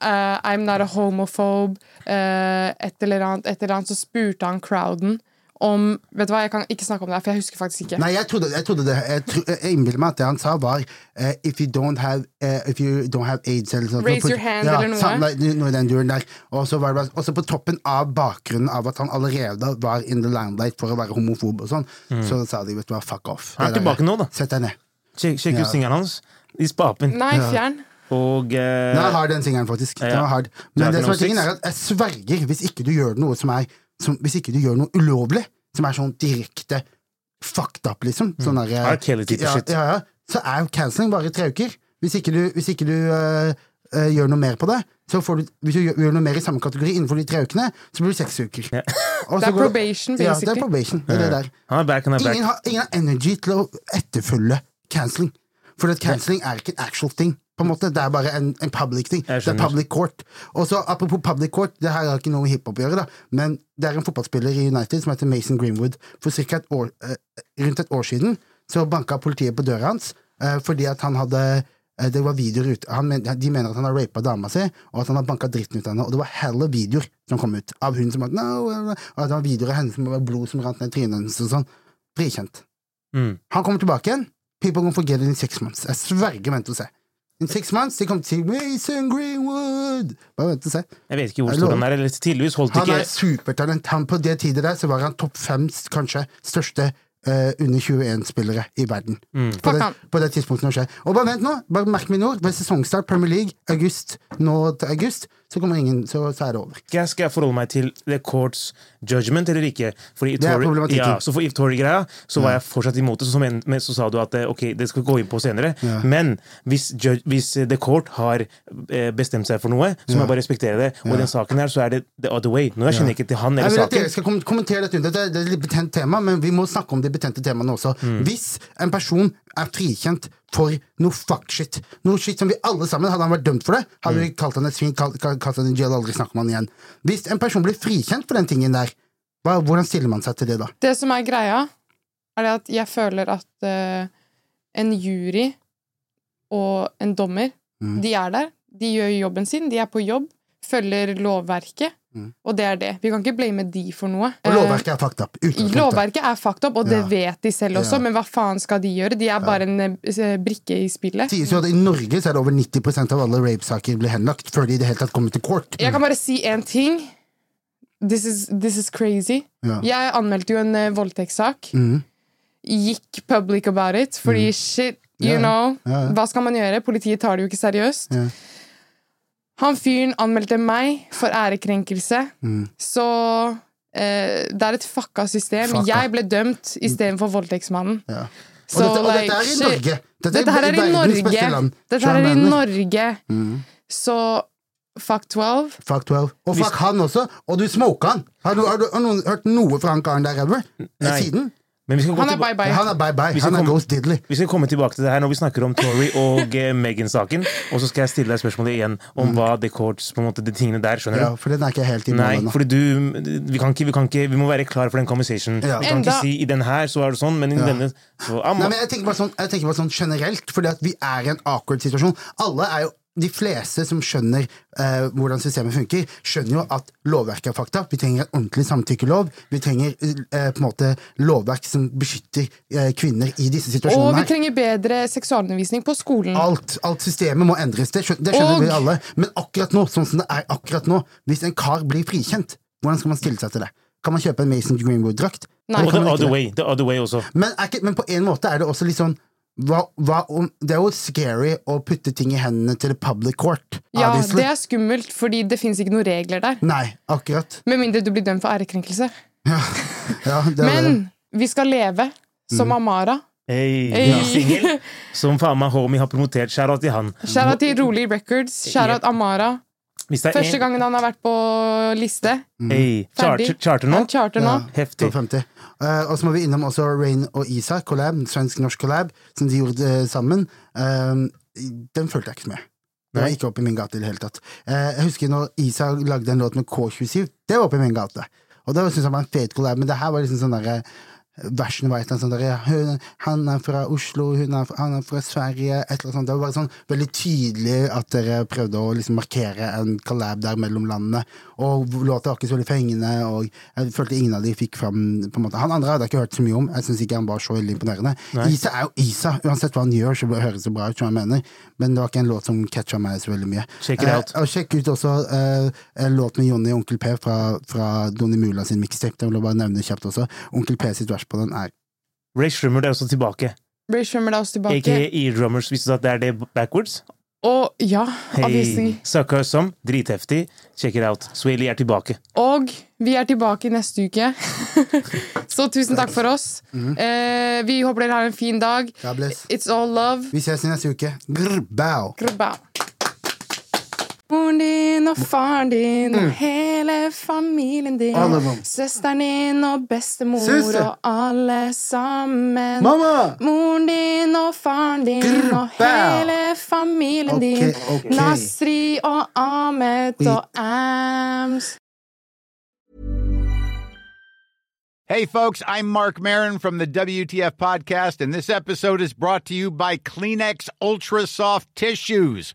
Speaker 1: eh, I'm not a homophobe. eh, et eller annet, et eller annet. Så spurte han crowden om Vet du hva, jeg kan ikke snakke om det, her, for jeg husker faktisk ikke.
Speaker 2: Nei, jeg trodde, jeg trodde det Jeg, tro, jeg innbiller meg at det han sa, var eh, If you don't have, eh, if you don't have aids eller sånt,
Speaker 1: Raise
Speaker 2: noe.
Speaker 1: your hand
Speaker 2: ja,
Speaker 1: eller noe.
Speaker 2: samme- noe i den duren der. Og så var det bare- og så på toppen av bakgrunnen av at han allerede var in the limelight for å være homofob og sånn, så sa de vet du hva, fuck off.
Speaker 3: Han Mm. er
Speaker 2: Det der-
Speaker 3: tilbake nå, da.
Speaker 2: Sett deg ned.
Speaker 3: Sjekk sjekk
Speaker 2: Ja.
Speaker 3: ut singelen hans. I spapen.
Speaker 1: Nei, fjern.
Speaker 3: Og eh,
Speaker 2: Den er hard, den singelen, faktisk. Den er hard. Men
Speaker 3: Dragon
Speaker 2: det som
Speaker 3: of
Speaker 2: er tingen
Speaker 3: Six.
Speaker 2: er at jeg sverger, hvis ikke du gjør noe som er som, Hvis ikke du gjør noe ulovlig, som er sånn R. fucked up, liksom sånn der,
Speaker 3: R. Kelly-type
Speaker 2: ja,
Speaker 3: shit.
Speaker 2: Ja, ja, så er canceling bare tre uker. Hvis ikke du, hvis ikke du øh, øh, gjør noe mer på det, så får du, hvis du gjør, gjør noe mer i samme kategori innenfor de tre ukene, så blir det seks uker. Og
Speaker 1: Det
Speaker 2: så
Speaker 1: er
Speaker 2: går
Speaker 1: probation,
Speaker 2: Ja, det
Speaker 1: basically.
Speaker 2: er probation. Det er det der.
Speaker 3: han er back, han er back.
Speaker 2: Ingen har, ingen har energy til å etterfølge canceling. For at canceling er ikke en actual ting. På en måte, Det er bare en, en public ting.
Speaker 3: Jeg
Speaker 2: Det er
Speaker 3: skjønner.
Speaker 2: public court. Og så Apropos public court, det her har ikke noe med hiphop å gjøre, da. men det er en fotballspiller i United som heter Mason Greenwood. For cirka et år, eh, Rundt et år siden så banka politiet på døra hans eh, fordi at han hadde eh, det var videoer ut. Han men, de mener at han har rapa dama si, og at han har banka dritten ut av henne. Og det var hella videoer som kom ut av hun som hadde, no, og at det var videoer av henne som var blod som rant ned trynet hennes og sånn. Frikjent.
Speaker 3: Mm.
Speaker 2: Han kommer tilbake igjen. People gonna forget it in six months. Jeg sverger, vent og se. In six months, de kommer til å si Mason Greenwood. Bare vent og se.
Speaker 3: Jeg vet ikke hvor
Speaker 2: Jeg
Speaker 3: stor
Speaker 2: lover.
Speaker 3: han er. eller Tydeligvis holdt
Speaker 2: Han
Speaker 3: ikke
Speaker 2: er supertalent. Han på det tidet der så var han topp fem, kanskje, største eh, under 21-spillere i verden. På,
Speaker 1: Fuck
Speaker 2: det,
Speaker 1: han.
Speaker 2: på det tidspunktet når det skjer. Og bare vent nå, bare merk mine ord. Ved sesongstart, Premier League, august, nå til august, så kommer ingen, så, så er det over.
Speaker 3: skal jeg, skal jeg forholde meg til the court's judgment eller ikke? Fordi i
Speaker 2: Det er
Speaker 3: Tory-
Speaker 2: problematikken.
Speaker 3: Ja, så for If Tory-greia så var jeg fortsatt imot det, så, som en, men så sa du at eh, ok, det skal vi gå inn på senere. Men hvis, judge, hvis eh, the court har eh, bestemt seg for noe, så må jeg bare respektere det. Og i den saken her så er det the other way. Nå jeg kjenner ikke til han
Speaker 2: Jeg
Speaker 3: eller
Speaker 2: vil at dere
Speaker 3: saken.
Speaker 2: skal kom- kommentere dette under. Det er- det er et litt betent tema, men vi må snakke om de betente temaene også. Hvis en person er frikjent for noe fuckshit, noe shit som vi alle sammen Hadde han vært dømt for det, hadde vi kalt han et svin, kalt, kalt kalt han i jail, aldri snakket om han igjen. Hvis en person blir frikjent for den tingen der, hva, hvordan stiller man seg til det da?
Speaker 1: Det som er greia, er det at jeg føler at eh, en jury og en dommer,
Speaker 2: Mm.
Speaker 1: de er der. De gjør jobben sin. De er på jobb, følger lovverket,
Speaker 2: Mm.
Speaker 1: og det er det. Vi kan ikke blame de for noe.
Speaker 2: Og
Speaker 1: Eh,
Speaker 2: lovverket er fucked up. utgangspunktet.
Speaker 1: lovverket er fucked up, og det
Speaker 2: Ja.
Speaker 1: vet de selv også,
Speaker 2: Ja.
Speaker 1: men hva faen skal de gjøre? De er bare en eh, brikke i spillet.
Speaker 2: Det sies jo at i Norge så er det over 90 av alle rape-saker blir henlagt før de i det hele tatt kommer til court.
Speaker 1: Jeg kan bare si én ting. This is, this is crazy.
Speaker 2: Ja.
Speaker 1: Jeg anmeldte jo en eh, voldtektssak.
Speaker 2: Mhm.
Speaker 1: Gikk public about it, fordi shit, you
Speaker 2: Mm. Ja, ja.
Speaker 1: know.
Speaker 2: Ja, ja.
Speaker 1: Hva skal man gjøre? Politiet tar det jo ikke seriøst.
Speaker 2: Ja.
Speaker 1: Han fyren anmeldte meg for ærekrenkelse,
Speaker 2: Mm.
Speaker 1: så eh, det er et fucka system.
Speaker 2: Fucka.
Speaker 1: Jeg ble dømt istedenfor voldtektsmannen.
Speaker 2: Ja.
Speaker 1: Så,
Speaker 2: og, dette, og dette er i
Speaker 1: like, shit.
Speaker 2: Norge! Dette,
Speaker 1: Dette her er i
Speaker 2: verdens beste
Speaker 1: Norge.
Speaker 2: land.
Speaker 1: Dette her
Speaker 2: Skjønner
Speaker 1: er i
Speaker 2: du hva jeg mener? Mm.
Speaker 1: Norge. Så fuck 12.
Speaker 2: Fuck 12. Og fuck han også. Og du smoka han. Har du, har du har noen hørt noe fra han karen der ever?
Speaker 3: Nei.
Speaker 2: Siden?
Speaker 3: Men vi skal, gå
Speaker 1: Han er
Speaker 3: tilba-
Speaker 1: bye-bye.
Speaker 2: Han er bye-bye.
Speaker 3: skal
Speaker 2: Han er
Speaker 3: komme-
Speaker 2: Ghost Diddley.
Speaker 3: vi skal komme tilbake til det her når vi snakker om Tory og eh, Meghan-saken. Og så skal jeg stille deg spørsmålet igjen om hva the courts, på en måte, de tingene der. skjønner du?
Speaker 2: Ja, for den er ikke helt i mål
Speaker 3: Nei,
Speaker 2: ennå.
Speaker 3: fordi du vi, kan ikke, vi, kan ikke, vi må være klar for den conversationen.
Speaker 2: Ja.
Speaker 3: Vi kan
Speaker 1: Enda-
Speaker 3: ikke si i den her så er det sånn, men i denne så, ah,
Speaker 2: Nei, men jeg tenker bare sånn, jeg tenker bare sånn generelt, fordi at vi er i en awkward situasjon. Alle er jo de fleste som skjønner eh, hvordan systemet funker, skjønner jo at lovverket er fakta. Vi trenger en ordentlig samtykkelov. Vi trenger eh, på en måte lovverk som beskytter eh, kvinner i disse
Speaker 1: Og
Speaker 2: situasjonene.
Speaker 1: vi
Speaker 2: her.
Speaker 1: trenger bedre seksualundervisning på skolen.
Speaker 2: Alt, alt systemet må endres, det skjønner, det skjønner
Speaker 1: Og-
Speaker 2: vi alle. Men akkurat nå, sånn som det er akkurat nå, hvis en kar blir frikjent, hvordan skal man stille seg til det? Kan man kjøpe en Mason Greenwood-drakt?
Speaker 1: Nei.
Speaker 3: Og
Speaker 2: Kan
Speaker 3: The
Speaker 2: man ikke
Speaker 3: Other
Speaker 2: det?
Speaker 3: Way, the other way også.
Speaker 2: Men, er ikke, men på en måte er det også litt sånn hva, hva om, Det er jo scary å putte ting i hendene til the public court.
Speaker 1: Ja,
Speaker 2: obviously.
Speaker 1: det er skummelt, fordi det fins ikke noen regler der.
Speaker 2: Nei, akkurat.
Speaker 1: Med mindre du blir dømt for ærekrenkelse.
Speaker 2: Ja, [LAUGHS] det er det. Mm.
Speaker 1: Men vi skal leve som Amara.
Speaker 3: Hey,
Speaker 1: Hey.
Speaker 3: Singel. Som faen meg homie har promotert. Skjæra til han.
Speaker 1: Skjæra til
Speaker 2: Mm.
Speaker 1: Rolig Records. Skjæra til Amara.
Speaker 3: Hvis det er
Speaker 1: Første
Speaker 3: en, Mm.
Speaker 1: gangen han har vært på liste.
Speaker 3: hey,
Speaker 1: Ferdig.
Speaker 3: charter, charter nå?
Speaker 1: Han charter nå.
Speaker 2: Mm. Ja,
Speaker 3: Heftig.
Speaker 2: 52. Eh, og så må vi innom også Rain og Isa, collab, en svensk-norsk collab, som de gjorde eh, sammen. Eh, den fulgte jeg ikke med. Det var
Speaker 3: Nei.
Speaker 2: ikke oppe i min gate i det hele tatt. Eh, jeg husker når Isa lagde en låt med K27, det var oppe i min gate. Og det syntes jeg var en fet collab, men det her var liksom sånn derre Versen var et eller annet sånn derre hun- Han er fra Oslo, hun er fra, han er fra Sverige, et eller annet sånt. Det var bare sånn veldig tydelig at dere prøvde å liksom markere en collab der mellom landene. Og låta var ikke så veldig fengende, og jeg følte ingen av de fikk fram på en måte. Han andre hadde jeg ikke hørt så mye om. Jeg syns ikke han var så veldig imponerende. Isa er jo Isa. Uansett hva han gjør, så høres det bra ut, som jeg mener. Men det var ikke en låt som catcha meg så veldig mye.
Speaker 3: Check it out.
Speaker 2: Eh, og sjekk ut også eh, en låt med Jonny og Onkel P fra, fra Donny Mula sin mixtape. Det vil jeg bare nevne kjapt også. Onkel P sitt vers på den er
Speaker 3: Ray Shrummer er også tilbake.
Speaker 1: Ray Shrummer er også
Speaker 3: Aka
Speaker 1: tilbake.
Speaker 3: E-drummers. Visste E du at det er det backwards?
Speaker 1: Og ja,
Speaker 3: Hey,
Speaker 1: obviously.
Speaker 3: Sucker som. Dritheftig. Check it out. Swaley er tilbake.
Speaker 1: Og vi er tilbake neste uke.
Speaker 2: [LAUGHS]
Speaker 1: Så tusen takk for oss. Eh, vi håper dere har en fin dag.
Speaker 2: Mm. God bless.
Speaker 1: It's all love.
Speaker 2: Vi ses i neste uke. Grr, bow.
Speaker 1: Grubba. Moren din og faren din og hele familien din.
Speaker 2: Mm. Alle mann.
Speaker 1: Søsteren din og bestemor
Speaker 2: Søster.
Speaker 1: og alle sammen.
Speaker 2: Mamma!
Speaker 1: Moren din og faren din
Speaker 2: Grubba.
Speaker 1: og hele familien
Speaker 2: Ok,
Speaker 1: din.
Speaker 2: ok.
Speaker 1: Nasri og Ahmed og Ams.
Speaker 4: Hey, folks, I'm Mark Marin from the WTF Podcast, and this episode is brought to you by Kleenex Ultra Soft Tissues,